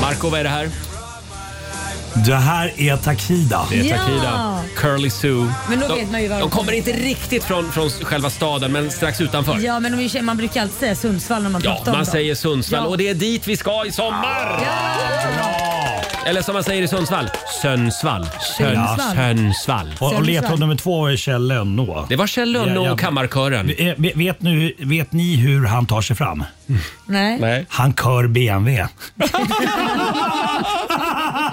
Speaker 1: Marco, vad är det här?
Speaker 8: Det här är Takida.
Speaker 1: Det är Takida. Curly Sue.
Speaker 2: Men då vet man ju vad
Speaker 1: de
Speaker 2: de
Speaker 1: kommer inte riktigt från, från själva staden, men strax utanför.
Speaker 2: Ja, men de är ju, man brukar alltid säga Sundsvall när man
Speaker 1: Ja,
Speaker 2: pratar om
Speaker 1: man
Speaker 2: dem.
Speaker 1: säger Sundsvall
Speaker 2: Ja.
Speaker 1: och det är dit vi ska i sommar! Eller som man säger i Sundsvall, Sönsvall. Sön,
Speaker 8: Sundsvall.
Speaker 1: Sönsvall.
Speaker 8: Och, och ledtråd nummer två var ju Kjell Lönnå.
Speaker 1: Det var Kjell Lönnå och kammarkören.
Speaker 8: Vet, vet, nu, vet ni hur han tar sig fram?
Speaker 2: Nej.
Speaker 8: Han kör BMW.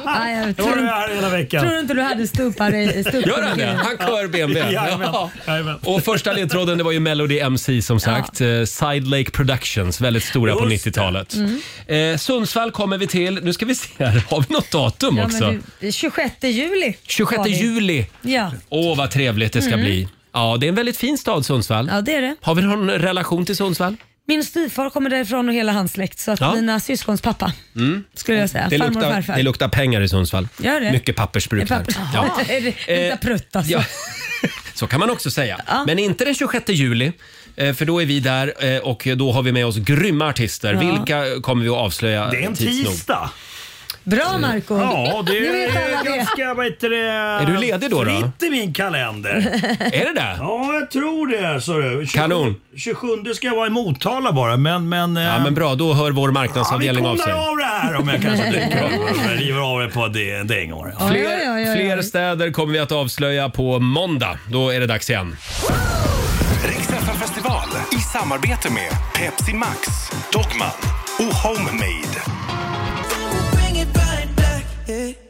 Speaker 2: Ah, jag
Speaker 8: Det var
Speaker 2: tror,
Speaker 8: det här hela veckan.
Speaker 2: tror inte du hade stupar i stupar
Speaker 1: Gör han det? Han kör BMW.
Speaker 8: Jajamän.
Speaker 1: Och första ledtråden det var ju Melody MC som sagt. Eh, Side Lake Productions, väldigt stora på
Speaker 8: Just det.
Speaker 1: 90-talet.
Speaker 2: Mm.
Speaker 1: Eh, Sundsvall kommer vi till. Nu ska vi se här, har vi något datum
Speaker 2: Ja,
Speaker 1: också?
Speaker 2: men du, 26 juli.
Speaker 1: 26
Speaker 2: var det.
Speaker 1: juli.
Speaker 2: Ja.
Speaker 1: Åh, vad trevligt det ska
Speaker 2: Mm.
Speaker 1: bli. Ja, det är en väldigt fin stad Sundsvall.
Speaker 2: ja, det är det.
Speaker 1: Har vi någon relation till Sundsvall?
Speaker 2: Min styvfar kommer därifrån och hela hans släkt, så att
Speaker 1: Ja.
Speaker 2: mina syskons pappa.
Speaker 1: Mm.
Speaker 2: Skulle jag säga.
Speaker 1: Det
Speaker 2: Farmor och
Speaker 1: luktar,
Speaker 2: farfar.
Speaker 1: det luktar pengar i Sundsvall.
Speaker 2: Gör det?
Speaker 1: Mycket pappersbruk
Speaker 2: Pappa.
Speaker 1: där. Ja. Eh,
Speaker 2: Det luktar prutt alltså.
Speaker 1: Ja. Så kan man också säga.
Speaker 2: Ja.
Speaker 1: Men inte den 26 juli, eh, för då är vi där eh, och då har vi med oss grymma artister.
Speaker 8: Ja.
Speaker 1: Vilka kommer vi att avslöja
Speaker 8: Det är en
Speaker 1: tids nog.
Speaker 8: tisdag.
Speaker 2: Bra Marco
Speaker 8: Ja, det
Speaker 2: Nu vet alla
Speaker 8: är
Speaker 2: det.
Speaker 8: ganska... Vad heter det? Är
Speaker 1: du ledig då, då?
Speaker 8: Fritt i min kalender.
Speaker 1: Är det det?
Speaker 8: Ja, jag tror det. Så du. 27,
Speaker 1: Kanon.
Speaker 8: 27 ska jag vara i Motala bara, men... men eh,
Speaker 1: Ja, men bra. Då hör vår marknadsavdelning
Speaker 8: ja,
Speaker 1: av
Speaker 8: vi
Speaker 1: sig.
Speaker 8: kollar av det här om jag kanske dyker upp. Jag river av det på det- dängor. Ja.
Speaker 1: Fler,
Speaker 2: ja, ja, ja.
Speaker 1: fler städer kommer vi att avslöja på måndag. Då är det dags igen.
Speaker 5: Riksfn festival i samarbete med Pepsi Max, Dogman och Homemade.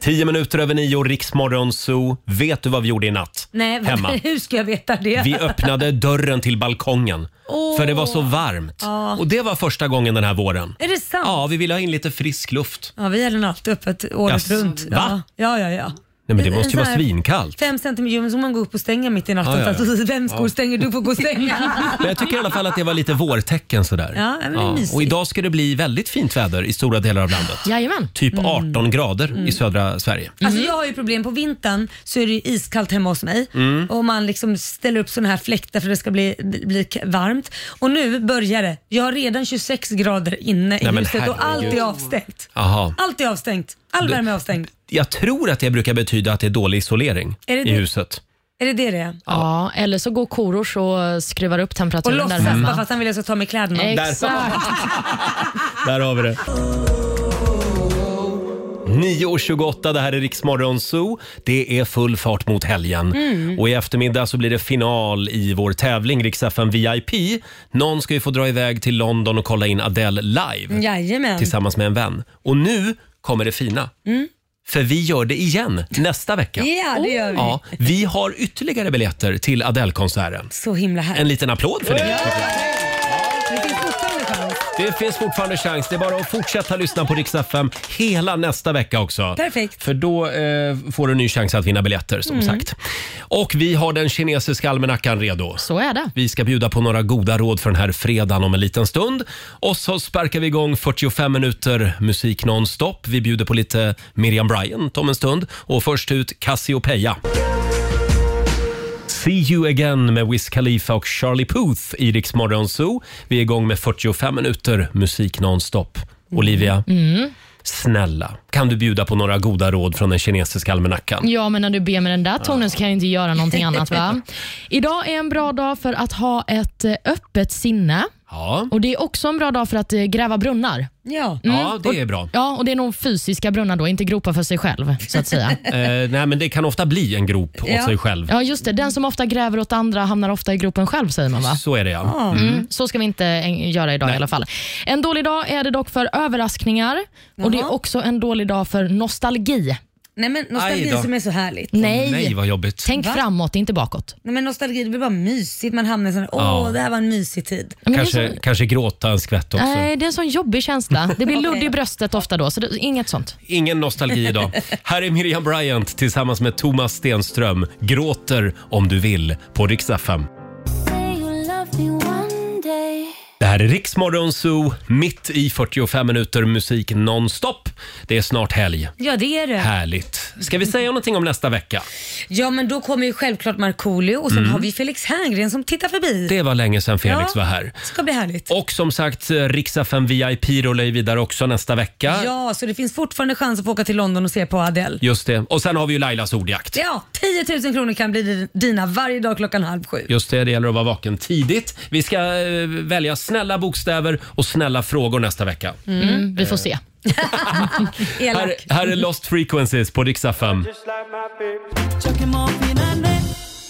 Speaker 1: Tio minuter över nio, Riksmorgon Zoo. Vet du vad vi gjorde i natt?
Speaker 2: Nej,
Speaker 1: Hemma.
Speaker 2: hur ska jag veta det?
Speaker 1: Vi öppnade dörren till balkongen.
Speaker 2: Åh.
Speaker 1: För det var så varmt.
Speaker 2: Ja.
Speaker 1: Och det var första gången den här våren.
Speaker 2: Är det sant?
Speaker 1: Ja, vi ville ha in lite frisk luft.
Speaker 2: Ja, vi hade den alltid öppet året
Speaker 1: Jaså?
Speaker 2: runt.
Speaker 1: Va?
Speaker 2: Ja, ja, ja.
Speaker 1: Nej, men det måste ju
Speaker 2: En sån
Speaker 1: vara
Speaker 2: här
Speaker 1: svinkallt.
Speaker 2: Fem centimeter, men så man går upp och stänger mitt i natten.
Speaker 1: Ja, ja, ja.
Speaker 2: Så att, Vem skor
Speaker 1: Ja.
Speaker 2: stänger du får gå och stänga?
Speaker 1: Men jag tycker i alla fall att det var lite vårtecken sådär.
Speaker 2: Ja, men det är mysigt.
Speaker 1: Och idag ska det bli väldigt fint väder i stora delar av landet.
Speaker 3: Jajamän.
Speaker 1: Typ
Speaker 2: Mm.
Speaker 1: 18 grader i södra Sverige.
Speaker 2: Alltså jag har ju problem, på vintern så är det ju iskallt hemma hos mig
Speaker 1: Mm.
Speaker 2: och man liksom ställer upp sådana här fläktar för att det ska bli, bli k- varmt. Och nu börjar det. Jag har redan 26 grader inne i
Speaker 1: Nej, men
Speaker 2: huset och allt är
Speaker 1: herregud.
Speaker 2: avstängt.
Speaker 1: Aha.
Speaker 2: Allt är avstängt. All
Speaker 1: Du-
Speaker 2: värme är avstängd.
Speaker 1: Jag tror att det brukar betyda att det är dålig isolering
Speaker 2: Är det
Speaker 1: i
Speaker 2: det?
Speaker 1: huset.
Speaker 2: Är det det det är?
Speaker 3: Ja, eller så går Korosh och skruvar upp
Speaker 2: Och
Speaker 3: temperaturen där
Speaker 2: låtsas bara för att han vill att jag ska ta med kläderna.
Speaker 3: Exakt.
Speaker 1: Där har vi det. 9.28, det här är Riksmorgon Zoo. Det är full fart mot helgen.
Speaker 15: Mm.
Speaker 1: Och i eftermiddag så blir det final i vår tävling Rix FM VIP. Någon ska ju få dra iväg till London och kolla in Adele live
Speaker 2: Jajamän.
Speaker 1: tillsammans med en vän. Och nu kommer det fina.
Speaker 2: Mm.
Speaker 1: För vi gör det igen nästa vecka.
Speaker 2: Ja, det gör vi.
Speaker 1: Ja, vi har ytterligare biljetter till Adele-konserten.
Speaker 2: Så himla härligt.
Speaker 1: En liten applåd för det. Det
Speaker 2: Det finns fortfarande chans.
Speaker 1: finns fortfarande chans. Det är bara att fortsätta lyssna på Rix FM hela nästa vecka också.
Speaker 2: Perfekt.
Speaker 1: För då eh, får du en ny chans att vinna biljetter som
Speaker 3: Mm.
Speaker 1: sagt. Och vi har den kinesiska almanackan redo.
Speaker 3: Så är det.
Speaker 1: Vi ska bjuda på några goda råd för den här fredagen om en liten stund. Och så sparkar vi igång 45 minuter musik nonstop. Vi bjuder på lite Miriam Bryant om en stund. Och först ut Cassiopeia. See you again med Wiz Khalifa och Charlie Puth i Rix Morgon Zoo. Vi är igång med 45 minuter musik nonstop. Olivia,
Speaker 3: Mm.
Speaker 1: snälla, kan du bjuda på några goda råd från den kinesiska almanackan?
Speaker 3: Ja, men när du ber med den där tonen så kan jag inte göra någonting annat. va? Idag är en bra dag för att ha ett eh, öppet sinne.
Speaker 1: Ja.
Speaker 3: Och Det är också en bra dag för att eh, gräva brunnar.
Speaker 2: Ja,
Speaker 1: Ja, det är bra.
Speaker 3: Ja, och Det är nog fysiska brunnar då, inte gropar för sig själv. så att säga.
Speaker 1: Eh, nej, men det kan ofta bli en grop åt sig själv.
Speaker 3: Ja, just det. Den som ofta gräver åt andra hamnar ofta i gropen själv, säger man va?
Speaker 1: Så är det ja.
Speaker 3: Mm.
Speaker 1: Mm.
Speaker 3: Så ska vi inte eh, göra idag i alla fall. En dålig dag är det dock för överraskningar och det är också en dålig dag för nostalgi.
Speaker 2: Nej men nostalgi
Speaker 3: Aj då.
Speaker 2: som är så härligt.
Speaker 3: Nej.
Speaker 1: Nej, vad jobbigt.
Speaker 3: Tänk
Speaker 2: Va?
Speaker 3: framåt, inte bakåt.
Speaker 2: Nej, men nostalgi, det blir bara mysigt. Man hamnar i sån här, åh,
Speaker 1: Ja.
Speaker 2: det här var en mysig tid.
Speaker 1: Kanske, Eh, kanske gråta en skvätt också.
Speaker 3: Nej, det är en sån jobbig känsla. Det blir ludd i bröstet ofta då, så det, inget sånt.
Speaker 1: Ingen nostalgi idag. Här är Miriam Bryant tillsammans med Thomas Stenström. Gråter om du vill på Rix FM. Det här är Riksmorgon Zoo, mitt i 45 minuter musik nonstop. Det är snart helg.
Speaker 2: Ja, det är det.
Speaker 1: Härligt. Ska vi säga någonting om nästa vecka?
Speaker 2: Ja, men då kommer ju självklart Markoolio och sen
Speaker 1: Mm.
Speaker 2: har vi Felix Herngren som tittar förbi.
Speaker 1: Det var länge sedan Felix
Speaker 2: Ja.
Speaker 1: var här.
Speaker 2: ska bli härligt.
Speaker 1: Och som sagt, eh, Rix FM VIP rullar ju vidare också nästa vecka.
Speaker 2: Ja, så det finns fortfarande chans att få åka till London och se på Adele.
Speaker 1: Just det. Och sen har vi ju Lailas ordjakt.
Speaker 2: Ja, 10 000 kronor kan bli di- dina varje dag klockan halv sju.
Speaker 1: Just det, det gäller att vara vaken tidigt. Vi ska eh, välja snälla bokstäver och snälla frågor nästa vecka.
Speaker 3: Mm. vi får se.
Speaker 2: Elak.
Speaker 1: Här, här är Lost Frequencies på Rix FM.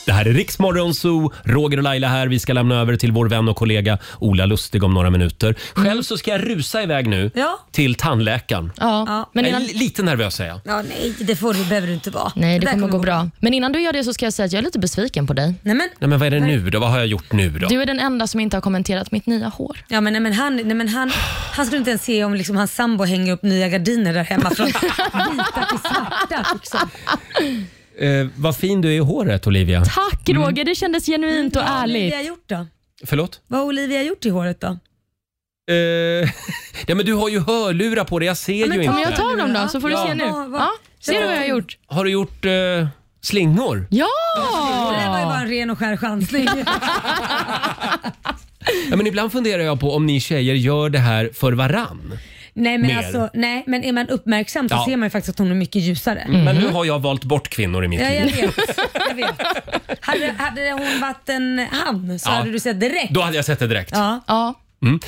Speaker 1: Det här är Rix Morgon Zoo. Roger och Laila här. Vi ska lämna över till vår vän och kollega Ola Lustig om några minuter.
Speaker 3: Mm.
Speaker 1: Själv så ska jag rusa iväg nu
Speaker 2: Ja.
Speaker 1: till tandläkaren.
Speaker 3: Ja,
Speaker 1: jag
Speaker 3: men
Speaker 1: är
Speaker 3: innan...
Speaker 1: li- lite nervös är jag.
Speaker 2: Ja, nej, det får du, behöver du inte vara.
Speaker 3: Nej, det kommer gå bra. Men innan du gör det så ska jag säga att jag är lite besviken på dig.
Speaker 2: Nej, men...
Speaker 1: Nej, men vad är det nu då? Vad har jag gjort nu då?
Speaker 3: Du är den enda som inte har kommenterat mitt nya hår.
Speaker 2: Ja, men, nej, men, han, nej, men han, han skulle inte ens se om liksom, hans sambo hänger upp nya gardiner där hemma från vita till svarta. Liksom.
Speaker 1: Eh, vad fin du är i håret Olivia.
Speaker 3: Tack Roger, det kändes genuint och
Speaker 2: Vad har
Speaker 3: ärligt.
Speaker 2: Olivia gjort då?
Speaker 1: Förlåt?
Speaker 2: Vad har Olivia gjort i håret då?
Speaker 1: Eh, ja, men du har ju hörlurar på dig, jag ser ju inte.
Speaker 3: Om jag tar dem då så får du
Speaker 1: Ja.
Speaker 3: se nu.
Speaker 2: Ja, vad-
Speaker 3: Ja, ser du vad jag har gjort?
Speaker 1: Har du gjort eh, slingor?
Speaker 3: Ja!
Speaker 2: Det där var ju bara en ren och skär chansning.
Speaker 1: Ja, men ibland funderar jag på om ni tjejer gör det här för varann.
Speaker 2: Nej men,
Speaker 1: mer.
Speaker 2: alltså, nej, men är man uppmärksam så
Speaker 1: Ja. Mm.
Speaker 2: ser man ju faktiskt att hon är mycket ljusare.
Speaker 1: Men nu har jag valt bort kvinnor i mitt
Speaker 2: Mhm. Ja, jag
Speaker 1: liv.
Speaker 2: vet. Jag vet. Hade, hade hon varit en han så
Speaker 1: Ja.
Speaker 2: hade du sett direkt.
Speaker 1: Då hade jag sett det direkt.
Speaker 2: Ja.
Speaker 1: Mm.